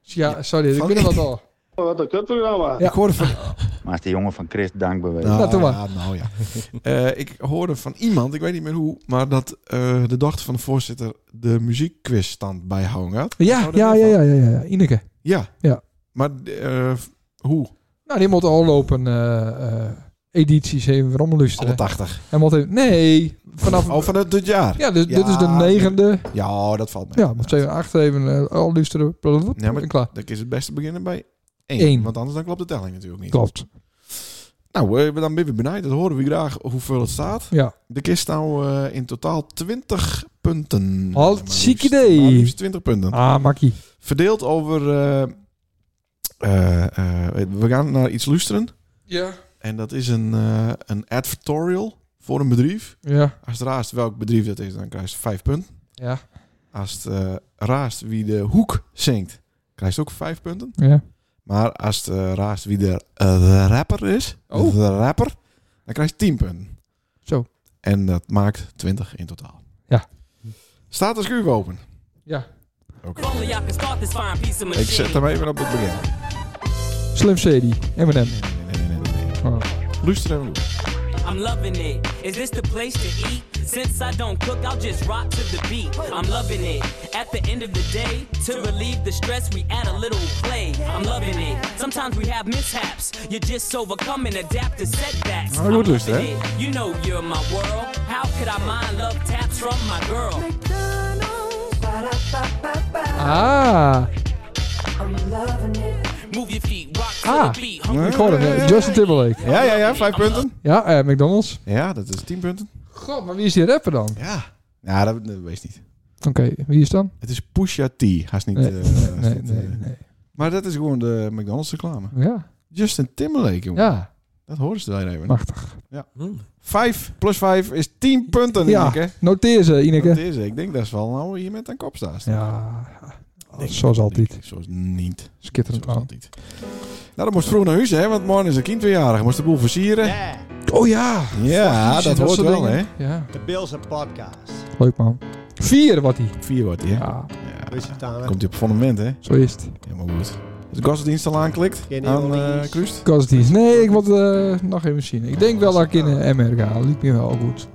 [SPEAKER 1] Ja, sorry, ik
[SPEAKER 2] Van-
[SPEAKER 1] ben er wat al.
[SPEAKER 7] Wat een kutprogramma.
[SPEAKER 1] Ja.
[SPEAKER 2] Ik hoorde van...
[SPEAKER 8] Maar is de jongen van Chris dankbewezen.
[SPEAKER 2] Nou,
[SPEAKER 1] Nou, doe maar.
[SPEAKER 2] ja, nou ja. Eh, ik hoorde van iemand, ik weet niet meer hoe, maar dat eh, de dochter van de voorzitter de muziekquizstand bijhouden had.
[SPEAKER 1] Ja,
[SPEAKER 2] Zou er
[SPEAKER 1] ja,
[SPEAKER 2] meer
[SPEAKER 1] ja,
[SPEAKER 2] van?
[SPEAKER 1] ja, ja, ja. Ineke.
[SPEAKER 2] Ja.
[SPEAKER 1] Ja.
[SPEAKER 2] Maar eh, hoe?
[SPEAKER 1] Nou, die moet al lopen eh, eh, edities even
[SPEAKER 2] Alle
[SPEAKER 1] rommelusten.
[SPEAKER 2] 80.
[SPEAKER 1] Hij moet even... Nee, vanaf...
[SPEAKER 2] Oh, van het, dit jaar?
[SPEAKER 1] ja, dus, dit is de
[SPEAKER 2] Ja,
[SPEAKER 1] negende.
[SPEAKER 2] Ja, dat valt mee.
[SPEAKER 1] Ja, moet even achter even eh, al luisteren. Blablabla.
[SPEAKER 2] Ja, maar-
[SPEAKER 1] En klaar.
[SPEAKER 2] Dan is het beste beginnen bij één.
[SPEAKER 1] Eén.
[SPEAKER 2] Want anders dan klopt de telling natuurlijk niet.
[SPEAKER 1] Klopt.
[SPEAKER 2] Nou, eh, dan ben ik benieuwd. Dat horen we graag hoeveel het staat.
[SPEAKER 1] Ja.
[SPEAKER 2] De kist nou eh, in totaal 20 punten.
[SPEAKER 1] Al
[SPEAKER 2] Maar
[SPEAKER 1] ziek
[SPEAKER 2] liefst-
[SPEAKER 1] idee.
[SPEAKER 2] maar liefst 20 punten.
[SPEAKER 1] Ah, makkie.
[SPEAKER 2] Verdeeld over... eh, eh, eh, we gaan naar iets luisteren.
[SPEAKER 1] Ja.
[SPEAKER 2] En dat is een, eh, een advertorial voor een bedrijf.
[SPEAKER 1] Ja.
[SPEAKER 2] Als het raast welk bedrijf dat is, dan krijg je 5 punten.
[SPEAKER 1] Ja.
[SPEAKER 2] Als het eh, raast wie de hoek zingt, krijg je ook 5 punten.
[SPEAKER 1] Ja.
[SPEAKER 2] Maar als het eh, raast wie de eh, rapper is,
[SPEAKER 1] Oh.
[SPEAKER 2] de rapper, dan krijg je 10 punten.
[SPEAKER 1] Zo.
[SPEAKER 2] En dat maakt 20 in totaal.
[SPEAKER 1] Ja.
[SPEAKER 2] Staat de schuur open?
[SPEAKER 1] Ja.
[SPEAKER 2] Oké. Ik zet hem even op het begin.
[SPEAKER 1] Slim Shady. M&M.
[SPEAKER 2] Nee, nee, nee, nee. nee.
[SPEAKER 1] Oh.
[SPEAKER 2] Luister even door.
[SPEAKER 9] I'm loving it. Is this the place to eat? Since I don't cook, I'll just rock to the beat. I'm loving it. At the end of the day, to relieve the stress, we add a little play. I'm loving it. Sometimes we have mishaps. You just overcome and adapt to setbacks.
[SPEAKER 2] Nou, goed luisteren, hè?
[SPEAKER 9] it. You know you're my world. How could I mind love taps from my girl?
[SPEAKER 1] Ah.
[SPEAKER 9] Move your feet, rock to
[SPEAKER 1] Ah.
[SPEAKER 9] the beat. Hungry
[SPEAKER 1] Ik hoorde hem. ja. Justin Timberlake.
[SPEAKER 2] Ja, ja, ja, 5 punten.
[SPEAKER 1] Ja, eh, McDonald's.
[SPEAKER 2] Ja, dat is 10 punten.
[SPEAKER 1] God, maar wie is die rapper dan?
[SPEAKER 2] Ja. Ja, dat, dat weet je niet.
[SPEAKER 1] Oké, wie is dan?
[SPEAKER 2] Het is Pusha T. Hij is niet...
[SPEAKER 1] Nee,
[SPEAKER 2] eh, hij is
[SPEAKER 1] nee,
[SPEAKER 2] niet,
[SPEAKER 1] nee,
[SPEAKER 2] eh,
[SPEAKER 1] nee.
[SPEAKER 2] Maar dat is gewoon de McDonald's reclame.
[SPEAKER 1] Ja,
[SPEAKER 2] Justin Timberlake, jongen.
[SPEAKER 1] ja,
[SPEAKER 2] Dat horen ze daar even.
[SPEAKER 1] machtig.
[SPEAKER 5] Hmm.
[SPEAKER 2] 5 plus 5 is 10 punten,
[SPEAKER 1] Ja.
[SPEAKER 2] Ineke.
[SPEAKER 1] Noteer ze,
[SPEAKER 2] Dat
[SPEAKER 1] Ineke.
[SPEAKER 2] is, ik denk dat is wel nou hier met een kop staat.
[SPEAKER 1] Ja,
[SPEAKER 2] Denk ik,
[SPEAKER 1] zoals
[SPEAKER 2] denk
[SPEAKER 1] altijd.
[SPEAKER 2] ik. Zoals niet.
[SPEAKER 1] Skitterend
[SPEAKER 2] Zoals
[SPEAKER 1] man.
[SPEAKER 2] altijd. Nou, dan moest vroeg naar huis, hè? Want morgen is een kind weerjarig. Moest de boel versieren. Ja,
[SPEAKER 1] Oh ja.
[SPEAKER 2] Ah, dat hoort
[SPEAKER 1] soort
[SPEAKER 2] wel, hè?
[SPEAKER 1] dingen. Ja,
[SPEAKER 4] De Bills en podcast.
[SPEAKER 1] leuk man. Vier wordt hij.
[SPEAKER 2] Vier wordt die, hè?
[SPEAKER 1] Ja,
[SPEAKER 2] Ja.
[SPEAKER 4] Beetje Tana.
[SPEAKER 2] Komt hij op fundament, hè?
[SPEAKER 1] zo is het.
[SPEAKER 2] Helemaal goed. Als de godsdienst al aanklikt
[SPEAKER 4] Kenny
[SPEAKER 2] aan eh
[SPEAKER 4] Orleans.
[SPEAKER 2] Kruist.
[SPEAKER 1] Godsdienst. Nee, ik wil eh, nog even zien. Ik denk wel dat ik in eh, MR ga. Liep me wel goed.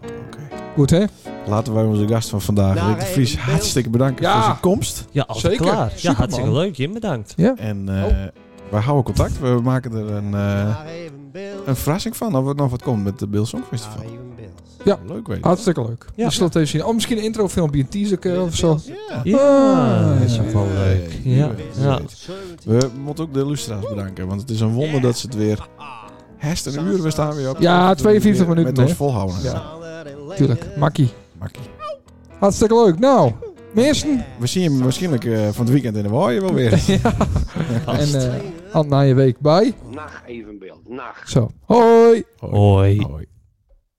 [SPEAKER 1] Goed, hè?
[SPEAKER 2] Laten wij onze gast van vandaag,
[SPEAKER 4] Nou,
[SPEAKER 2] Rick de
[SPEAKER 4] hey,
[SPEAKER 2] Vries,
[SPEAKER 4] beeld.
[SPEAKER 2] hartstikke bedanken
[SPEAKER 1] Ja.
[SPEAKER 2] voor zijn komst.
[SPEAKER 5] Ja, altijd
[SPEAKER 1] Zeker.
[SPEAKER 5] klaar. Ja,
[SPEAKER 1] Superman.
[SPEAKER 5] hartstikke leuk. Jim, bedankt.
[SPEAKER 2] En eh,
[SPEAKER 4] Oh.
[SPEAKER 2] wij houden contact. We maken er een, eh,
[SPEAKER 4] Daar even Bills.
[SPEAKER 2] een verrassing van. Of er nog wat komt met de Bill Song
[SPEAKER 4] Daar
[SPEAKER 2] Festival.
[SPEAKER 4] even Bills.
[SPEAKER 2] Leuk weet je.
[SPEAKER 1] Hartstikke leuk.
[SPEAKER 5] Ja.
[SPEAKER 1] Ik zal het even zien. Oh, misschien een introfilmpje, een teaser eh, of zo.
[SPEAKER 2] Ja.
[SPEAKER 5] Ja,
[SPEAKER 1] Ah,
[SPEAKER 5] dat is
[SPEAKER 1] ja.
[SPEAKER 5] ook wel leuk.
[SPEAKER 2] Ja,
[SPEAKER 5] Ja.
[SPEAKER 2] wie weet, wie
[SPEAKER 5] Ja.
[SPEAKER 2] weet. eh, We moeten ook de lustra's bedanken, want het is een wonder dat ze het weer... Hest een uur, we staan weer op.
[SPEAKER 1] Ja,
[SPEAKER 2] Dat we
[SPEAKER 1] 52
[SPEAKER 2] weer
[SPEAKER 1] minuten,
[SPEAKER 2] Met ons
[SPEAKER 1] hè?
[SPEAKER 2] volhouden.
[SPEAKER 1] Ja. Tuurlijk, makkie.
[SPEAKER 2] Makkie.
[SPEAKER 1] Hartstikke leuk. Nou, mensen.
[SPEAKER 2] We zien je waarschijnlijk eh, van het weekend in de waaien wel weer.
[SPEAKER 1] En eh hand na je week. Bye.
[SPEAKER 6] Nacht evenbeeld. Nacht.
[SPEAKER 1] Zo. Hoi.
[SPEAKER 5] Hoi.
[SPEAKER 2] Hoi.